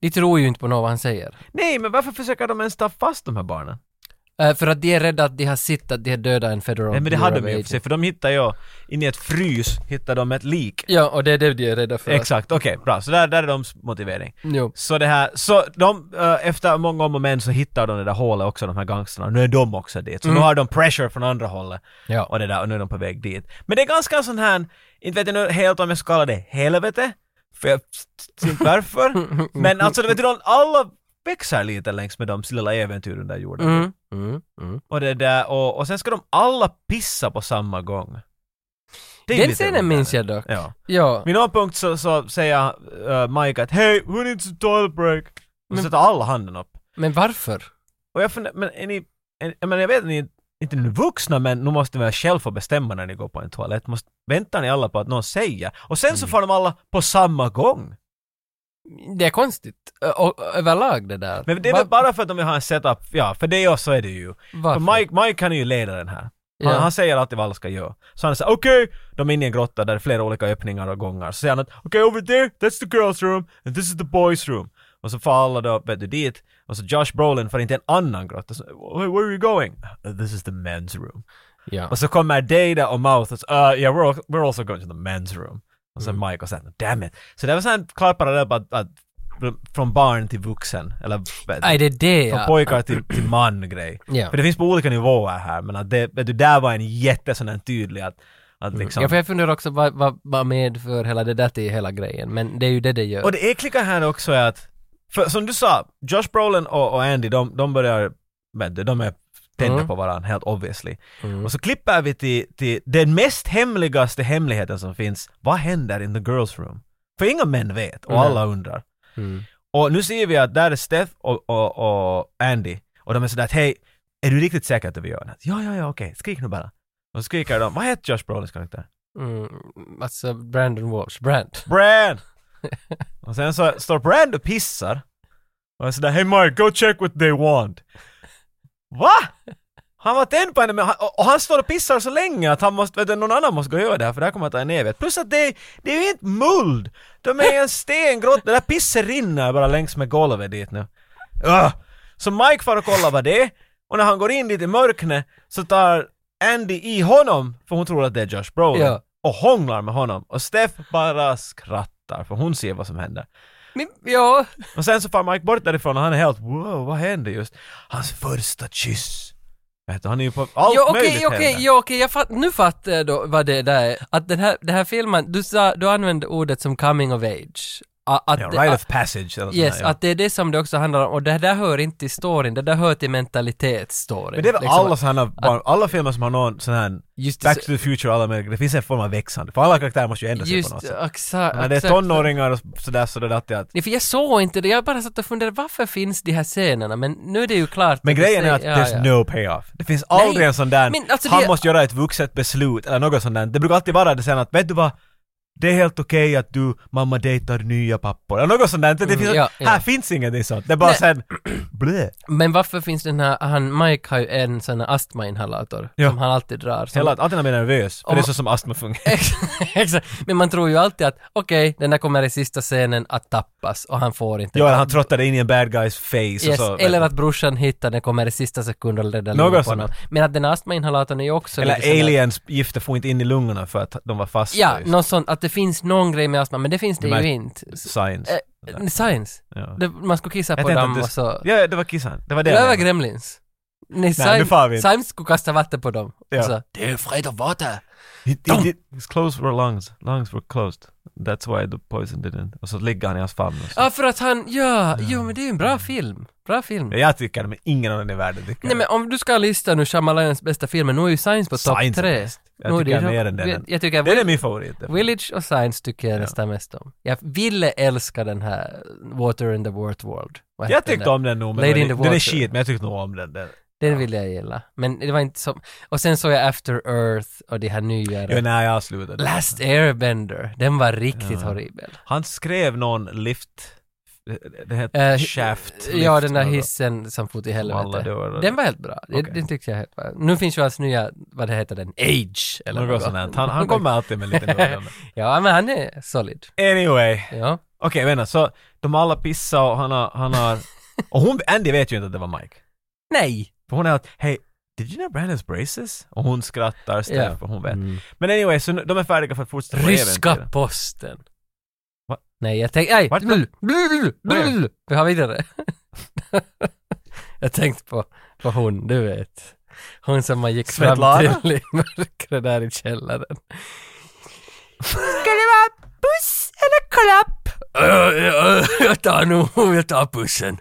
A: De tror ju inte på något han säger.
B: Nej, men varför försöker de ens ta fast de här barnen?
A: Eh, för att de är rädda att de har sett att de har dödat en federal
B: Nej, men det
A: Bureau
B: hade
A: of
B: de ju i och för sig,
A: Agents.
B: för de hittade ju, inne i ett frys hittade de ett lik.
A: Ja, och det är det de är rädda för.
B: Exakt, okej, bra. Så där, där är de motivering.
A: Jo.
B: Så det här, så de, eh, efter många om och men så hittar de det där hålet också, de här gangsterna. Nu är de också dit. Så
A: Mm.
B: nu har de pressure från andra hållet.
A: Ja.
B: Och det där, och nu är de på väg dit. Men det är ganska sån här, inte vet jag nu helt om jag ska kalla det helvete, för jag vet
A: [laughs]
B: inte varför. men alltså, du vet du, alla växer lite längs med de lilla äventyren under jorden.
A: Mm, mm, mm.
B: Och det där, och, och sen ska de alla pissa på samma gång. Det är
A: Den
B: lite
A: scenen minns jag dock.
B: Ja.
A: Ja.
B: Vid någon punkt så, så säger uh, Mike att ”Hey, who needs a toilet break?” Och
A: Men-
B: så tar alla handen upp.
A: Men varför?
B: Och jag funderar, men är ni, är, jag, menar, jag vet att ni är inte nu vuxna men nu måste ni väl själv få bestämma när ni går på en toalett. Måste, väntar ni alla på att någon säger? Och sen
A: Mm.
B: så får de alla på samma gång.
A: Det är konstigt. Ö- Och överlag det där.
B: Men det är
A: Va-
B: väl bara för att de vill ha en setup, ja för det och så är det ju. För
A: varför?
B: Mike, Mike han är ju ledaren här. Han,
A: Ja.
B: han säger alltid vad alla ska göra. Så han säger okej, de är inne i en grotta där det är flera olika öppningar och gångar. Så säger han att okej over there, that's the girls room and this is the boys room. Och så far alla då, vet du, dit. Och så Josh Brolin för inte en annan grotta. Så, "Where- where are you going? "Uh, This is the men's room.
A: Ja.
B: Och så kommer Data och Mouth och så, uh, yeah, we're, al- we're also going to the men's room. Och
A: Mm.
B: sen Mike och sen, damn it. Så det var sån klar parallell på att, att från barn till vuxen, eller
A: Nej, det är det
B: från
A: ja.
B: pojkar till, till man grej.
A: Ja.
B: För det finns på olika nivåer här, men att det, vet du, där var en jätte sån här tydlig att, att liksom...
A: Mm. ja för jag funderar också vad, vad, vad medför hela det där till hela grejen, men det är ju det det gör.
B: Och det ekliga här också är att, för, som du sa, Josh Brolin och, och Andy, de, de börjar, vet du, de är tända
A: Mm.
B: på varandra, helt obviously.
A: Mm.
B: Och så klipper vi till, till den mest hemligaste hemligheten som finns. Vad händer in the girls room? För inga män vet och
A: Mm.
B: alla undrar.
A: Mm.
B: Och nu ser vi att där är Steph och, och, och Andy och de är sådär att hej, är du riktigt säker att du vill göra det? Ja, ja, ja, okej, skrik nu bara. Och så skriker de, vad heter Josh Brolins karaktär?
A: Mm. Alltså, Brandon Walsh, Brand.
B: Brand! och sen så står Brand och pissar. Och jag sådär, hey Mike, go check what they want. Va? Han var tänd på henne, men han, och och han står och pissar så länge att han måste, vet du, någon annan måste gå och göra det här för det här kommer att ta en evighet. Plus att det, det är ju inte muld! De är i en stengrott, det där pisset rinner bara längs med golvet dit nu. Ugh. Så Mike far och kollar vad det är, och när han går in dit i mörknet så tar Andy i honom, för hon tror att det är Josh Brolin,
A: Ja.
B: och hånglar med honom. Och Steph bara skrattar, för hon ser vad som händer.
A: Men, ja.
B: Och sen så far Mike bort därifrån och han är helt wow, vad hände just? Hans första kyss! Vet du, han är ju på allt
A: Ja, okej,
B: möjligt
A: okej,
B: händer.
A: ja, okej, jag fatt, nu fattar jag då vad det där är. Att den här, den här filmen, du sa, du använde ordet som coming of age. A- Att,
B: Ja,
A: det-
B: right
A: a-
B: of passage eller nåt sånt
A: Yes,
B: där, ja.
A: att det är det som det också handlar om. Och det där hör inte till storyn, det där hör till mentalitetsstoryn.
B: Men det är väl
A: liksom.
B: alla sådana, barn- alla filmer som har någon sån här
A: Just det,
B: Back
A: så-
B: to the Future, alla med, det finns en form av växande, för alla karaktärer måste ju ändra sig på
A: Just,
B: något sätt.
A: exakt.
B: När det är
A: exakt.
B: tonåringar och sådär så det är alltid att
A: Nej, för jag såg inte det, jag bara satt och funderade varför finns de här scenerna? Men nu är det ju klart.
B: Men
A: att det
B: grejen är
A: säger-
B: att there's no payoff. Det finns aldrig
A: Nej,
B: en sån där,
A: men alltså
B: han
A: det-
B: måste göra ett vuxet beslut eller något sånt där. Det brukar alltid vara det sen att, vet du vad? Det är helt okej att du, mamma dejtar nya pappor. Eller något sånt där. Det
A: Mm,
B: finns,
A: ja, ja.
B: Här finns ingenting sånt. Det är bara
A: Nej. [clears throat]
B: sen, blä.
A: Men varför finns den här, han, Mike har ju en sån här astmainhalator
B: Ja.
A: som han alltid drar. Som,
B: Hela,
A: [laughs]
B: alltid när man är nervös. För
A: Om-
B: det är så som astma fungerar.
A: Exakt. Men man tror ju alltid att okej, den där kommer i sista scenen att tappas och han får inte.
B: Jo, eller han trottade in i en bad guys face och
A: yes.
B: så.
A: Eller att brorsan hittar den kommer i sista sekunden och räddar
B: Något
A: livet på
B: sånt.
A: honom. Men att den här astmainhalatorn är ju också...
B: eller
A: lite sån där-
B: aliens gifter får inte in i lungorna för att de var fast.
A: Ja,
B: just.
A: något sånt, att det finns någon grej med astma, men det finns det
B: De här-
A: ju inte. S-
B: Science.
A: eh, Science.
B: Ja.
A: Det, man skulle kissa
B: Jag
A: på
B: tänkte
A: dem
B: att du-
A: och så...
B: ja, det var kissan. Det var det.
A: Det
B: jag
A: där var
B: menade.
A: Gremlins. Nej,
B: Nej, nu far vi
A: Sime,
B: inte.
A: Sime skulle kasta vatten på dem.
B: Ja.
A: Och så, det är fred av vatten.
B: He, he did, his clothes were lungs. Lungs were closed. That's why the poison didn't. Och så ligger han i hans famn. och så.
A: Ja, för att han, ja, jo men det är ju en bra film. Bra film.
B: Ja, Jag tycker det, men ingen annan i världen tycker
A: Nej men
B: det.
A: om du ska lista nu Shyamalans bästa filmer, nu är ju Science på topp
B: Science är
A: tre.
B: bäst. Jag
A: Nu är
B: tycker
A: det-
B: mer än den.
A: Jag, jag tycker
B: Den är
A: Will,
B: min favorit.
A: Village och Science tycker jag
B: Ja.
A: nästan mest om. Jag ville älska den här Water in the Wort World. Vad
B: Jag
A: hette den
B: tyckte
A: där?
B: om den nog, men
A: Lady
B: den,
A: in the
B: är- den är
A: Water.
B: shit, men jag tyckte nog om den. den.
A: Den ville jag gilla. Men det var inte så... Och sen såg jag After Earth och det här nyare.
B: Jo, nej, jag slutade.
A: Last Airbender, den var riktigt
B: Ja.
A: horribel.
B: Han skrev någon lift... Det heter
A: Eh,
B: shaft.
A: Ja,
B: lift
A: den där
B: eller-
A: hissen som for till
B: alla
A: helvete.
B: dörrar.
A: Den var helt bra. Det-
B: Okej.
A: Den tyckte jag helt bra. Nu finns ju hans nya, vad det heter den, Age eller
B: Något
A: något.
B: sånt här. Han, han kommer alltid med lite nördande.
A: [laughs] Ja, men han är solid.
B: Anyway.
A: Ja.
B: Okej, vänta. Så de alla pissar och han har...
A: [laughs]
B: Han har och hon, Andy vet ju inte att det var Mike.
A: Nej!
B: För hon är att, hej, did you know Brandon's braces? Och hon skrattar Steph
A: Ja. Mm.
B: och hon vet. Men anyway, så nu, de är färdiga för att fortsätta på
A: Ryska
B: äventyret.
A: posten.
B: Va?
A: Nej, jag tänkte... Nej!
B: Vart?
A: Blull, blull,
B: Vad är
A: blull. Vi har vidare. [laughs] jag tänkte på, på hon, du vet. Hon som man gick fram
B: Svetlana?
A: till [laughs] i mörkret där i källaren. Ska det vara puss eller klapp? jag tar nog, jag tar pussen.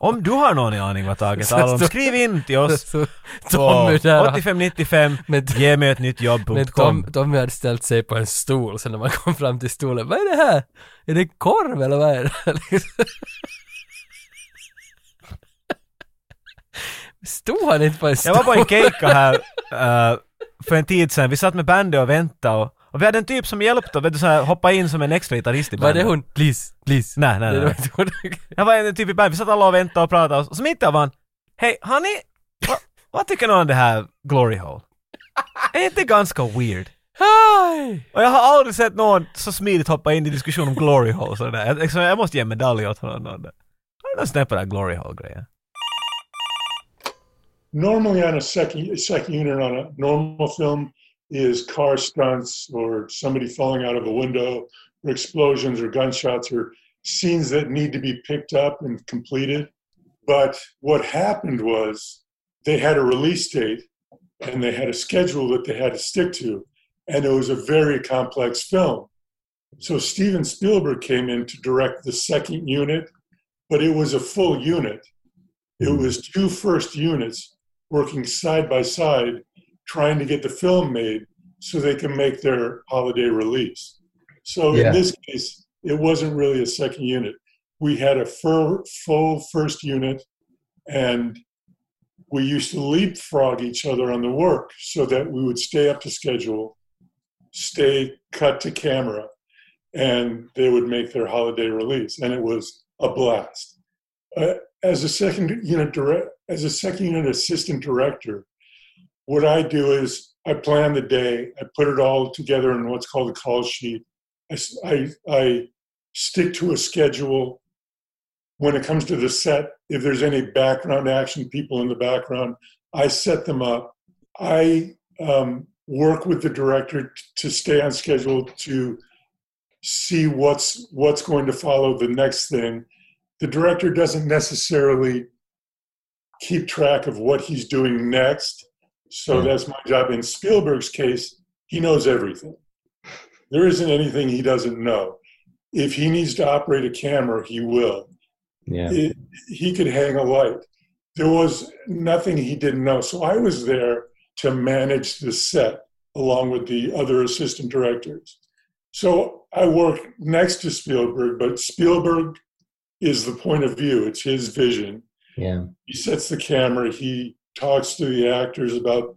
B: Om du har någon aning
A: [laughs]
B: vad taget
A: Så-
B: handlar om,
A: så-
B: skriv in
A: [laughs]
B: till oss
A: Så
B: på
A: Tommy där har- [laughs]
B: 8595
A: Men-
B: ge mig ett nytt
A: Men
B: jobb.com.
A: Tom, Tommy hade ställt sig på en stol, så när man kom fram till stolen, vad är det här? Är det en korv eller vad är det? [laughs] Liksom. Stod han inte på en
B: Jag
A: stol?
B: var på en
A: [laughs]
B: keikka här eh, för en tid sedan, vi satt med bandet och väntade och, och vi hade en typ som hjälpte och vet du, så här, hoppa in som en extra gitarrist i
A: Var det
B: bandet.
A: hon? Please, please.
B: Nej, nej,
A: Det
B: nej.
A: var inte
B: [laughs]
A: hon.
B: Jag var en typ i bandet, vi satt alla och väntade och pratade och så mitt av han, hej, har ni, vad, vad tycker ni om det här glory hole? Är inte ganska weird?
A: Hej!
B: Och jag har aldrig sett någon så smidigt hoppa in i diskussion om glory hole sådär. Jag, liksom, jag måste ge en medalj åt honom. någon där. Har du någon snäpp på den här glory hole-grejen?
D: normally on a second second unit on a normal film is car stunts or somebody falling out of a window or explosions or gunshots or scenes that need to be picked up and completed. But what happened was they had a release date and they had a schedule that they had to stick to. And it was a very complex film. So Steven Spielberg came in to direct the second unit, but it was a full unit. It was two first units working side by side, trying to get the film made so they can make their holiday release. So
A: Yeah.
D: in this case, it wasn't really a second unit. We had a fir- full first unit, and we used to leapfrog each other on the work so that we would stay up to schedule, stay cut to camera, and they would make their holiday release. And it was a blast. Uh, as a second unit direct, as a second unit assistant director, what I do is I plan the day, I put it all together in what's called a call sheet. I, s- I- I stick to a schedule. When it comes to the set, if there's any background action, people in the background, I set them up. I um, work with the director t- to stay on schedule to see what's what's going to follow the next thing. The director doesn't necessarily keep track of what he's doing next. So
H: Yeah.
D: that's my job. In Spielberg's case, he knows everything. There isn't anything he doesn't know. If he needs to operate a camera, he will.
H: Yeah.
D: It, he could hang a light. There was nothing he didn't know. So I was there to manage the set along with the other assistant directors. So I work next to Spielberg, but Spielberg is the point of view, it's his vision
H: Yeah.
D: he sets the camera he talks to the actors about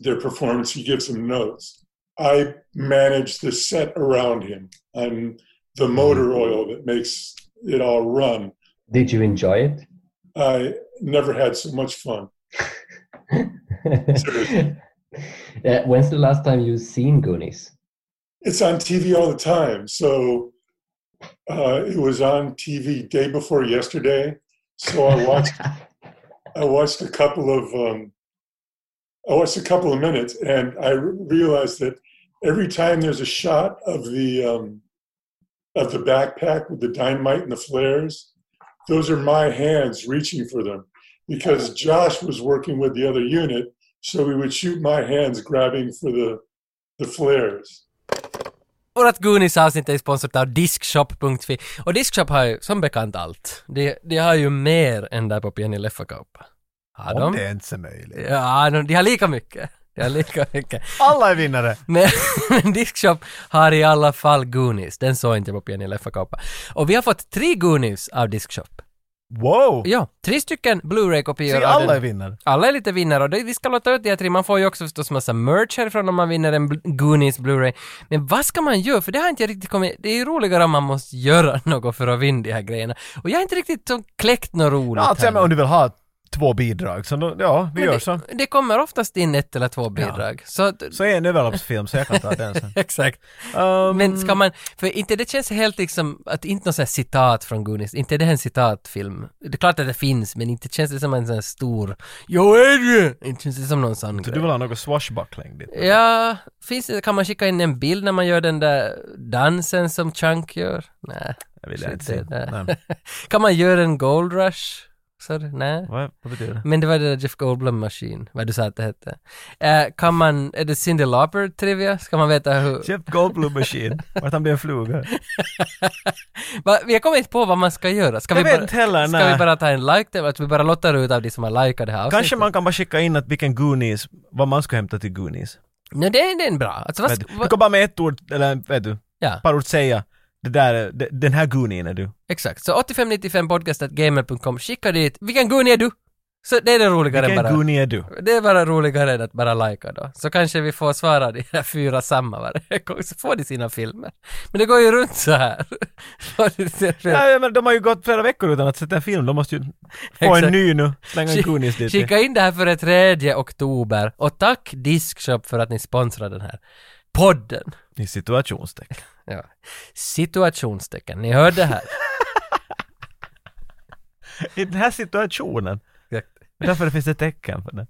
D: their performance he gives them notes i manage the set around him i'm the motor oil that makes it all run
H: Did you enjoy
D: i never had so much fun
H: it? [laughs] uh, when's the last time you seen Goonies?
D: it's on tv all the time so uh, it was on tv day before yesterday so i watched I watched a couple of um, I watched a couple of minutes, and I re- realized that every time there's a shot of the um, of the backpack with the dynamite and the flares, those are my hands reaching for them because Josh was working with the other unit, so we would shoot my hands grabbing for the the flares.
A: Vårat Goonies avsnitt är sponsrat av Diskshop.fi och Diskshop har ju som bekant allt. De, de har ju mer än där på Pieni Leffakauppa. Har
B: Om
A: de?
B: det ens är möjligt.
A: Ja, de, de har lika mycket. De har lika mycket.
B: Alla är vinnare!
A: Men, [laughs] men Diskshop har i alla fall Goonies. Den såg inte jag på Pieni Leffakauppa. Och vi har fått tre Goonies av Diskshop.
B: Wow!
A: Ja, tre stycken Blu-ray-kopior
B: Se,
A: av den.
B: alla är vinnare.
A: Alla är lite vinnare och det, vi ska låta ut de här tre. Man får ju också förstås massa merch härifrån om man vinner en Bl- Goonies Blu-ray. Men vad ska man göra? För det har inte jag riktigt kommit... Det är ju roligare om man måste göra [laughs] något för att vinna de här grejerna. Och jag har inte riktigt som kläckt något roligt
B: Ja, till
A: här
B: och med om
A: nu.
B: du vill ha två bidrag, så då, ja, vi
A: Men
B: gör
A: det,
B: så.
A: Det kommer oftast in ett eller två bidrag. Så, att- [laughs]
B: Så är en överloppsfilm, så jag kan ta den sen.
A: Exakt. [laughs]
B: Um,
A: Men ska man... För inte det känns helt liksom att inte något sånt här citat från Goonies. Inte är det här en citatfilm. Det är klart att det finns, men inte känns det som en sån här stor... Jo, Adrian! Inte känns det som någon sån
B: Så
A: grej.
B: du vill ha något swashbuckling dit?
A: Ja, finns det, kan man skicka in en bild när man gör den där dansen som Chunk gör? Nej.
B: Jag vill
A: Shit,
B: inte se.
A: det-
B: Nej.
A: Kan man göra en Gold Rush? Så, det- nej.
B: Vad, vad betyder det?
A: Men det var det där Jeff Goldblum Machine, vad du sa att det hette. Eh, kan man, är det Cyndi Lauper trivia? Ska man veta hur?
B: Jeff Goldblum
A: [laughs]
B: Machine, vart han blir en fluga.
A: Va, jag kommer inte på vad man ska göra. Ska,
B: Jag
A: vi,
B: vet
A: bara,
B: inte heller,
A: ska
B: nej.
A: vi bara ta en like till, att vi bara lottar ut av de som har likat det här
B: Kanske
A: avsnittet?
B: man kan bara skicka in att vilken Goonies, vad man ska hämta till Goonies.
A: Nej, det, är- det är en bra. Alltså, vad,
B: Vet
A: ska-
B: du. du
A: vad,
B: kan bara med ett ord, eller vet du,
A: ja.
B: par ord säga det där, är- de- den här Goonien är du.
A: Exakt, så 8595podcast.gamer.com, skicka dit, vilken gun är du? Så det är det roligare än
B: Vilken
A: bara.
B: Goonie är du?
A: Det är bara roligare än att bara lajka då. Så kanske vi får svara de här fyra samma varje gång, så får de sina filmer. Men det går ju runt så här. [laughs] Får de sina filmer.
B: Ja, ja, men de har ju gått flera veckor utan att sätta en film, de måste ju få
A: Exakt.
B: en ny nu, slänga en
A: Skick-
B: Goonies dit.
A: Skicka in det här före 3 oktober och tack Diskshop för att ni sponsrar den här podden.
B: I situationstecken. [laughs]
A: Ja. Situationstecken, ni hörde här.
B: I den här situationen,
A: Exakt.
B: därför det finns det tecken på det.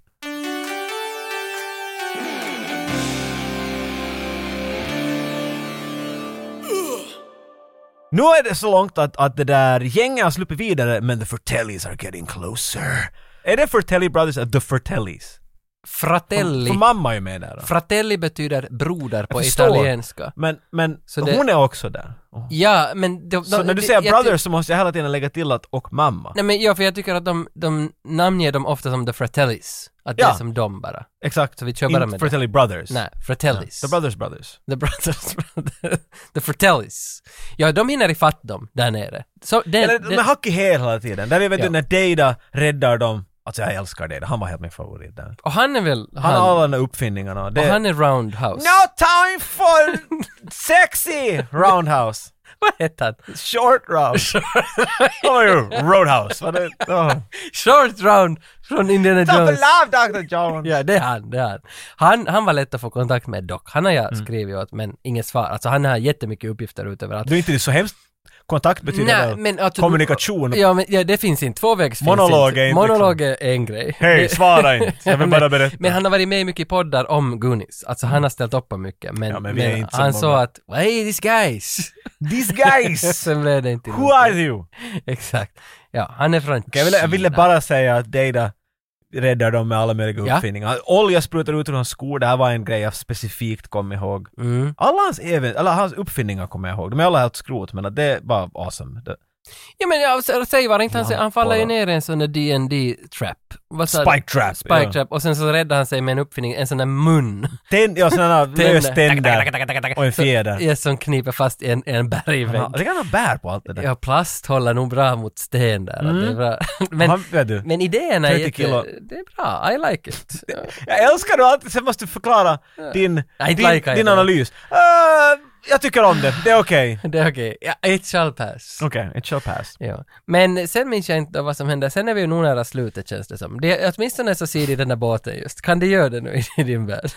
B: Nu är det så långt att, att det där gänget har sluppit vidare, men the Fertellis are getting closer. Är det Fertelli Brothers eller the Fertellis?
A: Fratelli.
B: För mamma är ju med där då.
A: Fratelli betyder broder på
B: förstår.
A: italienska.
B: Men, men
A: Så det-
B: hon är också där.
A: Ja, men... De,
B: Så
A: de-
B: när du
A: det-
B: säger
A: jag ty-
B: brothers så måste jag hela tiden lägga till att och mamma.
A: Nej men ja, för jag tycker att de, de namnger dem ofta som the Fratellis. Att det
B: Ja.
A: är som de bara.
B: Exakt.
A: Så vi kör bara
B: Inte
A: med det.
B: Fratelli Brothers.
A: Nej, Fratellis.
B: The Brothers Brothers.
A: The Brothers [laughs] Brothers. The Fratellis. Ja, de hinner ifatt dem där nere. Så det,
B: Eller
A: det,
B: de är hack i häl hela tiden. Där vi vet
A: Ja.
B: du när Deida räddar dem. Alltså jag älskar Deida, han var helt min favorit där.
A: och han är väl... Han,
B: Han har alla de där uppfinningarna. Det
A: och
B: är
A: han är Roundhouse.
B: No time for sexy roundhouse.
A: Vad heter han?
B: Short round. [laughs] Vad var det? Roadhouse. Vad är det? Oh.
A: Short Round från Indiana
B: Stop
A: Jones.
B: love Dr. Jones.
A: Ja, det är han, det är han. han. Han var lätt att få kontakt med dock. Han har jag
B: Mm.
A: skrivit åt, men inget svar. Alltså han har jättemycket uppgifter utöver att...
B: Du är inte det så hemskt. Kontakt betyder väl
A: men alltså-
B: kommunikation.
A: Ja, men ja, det finns inte. Tvåvägs finns
B: Monolog
A: inte.
B: är inte liksom-
A: Monolog är en grej.
B: Hej,
A: Det-
B: svara
A: [laughs]
B: inte. Jag vill bara berätta.
A: Men han har varit med i mycket poddar om Goonies. Alltså han har ställt upp på mycket. Men,
B: Ja, men vi är inte så
A: han
B: många.
A: sa att ”Hey these guys!”
B: These guys!
A: [laughs] Sen blev det inte
B: [laughs] Who
A: någonting.
B: are you?
A: Exakt. Ja, han är från
B: Jag ville, jag ville
A: Kina.
B: bara säga att Deida räddar dem med alla möjliga
A: Ja.
B: uppfinningar. Olja sprutar ut ur hans skor, det här var en grej jag specifikt kom ihåg.
A: Mm.
B: Alla hans, even, alla hans uppfinningar kommer jag ihåg. De är alla helt skrot, men att det var awesome. Det,
A: Ja men jag, så- säg vad inte han, säger, han faller ju
B: bara-
A: ner i en sån där dd trap Vad sa du?
B: Spike trap.
A: Spike
B: ja.
A: trap och sen så räddar han sig med en uppfinning, en sån där mun.
B: Tän- ja, [laughs] sådana
A: Tänder.
B: lös tänder och en fjäder.
A: Ja, som kniper fast i en, en
B: Han
A: bergvägg.
B: har- Det kan han bär på allt det där.
A: Ja, plast håller nog bra mot sten där. att Det är bra. [laughs] Men,
B: han, vet Mm. du,
A: men idéerna är
B: 30
A: jätte,
B: kilo.
A: Det är bra, I like
B: [laughs]
A: it. Ja.
B: jag älskar du alltid, sen måste du förklara din,
A: Nej, inte
B: din,
A: lika
B: din
A: jag.
B: analys. Eh, jag tycker om det, det är okej.
A: Det är okej. Ja, it shall pass.
B: Okej, it shall pass.
A: Ja. Men sen minns jag inte vad som hände. Sen är vi ju nog nära slutet känns det som. Det, åtminstone så ser de den där båten just. Kan det göra det nu i [laughs] din värld?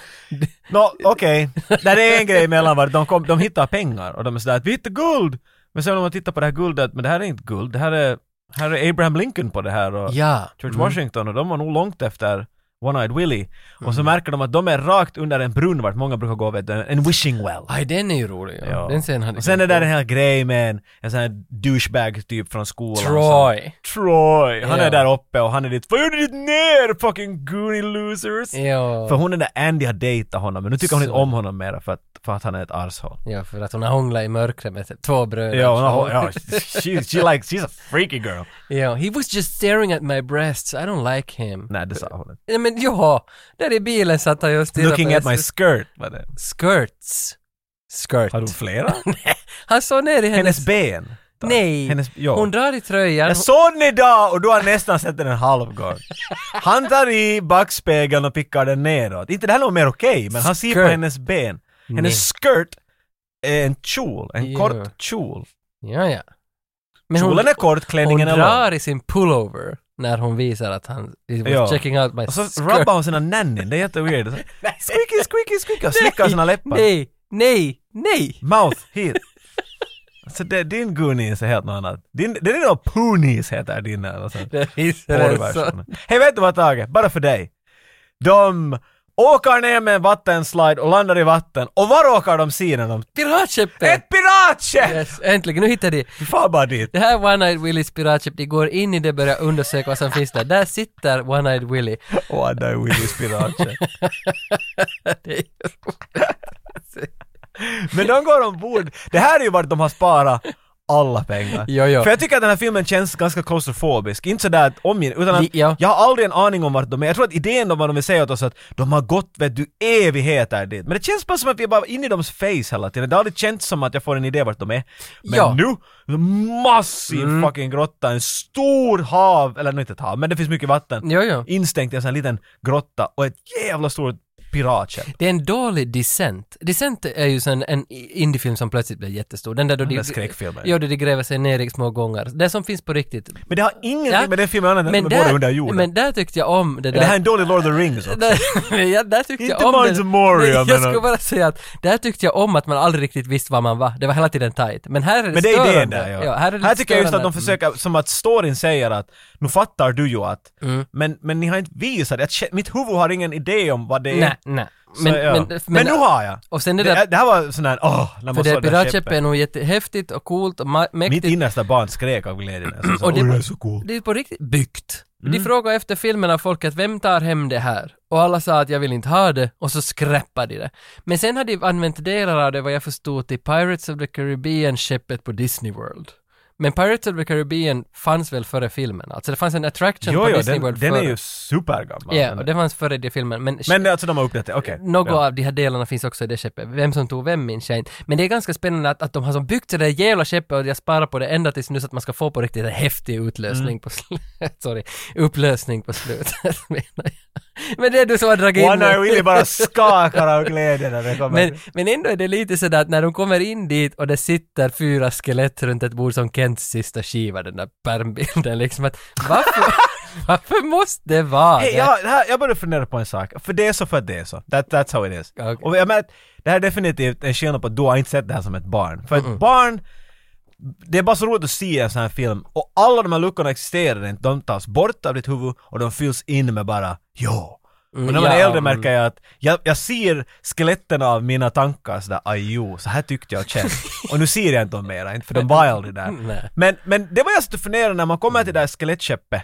B: Nå, okej. Nej, det är en grej mellan varje. De, kom, de hittar pengar och de är sådär att vi hittar guld! Men sen om man tittar på det här guldet, men det här är inte guld, det här är, här är Abraham Lincoln på det här och
A: Ja.
B: George Washington och de var nog långt efter One-Eyed Willie. Och
A: Mm.
B: så märker de att de är rakt under en brunn vart många brukar gå, vet du, en wishing well.
A: Mm. Aj, den är ju rolig. Ah, Ja.
B: Ja.
A: Den sen hade
B: och sen är
A: jag
B: det där en
A: glömt
B: hel grej med en, en sån här douchebag typ från skolan.
A: bort. Troy.
B: som- Troy! Han
A: Ja.
B: är där uppe och han är dit Vad gjorde du dit ner? Fucking goonie losers!
A: Ja.
B: För hon är där Andy har dejtat honom men nu tycker hon inte
A: Så.
B: om honom mer för att, för att han är ett arshål.
A: ja, för att hon har hånglat i mörkret med två bröder.
B: Ja, hon har, ja she, she like, she's a freaky girl.
A: [laughs] Ja, he was just staring at my breasts, I don't like him.
B: Nej, det sa hon inte.
A: Nej men ja, där i bilen satt han just
B: Looking at my skirt, var det.
A: skirts. Skirt.
B: Har du flera?
A: [laughs] Han såg ner i hennes...
B: Hennes ben?
A: Nej,
B: Hennes, ja.
A: hon drar i tröjan.
B: Jag såg den idag och du har nästan sett den en halv gång. Han tar i backspegeln och pickar den neråt. Inte det här är nog mer okej, men han ser på
A: Skirt.
B: hennes ben. Hennes
A: Nej.
B: skirt är en kjol, en
A: Ja.
B: kort kjol.
A: Ja, ja. Men hon,
B: Kjolen är kort,
A: hon
B: klänningen är lång.
A: drar i sin pullover när hon visar att han... He was
B: Ja.
A: checking out my
B: Och så
A: skirt. [laughs]
B: rubbar hon sina nannin, det är jätteweird. Så- Squeaky, squeaky, squeaky och slickar sina läppar.
A: Nej, nej, nej!
B: Mouth, hit. Så det, din Goonies är helt något annat. Din, det är nog Poonies heter din. Alltså.
A: Det finns en sån.
B: Porrversionen. Hej, vet du vad Tage? Bara för dig. De åker ner med en vattenslide och landar i vatten. Och var råkar de se när de...
A: Piratskeppet!
B: Ett piratskepp!
A: Yes, äntligen, nu hittar de.
B: Vi far bara dit.
A: Det här One-Eyed Willys piratskepp, de går in i det och börjar undersöka vad som finns där. Där sitter One-Eyed Willy.
B: Åh, där är Willys piratskepp.
A: Det är ju roligt.
B: Men de går ombord. Det här är ju vart de har sparat alla pengar.
A: Jo, jo.
B: För jag tycker att den här filmen känns ganska klaustrofobisk. Inte sådär att om utan att
A: Li- ja.
B: jag har aldrig en aning om vart de är. Jag tror att idén om vad de vill säga åt oss är att de har gått, vet du, evigheter dit. Men det känns bara som att vi är bara inne i deras face hela tiden. Det har aldrig känts som att jag får en idé vart de är. Men
A: Ja. Mm.
B: nu, en massiv fucking grotta, en stor hav, eller nu inte ett hav, men det finns mycket vatten.
A: Jo, jo.
B: Instängt i en sån här liten grotta och ett jävla stort piratskepp.
A: Det är en dålig Descent. Descent är ju sån en indiefilm som plötsligt blev jättestor. Den där då
B: Den
A: de,
B: där skräckfilmen.
A: Ja, då de gräver sig ner i små gångar. Det som finns på riktigt.
B: Men det har ingenting
A: Ja,
B: med den filmen annat än att de är båda under jorden.
A: men där tyckte jag om det där.
B: Det här är en dålig Lord of the Rings också.
A: där, [laughs] ja, där tyckte
B: Inte
A: jag om
B: Mines
A: det.
B: of Moria,
A: Nej, jag
B: men-
A: skulle bara säga att där tyckte jag om att man aldrig riktigt visste var man var. Det var hela tiden tight. Men här är det
B: Men det är idén
A: störande.
B: där ja.
A: ja här, är det
B: här tycker jag just att de
A: störande.
B: försöker, som att storyn säger att
A: Mm.
B: nu fattar du ju att, men, men ni har inte visat, att, mitt huvud har ingen idé om vad det är
A: Nej. nej.
B: Så, ja. men, nu har jag!
A: Och sen det
B: Det,
A: där,
B: det här var sån där, åh, när
A: för
B: man
A: det
B: såg det här
A: piratskeppet är
B: skeppet.
A: nog jättehäftigt och coolt och ma- mäktigt.
B: Mitt innersta barn skrek av glädje när jag såg så,
A: Och det-
B: "Åh, det är Mm. så coolt.
A: Det är på riktigt byggt. De frågade efter filmen av folket, vem tar hem det här? Och alla sa att jag vill inte ha det, och så skräppade de det. Men sen har de använt delar av det, vad jag förstod, till Pirates of the Caribbean-skeppet på Disney World. Men Pirates of the Caribbean fanns väl före filmen? Alltså det fanns en attraction
B: Jo,
A: på
B: jo,
A: Disney
B: den,
A: World
B: den är
A: före.
B: ju supergammal.
A: Ja, och det fanns före de filmen. Men,
B: Men alltså de har uppdaterat, okej.
A: några
B: ja.
A: av de här delarna finns också i det skeppet. Vem som tog vem minns jag inte. Men det är ganska spännande att, att de har som byggt det där jävla skeppet och jag sparar på det ända tills nu så att man ska få på riktigt en häftig utlösning
B: Mm.
A: på slutet. [laughs] Sorry, upplösning på slutet [laughs] menar jag. Men det är du som har dragit
B: Och
A: in
B: Anna
A: mig. [laughs]
B: och Willy bara skakar av glädje när det kommer.
A: Men, men ändå är det lite sådär att när de kommer in dit och det sitter fyra skelett runt ett bord som Kents sista skiva, den där pärmbilden liksom att varför, [laughs] varför måste det vara
B: Hej,
A: det?
B: jag, det här, jag började fundera på en sak. För det är så för att det är så. That, that's how it is.
A: Okej.
B: Och jag menar, det här är definitivt en skillnad på att du har inte sett det här som ett barn. För ett barn, det är bara så roligt att se en sån här film. Och alla de här luckorna existerar inte. De tas bort av ditt huvud och de fylls in med bara ja. Och när man
A: ja,
B: är äldre
A: mm.
B: märker jag att jag, jag ser skeletten av mina tankar sådär, aj jo, så här tyckte jag
A: [laughs]
B: och kände. och nu ser jag inte dem mera, inte för de var aldrig där.
A: Nej.
B: Men, men det var jag satt och funderade när man kommer till det där skelettskeppet.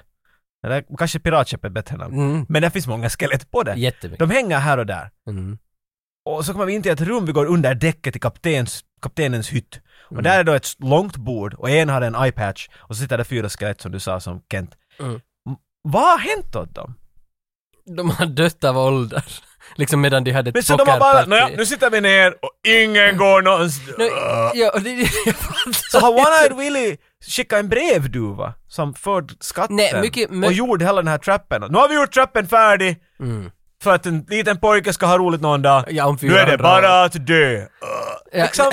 B: Det där, kanske piratskeppet är ett bättre namn.
A: Mm,
B: Men det finns många skelett på det.
A: jättemycket.
B: De hänger här och där.
A: Mm.
B: Och så kommer vi in till ett rum, vi går under däcket i kaptens, kaptenens hytt. Och
A: Mm.
B: där är då ett långt bord och en har en eyepatch och så sitter det fyra skelett som du sa som Kent.
A: Mm.
B: M- Vad har hänt åt dem?
A: De har dött av ålder. [laughs] Liksom medan de hade
B: Men
A: ett
B: så de har bara,
A: pokerparty.
B: "Nåja, nu sitter vi ner och ingen går någonstans.
A: Mm. Nu- ja, och det, [laughs] jag fattar
B: Så har
A: inte.
B: One-Eyed Willy skickat en brevduva som förde skatten
A: Nej, mycket- my-
B: och gjorde hela den här trappen. Nu har vi gjort trappen färdig
A: Mm.
B: för att en liten pojke ska ha roligt någon dag.
A: Ja, om
B: nu är det
A: 400
B: bara att dö. Uh.
A: Ja, [laughs]
B: liksom,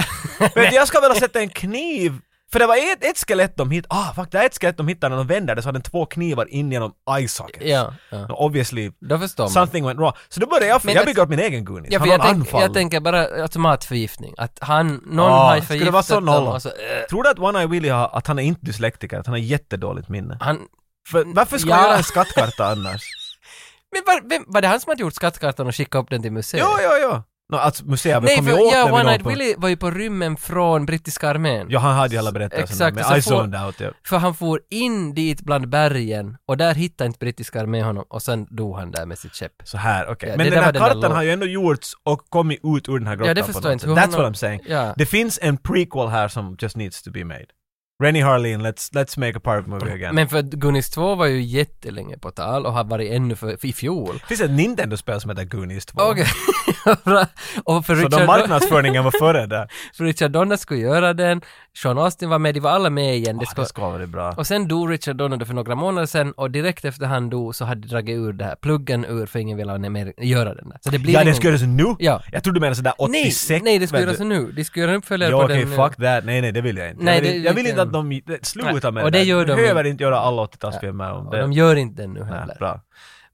B: men jag ska väl ha sett en kniv för det var ett, ett skelett de hittade, ah fuck, det är ett skelett de hittade när de vänder det så hade den två knivar in genom eye sockets.
A: Ja, ja.
B: Och Obviously,
A: Då förstår man.
B: something went wrong. Så då började jag,
A: Men
B: jag
A: att-
B: bygger upp min egen Goonies.
A: Ja, för
B: han
A: jag,
B: har
A: tänk,
B: anfall.
A: jag tänker bara automatförgiftning. Att han, någon
B: Ah,
A: har ju
B: skulle det vara
A: förgiftat
B: så
A: dem
B: noll?
A: och så, eh,
B: Tror du att One-Eye Willy har, att han är inte dyslektiker, att han har jättedåligt minne?
A: han,
B: För, varför ska
A: Mm, Ja.
B: jag göra
A: [laughs]
B: en skattkarta annars?
A: men var, vem, var det han som hade gjort skattkartan och skickat upp den till museet?
B: jo, jo, jo. No, alltså museet har väl
A: Nej,
B: kommit
A: för
B: åt
A: ja,
B: den vid någon
A: One-Eyed
B: punkt.
A: Willy var ju på rymmen från brittiska armén.
B: Ja, han hade ju alla berättelserna.
A: Exakt,
B: Men
A: så
B: I
A: får-
B: zoned out. Ja.
A: För han for in dit bland bergen och där hittade inte brittiska armén honom och sen dog han där med sitt skepp.
B: Så här, okej.
A: Ja,
B: Men
A: det där
B: den här
A: var den där
B: kartan
A: lå-
B: har ju ändå gjorts och kommit ut ur den här grottan
A: Ja, det
B: på
A: förstår
B: något
A: jag inte.
B: sätt.
A: Hur
B: That's
A: han-
B: what I'm saying.
A: Ja.
B: Det finns en prequel här som just needs to be made. Rennie Harlin, let's, let's make a pirate movie again.
A: Men för att Goonies 2 var ju jättelänge på tal och har varit ännu för, för i fjol.
B: Det finns ett Nintendo-spel som heter Goonies 2.
A: Okej. och [laughs] för
B: Så de
A: Richard,
B: marknadsföringen var före där.
A: för Richard Donner skulle göra den, Sean Austin var med, de var alla med igen. [laughs] Det
B: Ah,
A: ska,
B: Det ska, det ska vara bra.
A: och sen dog Richard Donner då för några månader sedan och direkt efter han dog så hade de dragit ur det här pluggen ur för ingen ville ha mer, göra den där. Så det blir
B: Ja,
A: ingen...
B: det ska göras nu?
A: Ja.
B: Jag trodde du menade sådär
A: nej,
B: 86.
A: nej, det ska
B: vet
A: göras
B: du.
A: nu. De ska göra en uppföljare
B: Ja
A: på
B: okej,
A: den. nu.
B: fuck that. Nej nej, det vill jag inte.
A: Nej,
B: jag vill,
A: det-
B: jag vill
A: det-
B: inte att de... Sluta med
A: och det
B: där.
A: gör de
B: Du behöver
A: inte.
B: inte göra alla 80-talsfilmer om
A: Och
B: det.
A: de gör inte den nu
B: Nej,
A: heller.
B: bra.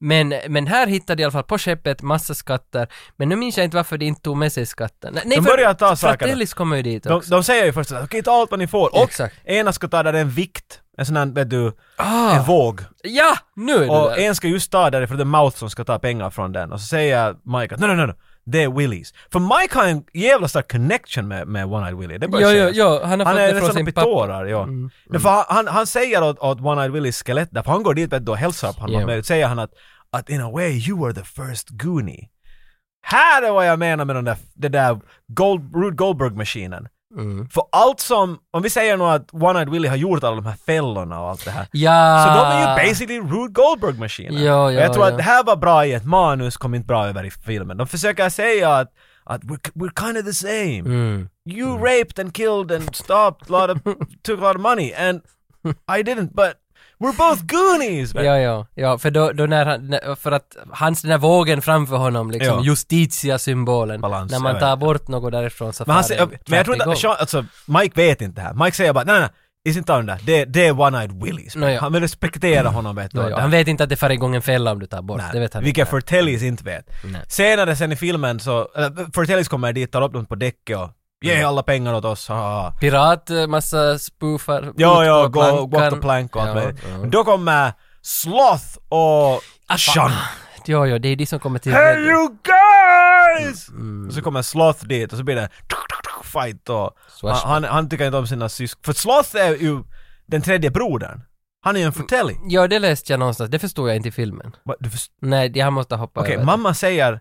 A: Men, men här hittade jag i alla fall på skeppet massa skatter. Men nu minns jag inte varför de inte tog med sig skatten. Nej,
B: De
A: för-
B: börjar ta saker.
A: Fratellis kommer ju dit
B: De,
A: också.
B: de säger ju först att okej, ta allt vad ni får. Och
A: Exakt.
B: ena ska ta där en vikt, en sån här, vet du, en
A: ah,
B: våg.
A: ja, nu är du
B: Och
A: där.
B: en ska just ta därifrån, det är Mouth som ska ta pengar från den. Och så säger Mike att nej, nej, nej, nej, det är Willys. För Mike har en jävla stark connection med, med One-Eyed Willy. Det börjar
A: Jo, jo,
B: sägas.
A: jo, han har
B: Han
A: fått
B: är
A: det från
B: nästan
A: sin
B: uppe i
A: pappa. Mm,
B: tårar, ja. Men för han, han, han säger åt, åt One-Eyed Willys skelett, därför han går dit vet du, och hälsar på honom,
A: Ja.
B: yeah. säger han att, att in a way you were the first Goonie. Här är vad jag menar med den där, den där Gold, Rude Goldberg-maskinen.
A: Mm.
B: För allt som, om vi säger nu att One-Eyed Willy har gjort alla de här fällorna och allt det här.
A: Ja.
B: Så de är ju basically Rude Goldberg-maskiner.
A: Ah. Ja,
B: Och
A: ja,
B: jag tror
A: ja.
B: att det här var bra i ett manus, kom inte bra över i filmen. De försöker säga att, att we're, we're kind of the same.
A: Mm.
B: You raped and killed and stopped a lot of, [laughs] took a lot of money and I didn't but we're both Goonies!
A: Ja, ja, ja, för då, då när han, när- för att hans den där vågen framför honom liksom,
B: Ja.
A: justitia-symbolen.
B: Balans,
A: när
B: jag
A: man
B: vet
A: tar
B: inte.
A: bort något därifrån så
B: Men, han
A: far
B: säger,
A: den
B: men jag tror inte
A: knappt
B: att
A: igång.
B: Sean, alltså Mike vet inte det här. Mike säger bara nej nej nej, inte den där, det, det är One-Eyed Willies.
A: Nå, ja.
B: Han vill respektera honom vet du.
A: Ja,
B: Det
A: ja,
B: här-
A: Han vet inte att det far igång en fälla om du tar bort.
B: Nej,
A: Det vet han
B: vilket
A: inte.
B: Fortellis inte vet.
A: Nej.
B: Senare sen i filmen så, eller, Fortellis kommer dit, tar upp dem på däcket och
A: Mm.
B: ge alla pengar åt oss. ha, ha, ha.
A: Pirat, eh, massa spoofar.
B: Ja,
A: ut
B: ja,
A: på
B: gå, gå
A: plankan.
B: off the plank och allt
A: Ja,
B: möjligt.
A: ja. Alltså,
B: Men Då kommer Sloth och Sean.
A: Ah, Ja, ja, det är de som kommer till...
B: Here you go! guys!
A: Mm,
B: Och så kommer Sloth dit och så blir det fight och han,
A: Swash-
B: han, han tycker inte om sina syskon. För Sloth är ju den tredje brodern. Han är ju en fratelli.
A: Ja, det läste jag någonstans. Det förstod jag inte i filmen.
B: Va, du först-
A: Nej, jag måste hoppa
B: Okej,
A: över. det.
B: mamma säger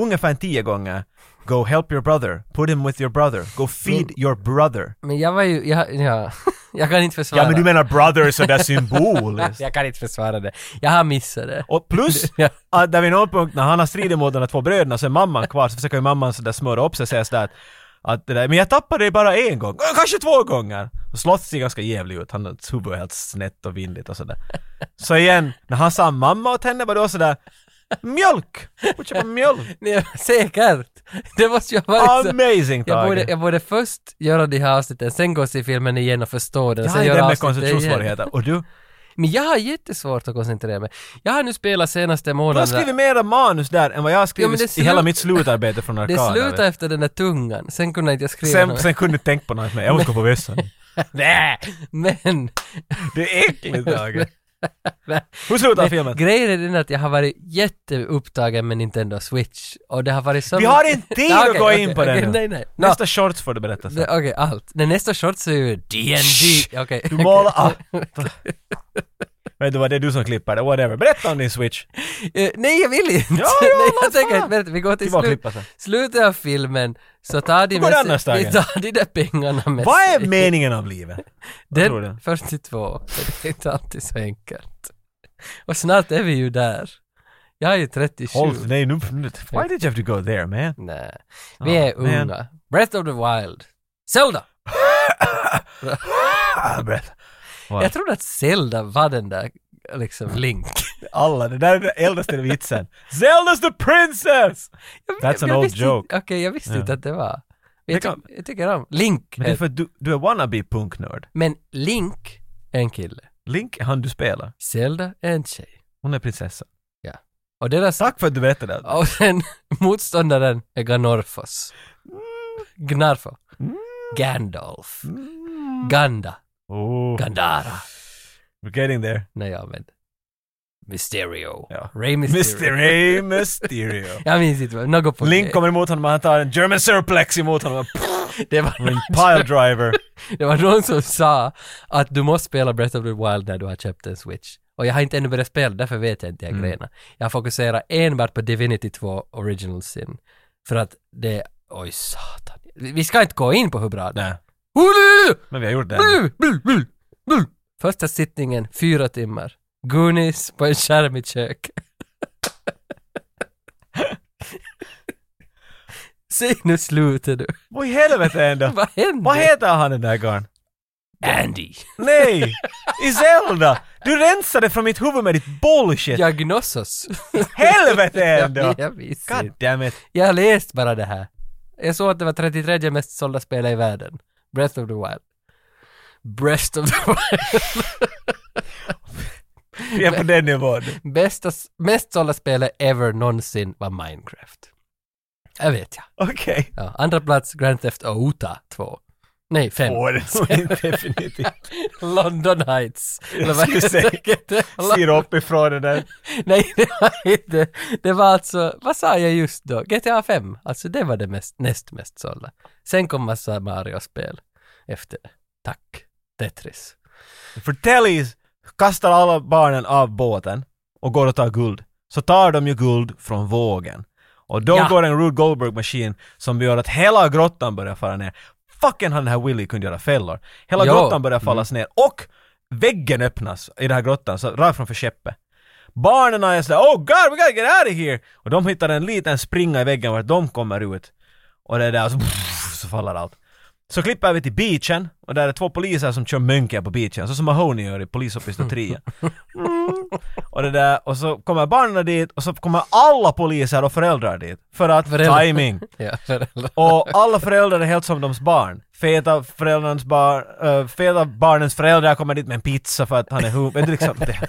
B: ungefär tio gånger Go help your brother, put him with your brother,
A: Mm.
B: go feed your brother.
A: Men jag var ju, jag, ja, [laughs] jag kan inte försvara.
B: Ja men du menar brother
A: [laughs]
B: sådär symboliskt.
A: Jag kan inte försvara det. Jag har missat det.
B: Och plus
A: [laughs] Ja.
B: att där vid någon punkt när han har stridit mot de där två bröderna så är mamman kvar så försöker ju mamman sådär smöra upp sig och säga sådär att, att det där, men jag tappade dig bara en gång, "Äh, kanske två gånger. Och Sloth ser ganska jävlig ut, han hans huvud är helt snett och vindigt
A: [laughs]
B: och sådär. Så igen, när han sa mamma åt henne var det också sådär Mjölk! Får
A: [laughs]
B: köpa mjölk!
A: Nej, säkert! Det måste ju ha varit så.
B: Amazing
A: Jag borde,
B: Tage!
A: jag borde först göra de här avsnitten, sen gå och se filmen igen och förstå den.
B: Jag
A: sen
B: har ju
A: göra
B: det med
A: avsnitten igen.
B: koncentrationssvårigheter. Och du?
A: Men jag har jättesvårt att koncentrera mig. Jag har nu spelat senaste
B: Du har
A: månaden...
B: skrivit mera manus där än vad jag har
A: men
B: skrivit
A: det
B: i hela
A: slu-
B: mitt slutarbete
A: [laughs]
B: från
A: Det
B: Arkada.
A: slutade efter den där tungan, sen kunde inte jag skriva
B: sen,
A: något.
B: sen kunde du inte tänka på något mer. Jag måste gå på
A: [laughs]
B: vässan.
A: Nej, [laughs] men...
B: Det är äckligt Tage. Hur slutar filmen?
A: Grejen är den att jag har varit jätteupptagen med Nintendo Switch och det har varit så...
B: Vi har inte tid
A: [laughs] Ja,
B: att
A: okej,
B: gå
A: okej,
B: in på
A: okej,
B: den
A: Nej,
B: nu.
A: nej. Nå,
B: Nästa shorts får du berätta
A: det-
B: sen.
A: Okej, allt. Den nästa shorts är ju
B: Shh,
A: D&D. Okej.
B: Du målar upp. Vet du vad, det är du som klipper det. Whatever. Berätta om din switch.
A: [laughs] Eh, nej, jag vill inte!
B: ja,
A: [laughs] nej, jag
B: vad
A: tänker
B: fan.
A: inte berätta. Vi går till
B: Det var att
A: slut,
B: klippa sen.
A: slutet av filmen så tar de
B: går det
A: med [laughs]
B: annars,
A: sig,
B: Tage?
A: de tar de där pengarna med
B: Vad är
A: sig.
B: meningen
A: [laughs]
B: av livet? Vad tror
A: Den
B: du?
A: 42, det är inte alltid så enkelt. Och snart är vi ju där. Jag är ju 37.
B: Håll, nej nu, why did you have to go
A: [laughs]
B: there man? [laughs]
A: Nej. Vi är
B: men-
A: unga. Breath of the Wild. Zelda!
B: Ah, berätta. Wow.
A: Jag trodde att Zelda var den där liksom Link.
B: Alla, det där är den äldsta vitsen. Zelda's the princess!
A: Jag-
B: That's an
A: jag
B: old
A: visste
B: joke.
A: inte- Okej, jag visste
B: Ja.
A: inte att det var. Men Jag,
B: Det kan-
A: ty- jag tycker om Link.
B: Men det är
A: Men,
B: för att du, du är wannabe punknörd.
A: men Link är en kille.
B: Link är han du spelar.
A: Zelda är en tjej.
B: Hon är prinsessa.
A: Och deras...
B: Tack för att du berättade det.
A: Och sen motståndaren är Gandorfos.
B: Mm.
A: Gnarfo. Gandalf. Ganda.
B: Mm. Oh,
A: Gandara.
B: we're getting there.
A: Nej, jag men... Mysterio.
B: Ja.
A: Ray Mysterio.
B: Mr. A. Mysterio.
A: [laughs] Jag minns inte, vad- något på
B: Link
A: G.
B: kommer emot honom och han tar en German surplex
A: [laughs]
B: emot honom.
A: Det var,
B: En pile driver.
A: [laughs] det var någon som sa att du måste spela Breath of the Wild när du har köpt en Switch. Och jag har inte ännu börjat spela, därför vet jag inte de
B: Mm.
A: här grejerna. Jag fokuserar enbart på Divinity 2 Original Sin. För att det... Oj, satan. Vi vi ska inte gå in på hur bra det är.
B: Nej,
A: Hulu!
B: men vi har gjort det.
A: Blu, blu, blu, blu. Första sittningen, fyra timmar. Goonies på en skärm i kök. [laughs] Säg nu slutet du.
B: Vad i helvete ändå?
A: Vad händer?
B: Vad heter han den där garn?
A: Andy?
B: Nej! I Zelda! Du rensade från mitt huvud med ditt bullshit!
A: Jag gnossos.
B: Helvete
A: [laughs]
B: ändå!
A: jag, jag visste
B: God
A: inte.
B: damn it.
A: Jag har läst bara det här. Jag såg att det var 33 mest sålda spel i världen. Breath of the Wild. Breath of the [laughs] Wild.
B: Vi är på den nivån.
A: Bästa, mest sålda spelet ever någonsin var Minecraft. Jag vet jag.
B: Okej.
A: Ja, andra plats Grand Theft Auto 2. Nej, 5.
B: Åh,
A: [laughs]
B: det var inte definitivt.
A: London Heights. Eller vad
B: skulle
A: heter
B: säga-
A: det?
B: Ser upp ifrån den där.
A: Nej, det var inte. Det var alltså, vad sa jag just då? GTA 5. Alltså det var det mest, näst mest sålda. Sen kom massa Mario-spel efter det. Tack. Tetris.
B: Fortellis kastar alla barnen av båten och går och tar guld. Så tar de ju guld från vågen. Och då
A: Ja.
B: går en Rube Goldberg-maskin som gör att hela grottan börjar fara ner. Fucking han den här Willy kunde göra fällor. Hela
A: Ja.
B: grottan börjar fallas ner och väggen öppnas i den här grottan, så rakt framför skeppet. Barnen är sådär ”Oh God, we gotta get out of here!” och de hittar en liten springa i väggen vart de kommer ut. Och det där, så, så faller allt. Så klipper vi till beachen och där är två poliser som kör mönker på beachen, så som Mahoney gör i Polis och
A: [laughs]
B: pistol 3. Mm. Och det där, och så kommer barnen dit och så kommer alla poliser och föräldrar dit. För att
A: Föräldrar.
B: timing.
A: Ja, [laughs] föräldrar.
B: Och alla föräldrar är helt som deras barn. Feta, föräldrarnas barn, eh, feta barnens föräldrar kommer dit med en pizza för att han är hu... Vet du liksom, det-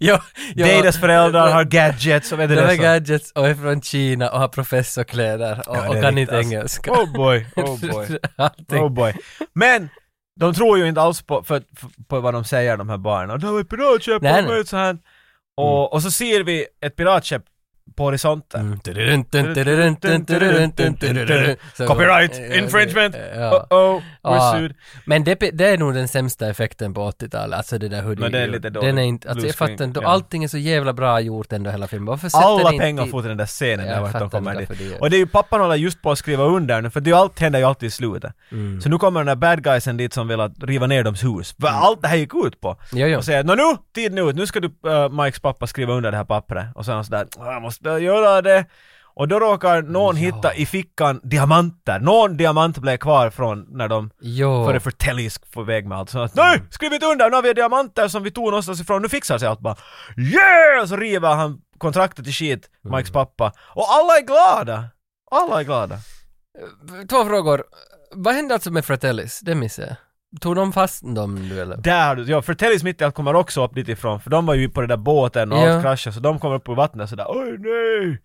A: ja, [laughs] ja.
B: Deras föräldrar har gadgets och vet du
A: De har
B: det så.
A: gadgets och är från Kina och har professorkläder och,
B: Ja, det
A: och
B: är
A: kan
B: riktigt,
A: inte
B: alltså.
A: engelska.
B: Oh boy,
A: [laughs]
B: oh boy.
A: Allting.
B: Oh boy. Men de tror ju inte alls på, för, för, på vad de säger de här barnen. Och det var ett piratskepp,
A: Nej, Mm.
B: de
A: nej.
B: var ett så här. Och, och så ser vi ett piratskepp på horisonten.
A: Så-
B: Copyright
A: Ja,
B: infringement!
A: ja.
B: Uh-oh, we're
A: Ja.
B: sued.
A: Men det, det är nog den sämsta effekten på 80-talet, alltså det där hur
B: Men det är
A: gjorde.
B: lite dåligt.
A: Den är inte, alltså
B: Blue
A: jag fattar
B: screen,
A: inte,
B: ja.
A: allting är så jävla bra gjort ändå hela filmen. Varför sätter
B: Alla
A: ni
B: pengar
A: inte...
B: får till den där scenen
A: Ja,
B: där
A: jag
B: vart de
A: fattar
B: kommer
A: inte
B: dit.
A: varför det görs.
B: Och det är ju pappan håller just på att skriva under nu, för det är ju allt händer ju alltid i slutet.
A: Mm.
B: Så nu kommer den där bad guysen dit som vill att riva ner dems hus. Vad
A: Mm.
B: allt det här gick ut på.
A: Jo, jo.
B: Och säger Nå nu, tiden är ut, nu ska du äh, Mikes pappa skriva under det här pappret. Och så är han sådär, "Ah, jag måste göra det. Och då råkar någon hitta i fickan diamanter. Någon diamant blev kvar från när de
A: Jo.
B: före förtäljes på väg med allt sånt. att, Nej! Skriv inte under! Nu har vi diamanter som vi tog någonstans ifrån, nu fixar sig allt bara. Yeah! Så river han kontraktet i skit,
A: Mm.
B: Mikes pappa. Och alla är glada! Alla är glada.
A: Två frågor. Vad hände alltså med Fratellis? Det missade jag. Tog de fast dem nu eller?
B: Där har du, ja Fratellis mitt i allt kommer också upp dit ifrån, för de var ju på den där båten och
A: Ja.
B: allt kraschade, så de kommer upp på vattnet sådär oj nej!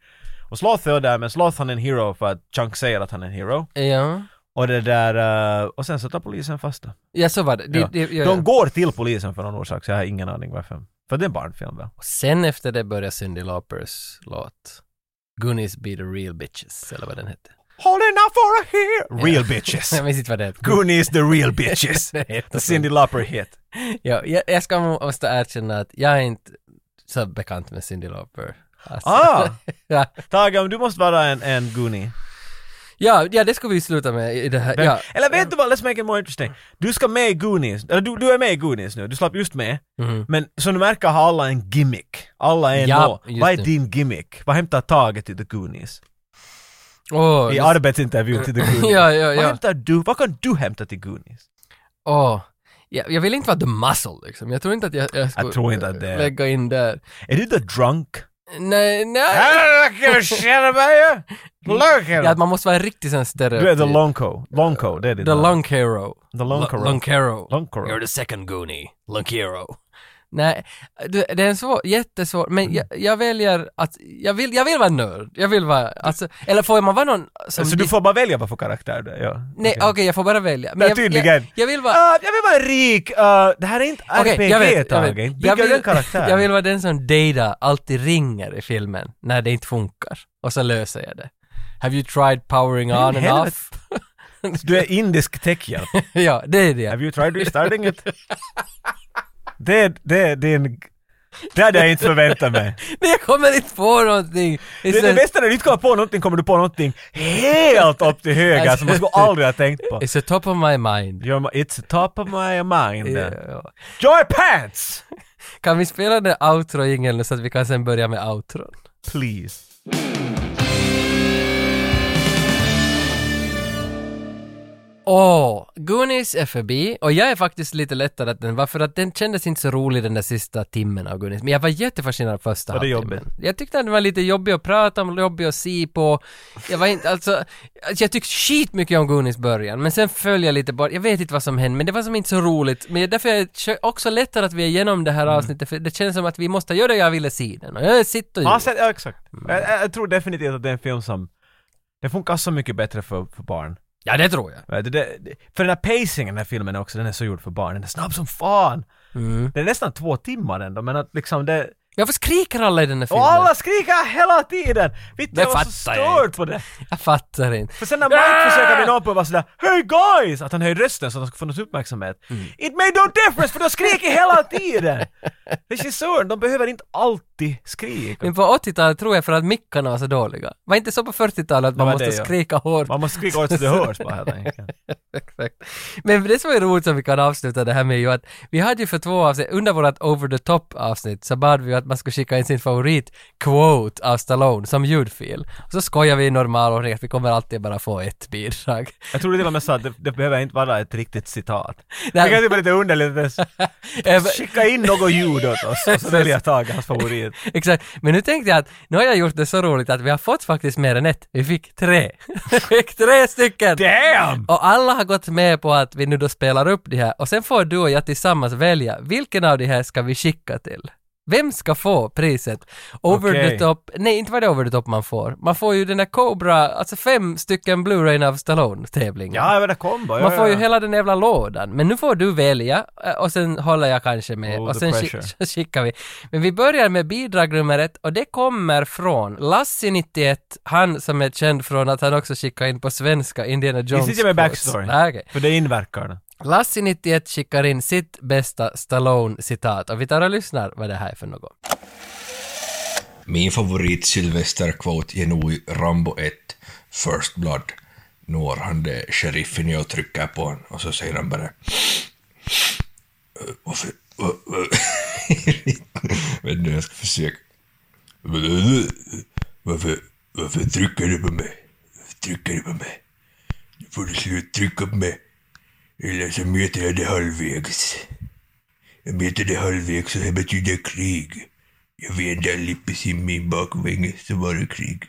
B: Och Sloth är där, men Sloth han är en hero för att Chunk säger att han är en hero.
A: Ja.
B: Och det där, eh, och sen så tar polisen fast dem.
A: Ja, så var det. De,
B: Ja.
A: de, ja, ja.
B: De går till polisen för någon orsak, så jag har ingen aning varför. För det är en barnfilm väl?
A: Och sen efter det började Cyndi Laupers låt. Goonies be the real bitches, eller vad den hette.
B: Holding out for a hero! [laughs] Real bitches!
A: Jag minns inte vad det hette.
B: Goonies the real
A: [laughs]
B: bitches!
A: Det heter så.
B: The Cyndi Lauper hit.
A: Ja, jag, jag ska må- måste erkänna att jag är inte så bekant med Cyndi Lauper. Alltså,
B: Ah!
A: ja,
B: Tage, om du måste vara en, en Goonie.
A: [laughs] ja, ja, det ska vi sluta med i det här.
B: Vem-
A: Ja.
B: Eller vet du vad, let's make it more interesting. Du ska med i Goonies, eller du, du är med i Goonies nu, du slapp just med.
A: Mhm.
B: Men som du märker har alla en gimmick. Alla är
A: Ja,
B: nå.
A: just
B: Vad är
A: det.
B: din gimmick? Vad hämtar Tage till The Goonies?
A: Åh,
B: I
A: nu- [laughs]
B: arbetsintervjun till The Goonies.
A: Ja, ja,
B: Vad
A: ja.
B: hämtar du? Vad kan du hämta till Goonies?
A: åh. Ja, jag vill inte vara the muscle liksom. Jag tror inte att jag, jag ska
B: Jag tror inte att det är-
A: lägga in där.
B: Är du the drunk?
A: Nej, nej.
B: I don't give a shit about you! Look at
A: Ja,
B: him.
A: att man måste vara en riktig sån stereotyp.
B: Du är the lonko. Lonko, det är ditt
A: The
B: namn.
A: lung hero.
B: The Lonkero.
A: Lunkero.
B: Lonkero.
A: You're the second goonie. Lunkero. Nej, du, det är en svår, jättesvår, men jag,
B: Mm.
A: jag väljer att, jag vill, jag vill vara nörd. Jag vill vara, alltså, eller får man vara någon som...
B: Så Alltså, du får bara välja vad för karaktär du är? Ja.
A: Nej, okej, jag får bara välja. Men
B: Ja,
A: jag,
B: tydligen.
A: Jag, jag vill vara...
B: Ah, jag vill vara rik! Ah, det här är inte
A: Okej,
B: RPG,
A: jag vet, jag vet.
B: Tage. Bygga
A: Jag vill,
B: den
A: [laughs]
B: karaktären.
A: jag vill vara den som Data alltid ringer i filmen när det inte funkar. Och så löser jag det. Have you tried powering
B: Men
A: on and
B: helvete.
A: off? [laughs]
B: Du är indisk techhjälp.
A: ja, det är det.
B: Have you tried restarting it? det, är- det är din... Det hade jag inte
A: [laughs]
B: förväntat mig.
A: Men jag kommer inte på någonting.
B: Det, är det bästa när du inte kommer på någonting kommer du på någonting helt upp till höger som man skulle aldrig ha tänkt på.
A: Alltså, [laughs] It's the top of my mind.
B: You're my, it's top of my mind.
A: Ja.
B: Joy pants!
A: Kan vi spela den outro jingeln så att vi kan sen börja med outron?
B: Please.
A: Åh, Goonies är förbi och jag är faktiskt lite lättare att den var för att den kändes inte så rolig den där sista timmen av Goonies. Men jag var jättefascinerad första
B: Var det
A: halvtimmen. Jag tyckte att den var lite jobbig att prata om, jobbig att se på. Jag var inte, alltså, alltså, jag tyckte skitmycket om Goonies början men sen föll jag lite bort. Jag vet inte vad som hände men det var som inte så roligt. Men därför är det kö- också lättare att vi är igenom det här
B: Mm.
A: avsnittet för det känns som att vi måste göra det jag ville se den. Och jag sitter ju.
B: Ja, sen, ja exakt.
A: Mm.
B: Jag, jag, jag tror definitivt att det är en film som... Den funkar så mycket bättre för, för barn.
A: Ja, det tror jag.
B: Vet du, Det, det, för den här pacingen i den här filmen också, den är så gjord för barn. Den är snabb som fan!
A: Mm.
B: Den är nästan två timmar ändå, men att liksom det...
A: Ja, varför skriker alla i den här filmen?
B: Och alla skriker hela tiden! Vitt
A: Det
B: jag var så
A: fattar jag Ah!
B: störd på det!
A: Jag fattar inte.
B: För sen när Mike försöker vinna upp och vara sådär ”Hey guys!” att han höjer rösten så att han ska få något uppmärksamhet.
A: Mm.
B: It made no difference för de skriker hela tiden! [laughs] Regissören, de behöver inte alltid skrika.
A: Men på 80-talet tror jag för att mickarna var så dåliga. Var inte så på 40-talet att man
B: var
A: måste
B: det, ja.
A: skrika hårt?
B: Man måste skrika åt så det hörs bara helt enkelt.
A: [laughs] Exakt. Men det som är roligt som vi kan avsluta det här med är ju att vi hade ju för två avsnitt, under vårt over the top avsnitt så bad vi ju att man skulle skicka in sin favorit quote av Stallone som ljudfil. Och så skojar vi i normal ordning att vi kommer alltid bara få ett bidrag. [laughs]
B: Jag tror det var med så att det, det behöver inte vara ett riktigt citat.
A: Nej.
B: Det kan typ vara lite underligt.
A: [laughs] Eh,
B: Skicka in något ljud åt oss och så väljer jag Tage, hans favorit.
A: Exakt, men nu tänkte jag att nu har jag gjort det så roligt att vi har fått faktiskt mer än ett. Vi fick tre. [laughs] vi fick tre stycken!
B: Damn!
A: Och alla har gått med på att vi nu då spelar upp det här och sen får du och jag tillsammans välja vilken av de här ska vi skicka till. Vem ska få priset? Over
B: Okej.
A: the top, nej inte var det over the top man får. Man får ju den där Cobra, alltså fem stycken Blu-ray av Stallone-tävlingen.
B: Ja, jag vet det kombo. Ja,
A: Man får ju
B: ja.
A: hela den jävla lådan. Men nu får du välja eh, och sen håller jag kanske med
B: Oh,
A: och
B: the
A: sen skick, [laughs] så
B: pressure.
A: skickar vi. Men vi börjar med bidrag nummer ett och det kommer från Lassi91, han som är känd från att han också skickar in på svenska Indiana Jones.
B: sitter med
A: quotes.
B: backstory.
A: Nej, okej.
B: För det
A: [laughs]
B: inverkar det.
A: Lassi91 skickar in sitt bästa Stallone-citat och vi tar och lyssnar vad det här är för något.
I: Min favorit Sylvester-quote är nog i Rambo 1, First Blood. Når han det sheriffen jag trycker på honom och så säger han bara... "Eh, Varför... va- va-" Vänta nu, jag ska försöka. Varför, varför trycker du på mig? Varför trycker du på mig? Nu får du sluta trycka på mig. Eller så möter jag dig halvvägs. Jag möter dig halvvägs och det betyder krig. Jag vänder Lippis i min bakvinge så var det krig.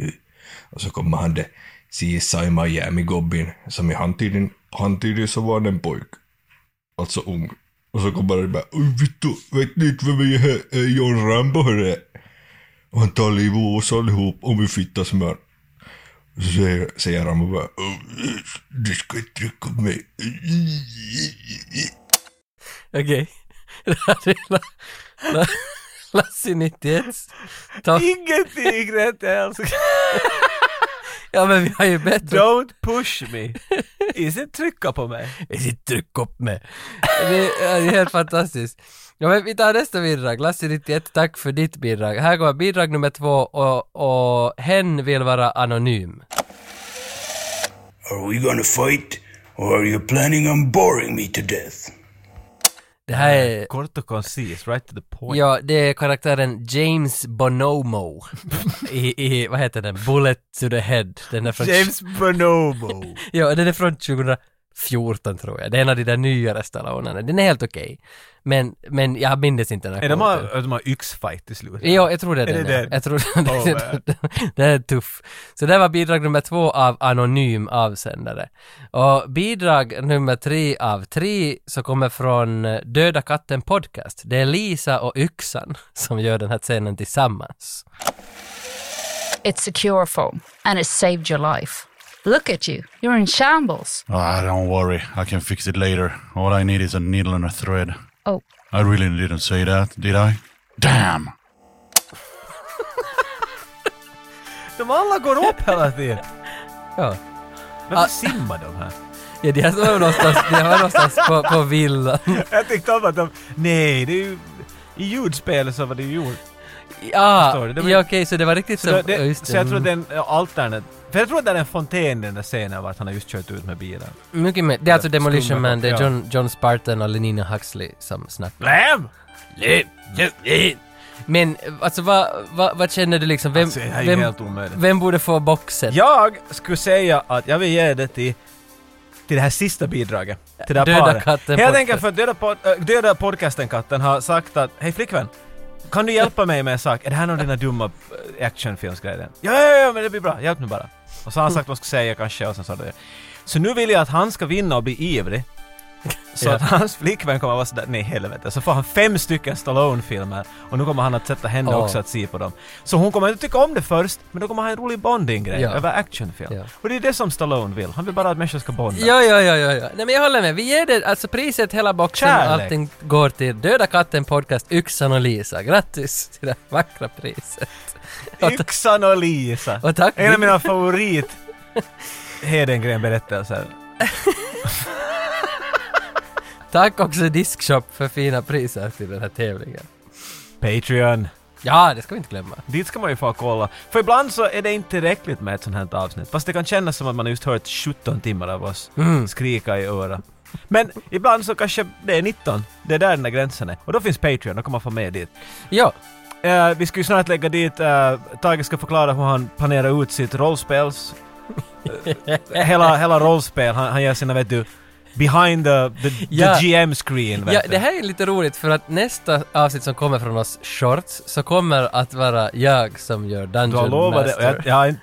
I: Eh, Och så kommer han det CSI Miami-gobbyn som i handtiden, handtiden så var han en pojk. Alltså ung. Och så kommer han bara Oj Vittu, vet ni inte vem jag är? här? Eh, John Rambo hörru. Och han tar livet av oss allihop om vi fittar smör. Och så säger, säger Rambo bara "Åh, eh, Du ska inte trycka på mig.
A: [laughs] Okej. Det här är La- La- Lassi91.
B: [laughs]
A: Ta-
B: Ingenting rätt alls.
A: Ja men vi har ju bättre
B: Don't push me. Inte trycka på mig.
A: sitt tryck upp med. Det är det är helt fantastiskt. Ja, men vi tar nästa bidrag. Lasse91, tack för ditt bidrag. Här går bidrag nummer två och, och hen vill vara anonym.
I: Are we gonna fight? Or are you planning on boring me to death?
A: Det här är,
B: Kort och koncis, right to the point.
A: ja, det är karaktären James Bonomo i, i, vad heter den, Bullet to the Head. Den är från,
B: James Bonobo.
A: [laughs] ja, den är från 2014 tror jag. Det är en av de där nyare Stallonerna. Den är helt okej. Men, men jag minns inte den här
B: Är de
A: quoten.
B: har, de har yxfight i slutet.
A: Ja, jag tror det är,
B: Är
A: den.
B: det
A: ja.
B: den?
A: Jag tror det,
B: Oh,
A: [laughs] det, det är tuff. Så det var bidrag nummer två av anonym avsändare. Och bidrag nummer tre av tre så kommer från eh, Döda katten podcast. Det är Lisa och Yxan [laughs] som gör den här scenen tillsammans.
J: It's secure foam and it saved your life. Look at you. You're in shambles.
K: Ah, don't worry. I can fix it later. All I need is a needle and a thread.
J: Oh,
K: I really didn't say that, did I? Damn!
B: De alla går upp hela tiden.
A: Ja, Ah.
B: Varför simmar de här?
A: ja de här står någonstans, de här var någonstans på, på
B: [laughs]
A: villan.
B: Jag tyckte om att de... Nej, det är ju... I ljudspelet så var det ju gjort.
A: Ja,
B: Förstår du? Det var-
A: ja okej, så det var riktigt
B: Så, det,
A: som... ja,
B: det,
A: just
B: så jag tror
A: mm.
B: att det är en alternat... För jag tror att det är en fontän den där scenen vart han har just kört ut med bilen.
A: Mycket mer. Det är alltså Demolition
B: Skumma
A: Man, det är
B: koppar, ja.
A: John, John Spartan och Lenina Huxley som snackar.
B: Blam!
A: Men alltså vad, vad, vad känner du liksom, vem,
B: Alltså, det här är ju
A: vem,
B: helt omöjligt.
A: vem borde få boxen?
B: Jag skulle säga att jag vill ge det till, till det här sista bidraget. Till det här
A: Döda
B: paret.
A: katten
B: Helt
A: podcast.
B: enkelt för att döda, pod, äh, döda podcasten-katten har sagt att Hej flickvän! Kan du hjälpa mig med en sak? Är det här någon av dina dumma äh, actionfilmsgrejer? Ja, ja, ja, men det blir bra. Hjälp nu bara. Och så har han sagt vad jag ska säga kanske och sen sa det. Så nu vill jag att han ska vinna och bli ivrig. Så
A: Ja.
B: att hans flickvän kommer att vara sådär, nej helvete. Så får han fem stycken Stallone-filmer och nu kommer han att sätta henne
A: Ja.
B: också att se på dem. Så hon kommer inte tycka om det först, men då kommer han ha en rolig bonding-grej
A: Ja.
B: över actionfilm.
A: Ja.
B: Och det är det som Stallone vill, han vill bara att människor ska bonda.
A: Ja, ja, ja, ja, ja. Nej men jag håller med. Vi ger det, alltså priset, hela boxen,
B: Kärlek.
A: allting går till Döda katten podcast, Yxan och Lisa. Grattis till det vackra priset. Och, ta-
B: Yxan och Lisa!
A: och tack.
B: en av mina favorit Hedengren-berättelser.
A: Tack också Diskshop för fina priser till den här tävlingen.
B: Patreon.
A: Ja, det ska vi inte glömma.
B: Dit ska man ju få kolla. För ibland så är det inte tillräckligt med ett sånt här avsnitt. Fast det kan kännas som att man just hört 17 timmar av oss
A: Mm.
B: skrika i öra. Men ibland så kanske det är 19. Det är där den där gränsen är. Och då finns Patreon, då kan man få med dit.
A: Ja,
B: Eh, vi ska ju snart lägga dit, uh, Tage ska förklara hur han planerar ut sitt rollspels... eh, hela, hela rollspel, han, han gör sina vet du... Behind the, the, the
A: Ja.
B: GM-screen vet
A: ja,
B: du.
A: det här är lite roligt för att nästa avsnitt som kommer från oss, Shorts, så kommer att vara jag som gör Dungeon
B: Du har lovat det
A: Master.
B: och jag, jag har inte...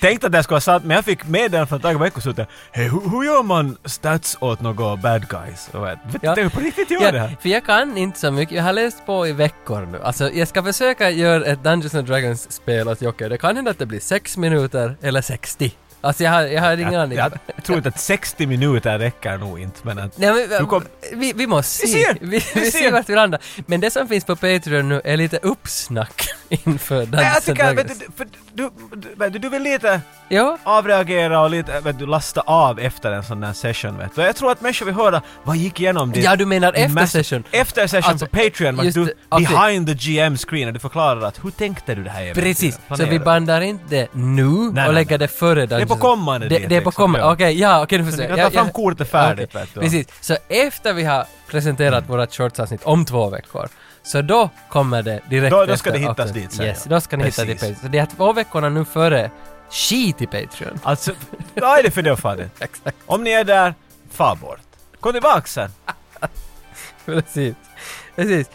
B: Tänkte att det skulle ha satt, men jag fick meddelande från Tage veckoslutet. Hej, hur, hur gör man stats åt några bad guys? Jag vet vet du på riktigt gör det här?
A: För jag kan inte så mycket, jag har läst på i veckor nu. Alltså jag ska försöka göra ett Dungeons and Dragons-spel åt Jocke. Det kan hända att det blir 6 minuter eller 60. Alltså jag har, jag har ingen aning.
B: Jag tror inte att 60 minuter räcker nog inte, men
A: [laughs]
B: att...
A: Nej, men,
B: du kom,
A: vi, vi måste
B: Vi
A: se.
B: ser!
A: Vi,
B: Vi
A: vi,
B: ser!
A: ser vart vi landar. Men det som finns på Patreon nu är lite uppsnack [laughs] inför Dungeons
B: Nej, jag tycker,
A: and
B: vet
A: Dragons.
B: du, för du, du, vet du, du vill lite
A: ja.
B: avreagera och lite, vet du, lasta av efter en sån här session vet du. Jag tror att människor vill höra, vad gick igenom din...
A: Ja, du menar
B: din
A: efter
B: mass-
A: session?
B: Efter session
A: Alltså,
B: på Patreon, men
A: just
B: du,
A: det, okej.
B: behind the GM-screen, du förklarar att hur tänkte du det här äventyret?
A: Precis, så
B: Planerade
A: vi
B: du?
A: bandar inte det nu
B: nej,
A: och lägger
B: nej.
A: det före Dungeons.
B: Det är på kommande
A: Det,
B: dit,
A: det är på
B: liksom,
A: kommande,
B: ja.
A: okej, ja, okej, nu
B: Så
A: förstår
B: ni
A: jag.
B: kan ta
A: Jag-
B: fram
A: jag-
B: kortet färdigt,
A: okej,
B: vet du.
A: Precis, så efter vi har presenterat vårat shortsavsnitt om två veckor, så då kommer det direkt
B: Då- då ska
A: efter
B: det hittas
A: avsnittet.
B: dit, säger
A: Yes,
B: jag.
A: då ska ni hitta till
B: Precis.
A: Patreon. Så det är två veckorna nu före skit i Patreon. [laughs]
B: Alltså, vad är det för det fadet?
A: Exakt.
B: Om ni är där, far bort. Kom tillbaka sen.
A: Precis. Precis.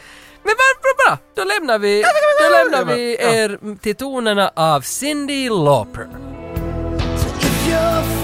A: Men vad bra, då lämnar vi, då lämnar vi er till tonerna av Cindy Lauper.
C: If you're